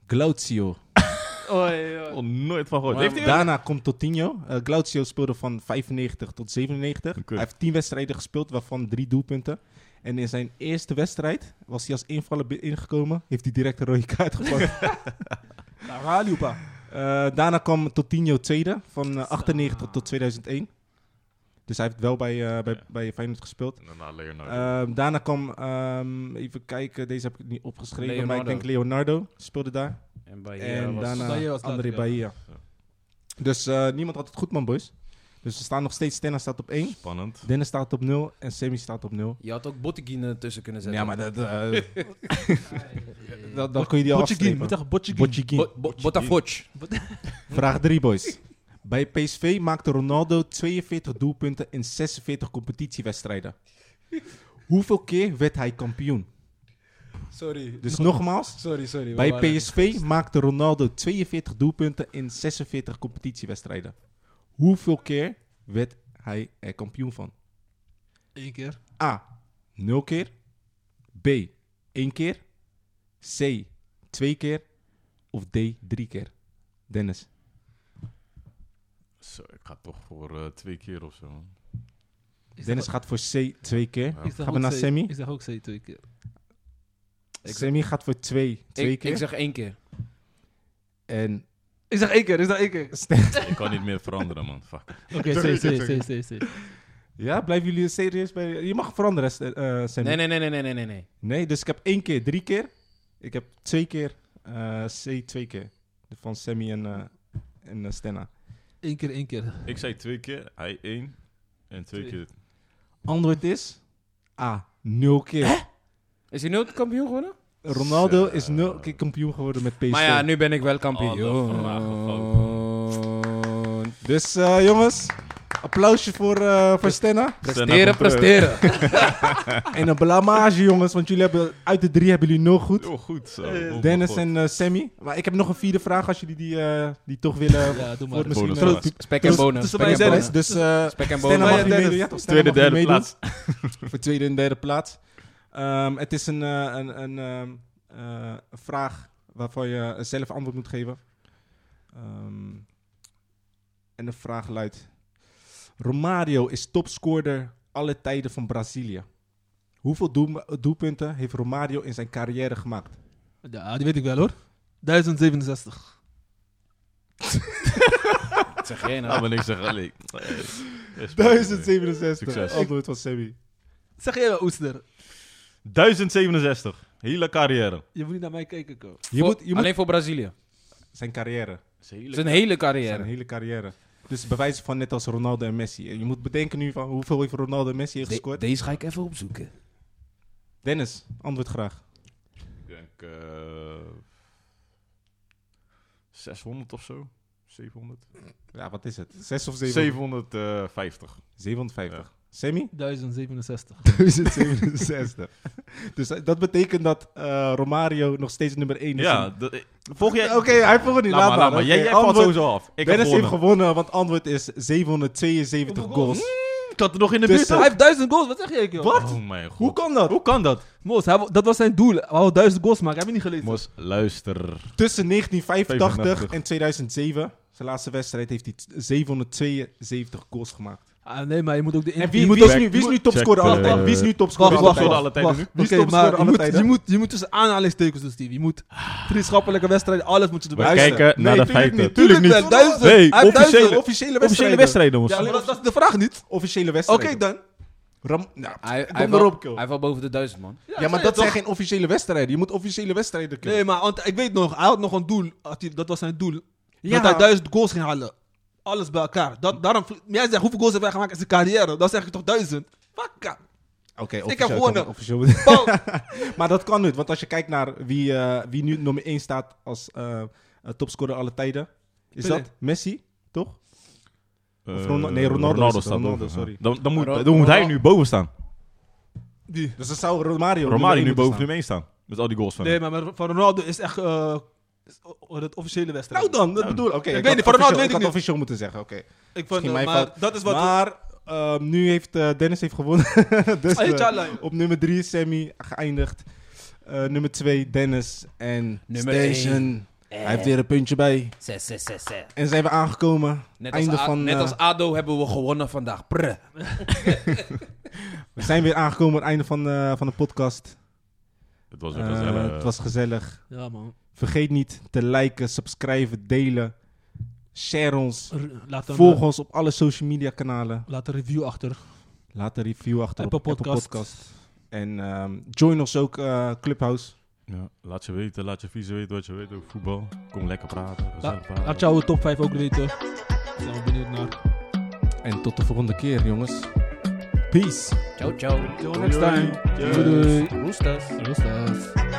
Glauzio.
Oh, nooit van gehoord.
Maar-
Heeft hij-
Daarna komt Totinho. Eh Glauzio speelde van 95 tot 97.
Oké.
Hij heeft 10 wedstrijden gespeeld, waarvan 3 doelpunten. En in zijn eerste wedstrijd was hij als invaller bi- ingekomen. Heeft hij direct een rode kaart gepakt. Eh, daarna kwam Totinho tweede, van eh, 98 tot 2001. Dus hij heeft wel bij, eh, bij,
Ja. Oh,
bij Feyenoord gespeeld.
En daarna Nou, Leonardo.
Ehm, daarna kwam, ehm, even kijken, deze heb ik niet opgeschreven, maar ik
Leonardo.
denk Leonardo speelde daar.
En bij eh,
En
en was
daarna
Bahia was
André
later,
Bahia. Dus eh, niemand had het goed, man, boys. Dus we staan nog steeds. Stenna staat op 1,
Spannend.
Dennis staat op 0 en Semi staat op 0.
Je had ook Botteguin ertussen kunnen zetten. Eh,
Ja, maar dat, eh, dat, dan kun je die al
Botjeguin, moet
afstrepen.
tegen Botjeguin.
Botjeguin.
Botafoch.
Vraag 3, boys. Bij PSV maakte Ronaldo 42 doelpunten in 46 competitiewedstrijden. Hoeveel keer werd hij kampioen?
Sorry.
Dus nogmaals,
Sorry, sorry.
bij PSV maakte Ronaldo 42 doelpunten in 46 competitiewedstrijden. Hoeveel keer werd hij er kampioen van?
Eén keer.
A. 0 keer. B. 1 keer. C. 2 keer. Of D. 3 keer. Dennis.
Zo, ik ga toch voor eh, twee keer of zo. man.
Dennis gaat voor C. 2 keer.
Ja.
Gaan we naar Sammy?
Ik zeg ook C twee keer.
Ik-
Sammy gaat voor 2. 2
Ik,
keer.
ik zeg één keer.
En
Ik zeg één keer, ik zeg één keer.
Ik kan niet meer veranderen, man. Fuck.
Oké, C, C, C, C, C.
ja, blijven jullie serieus bij... Je mag veranderen, S- eh, Sammy.
Nee, nee, nee, nee, nee, nee, nee, nee.
Nee, dus ik heb 1 keer 3 keer. Ik heb 2 keer eh, C. 2 keer. Van Sammy en, eh, en eh, Stenna.
Eén keer, één keer.
Ik zei twee keer, hij één en twee,
Twee.
keer.
Antwoord is A. 0 keer.
Is hij nooit kampioen geworden?
Ronaldo is
Zo.
0 keer kampioen geworden met PSV.
Maar ja, nu ben ik wel
Oh,
Alle
kampioen.
vragen
Dus eh, jongens, applausje voor, eh voor Stenna.
Presteren, presteren.
En een blamage jongens, want jullie hebben uit de drie hebben jullie nul goed.
Oh, goed zo.
Dennis en eh, Sammy. Maar ik heb nog een vierde vraag als jullie die, eh, die toch willen.
Ja,
voor
doe maar.
misschien, eh,
Bonusvraag.
toe-
Spek en bonen.
tussen
Spek
mij
en
en
bonen.
Dennis, dus eh
Spek en
Stenna
bonen.
mag niet
Dennis.
meedoen. Ja, toch, Stenna
Tweede,
mag niet
derde
meedoen.
plaats.
Voor tweede en derde plaats. Ehm, het is een, eh, een, een ehm, eh, een vraag waarvan je zelf antwoord moet geven. Ehm, en de vraag luidt: Romario is topscorer alle tijden van Brazilië. Hoeveel doel- doelpunten heeft Romario in zijn carrière gemaakt?
Ja, die weet ik wel hoor. 1067.
Wat zeg
Ah,
jij
Nou,
nou?
ben ik zeg, allee. Eh, respect.
1067.
Succes.
Antwoord van Sammy.
Zeg jij wel, Oester?
1067. Hele carrière.
Je moet niet naar mij kijken, Ko.
Je moet, je moet
Alleen voor Brazilië.
zijn carrière.
Zijn hele
Zijn
carrière.
hele carrière. Dus bewijzen van net als Ronaldo en Messi. En je moet bedenken nu van hoeveel heeft Ronaldo en Messi heeft
De-
gescoord.
Deze ga ik even opzoeken.
Dennis, antwoord graag.
Ik denk eh 600 of zo. 700.
Ja, wat is het? 6 of 7?
750.
750. Sammy?
1067.
1067. dus eh, dat betekent dat eh, Romario nog steeds nummer 1 is.
Ja,
in-
dat- eh, volg jij...
Oké, hij volgt het niet.
Laat maar, laat maar.
Oké,
Jij, jij valt
antwoord-
sowieso af. Ik heb
Dennis heeft
gewonnen.
gewonnen, want antwoord is 772 goals.
Ik had er nog in de
Dus,
buurt.
eh,
Hij heeft 1000 goals, wat zeg jij, Ko?
Wat? Oh mijn god.
Hoe kan dat?
Hoe kan dat?
Moos, hij wou- dat was zijn doel. Hij wou 1000 goals maken, heb je niet gelezen?
Mos, luister.
Tussen 1985
85.
en 2007, zijn laatste wedstrijd, heeft hij t- 772 goals gemaakt.
Ah, nee, maar je moet ook de... in-
En wie,
je moet
wie
ook-
is nu, wie is nu
check,
topscorer
eh,
alle tijden? Wie is nu topscorer
Wacht,
alle
wacht,
Topscorer
tijden?
alle
wacht, wacht.
tijden nu?
Wie is
Oké,
topscorer
maar je
alle
moet,
tijden?
je, moet, je moet tussen aanhalingstekens doen, Steve. Je moet vriendschappelijke wedstrijden, alles moet je erbij
We
zetten.
kijken naar de
tuurlijk
feiten.
niet.
Tuurlijk niet.
wel, duizend.
Nee,
Hij heeft
officiële,
Officiële
duizend.
officiële
wedstrijden.
wedstrijden, jongens.
Ja, maar dat, dat is de vraag niet.
Officiële
Oké,
wedstrijden.
dan.
Ram, nou,
Hij, hij,
kom
wel-
erop, kill.
hij valt boven de duizend, man.
Ja, maar dat zijn geen officiële wedstrijden. Je moet officiële wedstrijden kunnen.
Nee, maar want ik weet nog, hij had nog een doel. Had hij- dat was zijn doel.
Ja.
Dat hij duizend goals ging halen. Alles bij elkaar. Dat, daarom, vl- jij zegt hoeveel goals heeft hij gemaakt in zijn carrière? Dan zeg ik toch duizend. Fuck.
Oké,
heb
officieel
gewonnen.
kan- officieel-
Paul.
maar dat kan niet, want als je kijkt naar wie, eh, wie nu nummer 1 staat als eh, eh, topscorer alle tijden, is
Pelé.
dat Messi, toch?
Eh,
Of Ronaldo- nee, Ronaldo is het. Ronaldo,
boven,
sorry.
ja. Dan, dan, moet,
Ro-
dan moet hij
Ronaldo-
nu boven staan.
Die.
Dus dan zou Romario,
Romario
één
nu
moeten
boven
staan.
nummer 1 staan. Met al die goals van
Nee,
hem.
maar maar van Ronaldo is echt eh, is o- o- het officiële wedstrijd.
Nou dan, dat bedoel ik. Oké,
Ik
ik
weet
had
niet, voor Ronaldo
officieel-
weet ik
ik had
niet.
officieel moeten zeggen, oké.
ik vond,
misschien
eh,
mijn
maar
fout.
dat is wat...
Maar ehm, nu heeft eh, Dennis heeft gewonnen. dus
Ah,
eh,
inshallah.
op nummer 3 Sammy geëindigd. Eh, nummer 2 Dennis en
Nummer
Station. Hij heeft weer een puntje bij.
Eh, Se, se, se, se.
En zijn we aangekomen.
Net, als,
Einde
A-
van,
net
eh,
als ADO hebben we gewonnen vandaag. Prr.
We zijn weer aangekomen aan het einde van, eh, van de podcast.
Het was
Eh,
een gezellig.
het was gezellig.
Ja, man.
Vergeet niet te liken, subscriben, delen. Share ons.
R- laat, een,
eh,
Volg ons op alle social media kanalen.
eh, laat een review achter.
Laat een review achter
Apple
op Apple
Podcast.
Podcast. En ehm, join ons ook eh, Clubhouse.
Ja, laat je weten, laat je visie weten wat je weet over voetbal. Kom lekker praten. gezellig praten.
Laat jouw top 5 ook weten. Zijn we benieuwd naar.
En tot de volgende keer, jongens. Peace.
Ciao, ciao.
Till
next time. Doei, doei.
Roosters.
Roosters.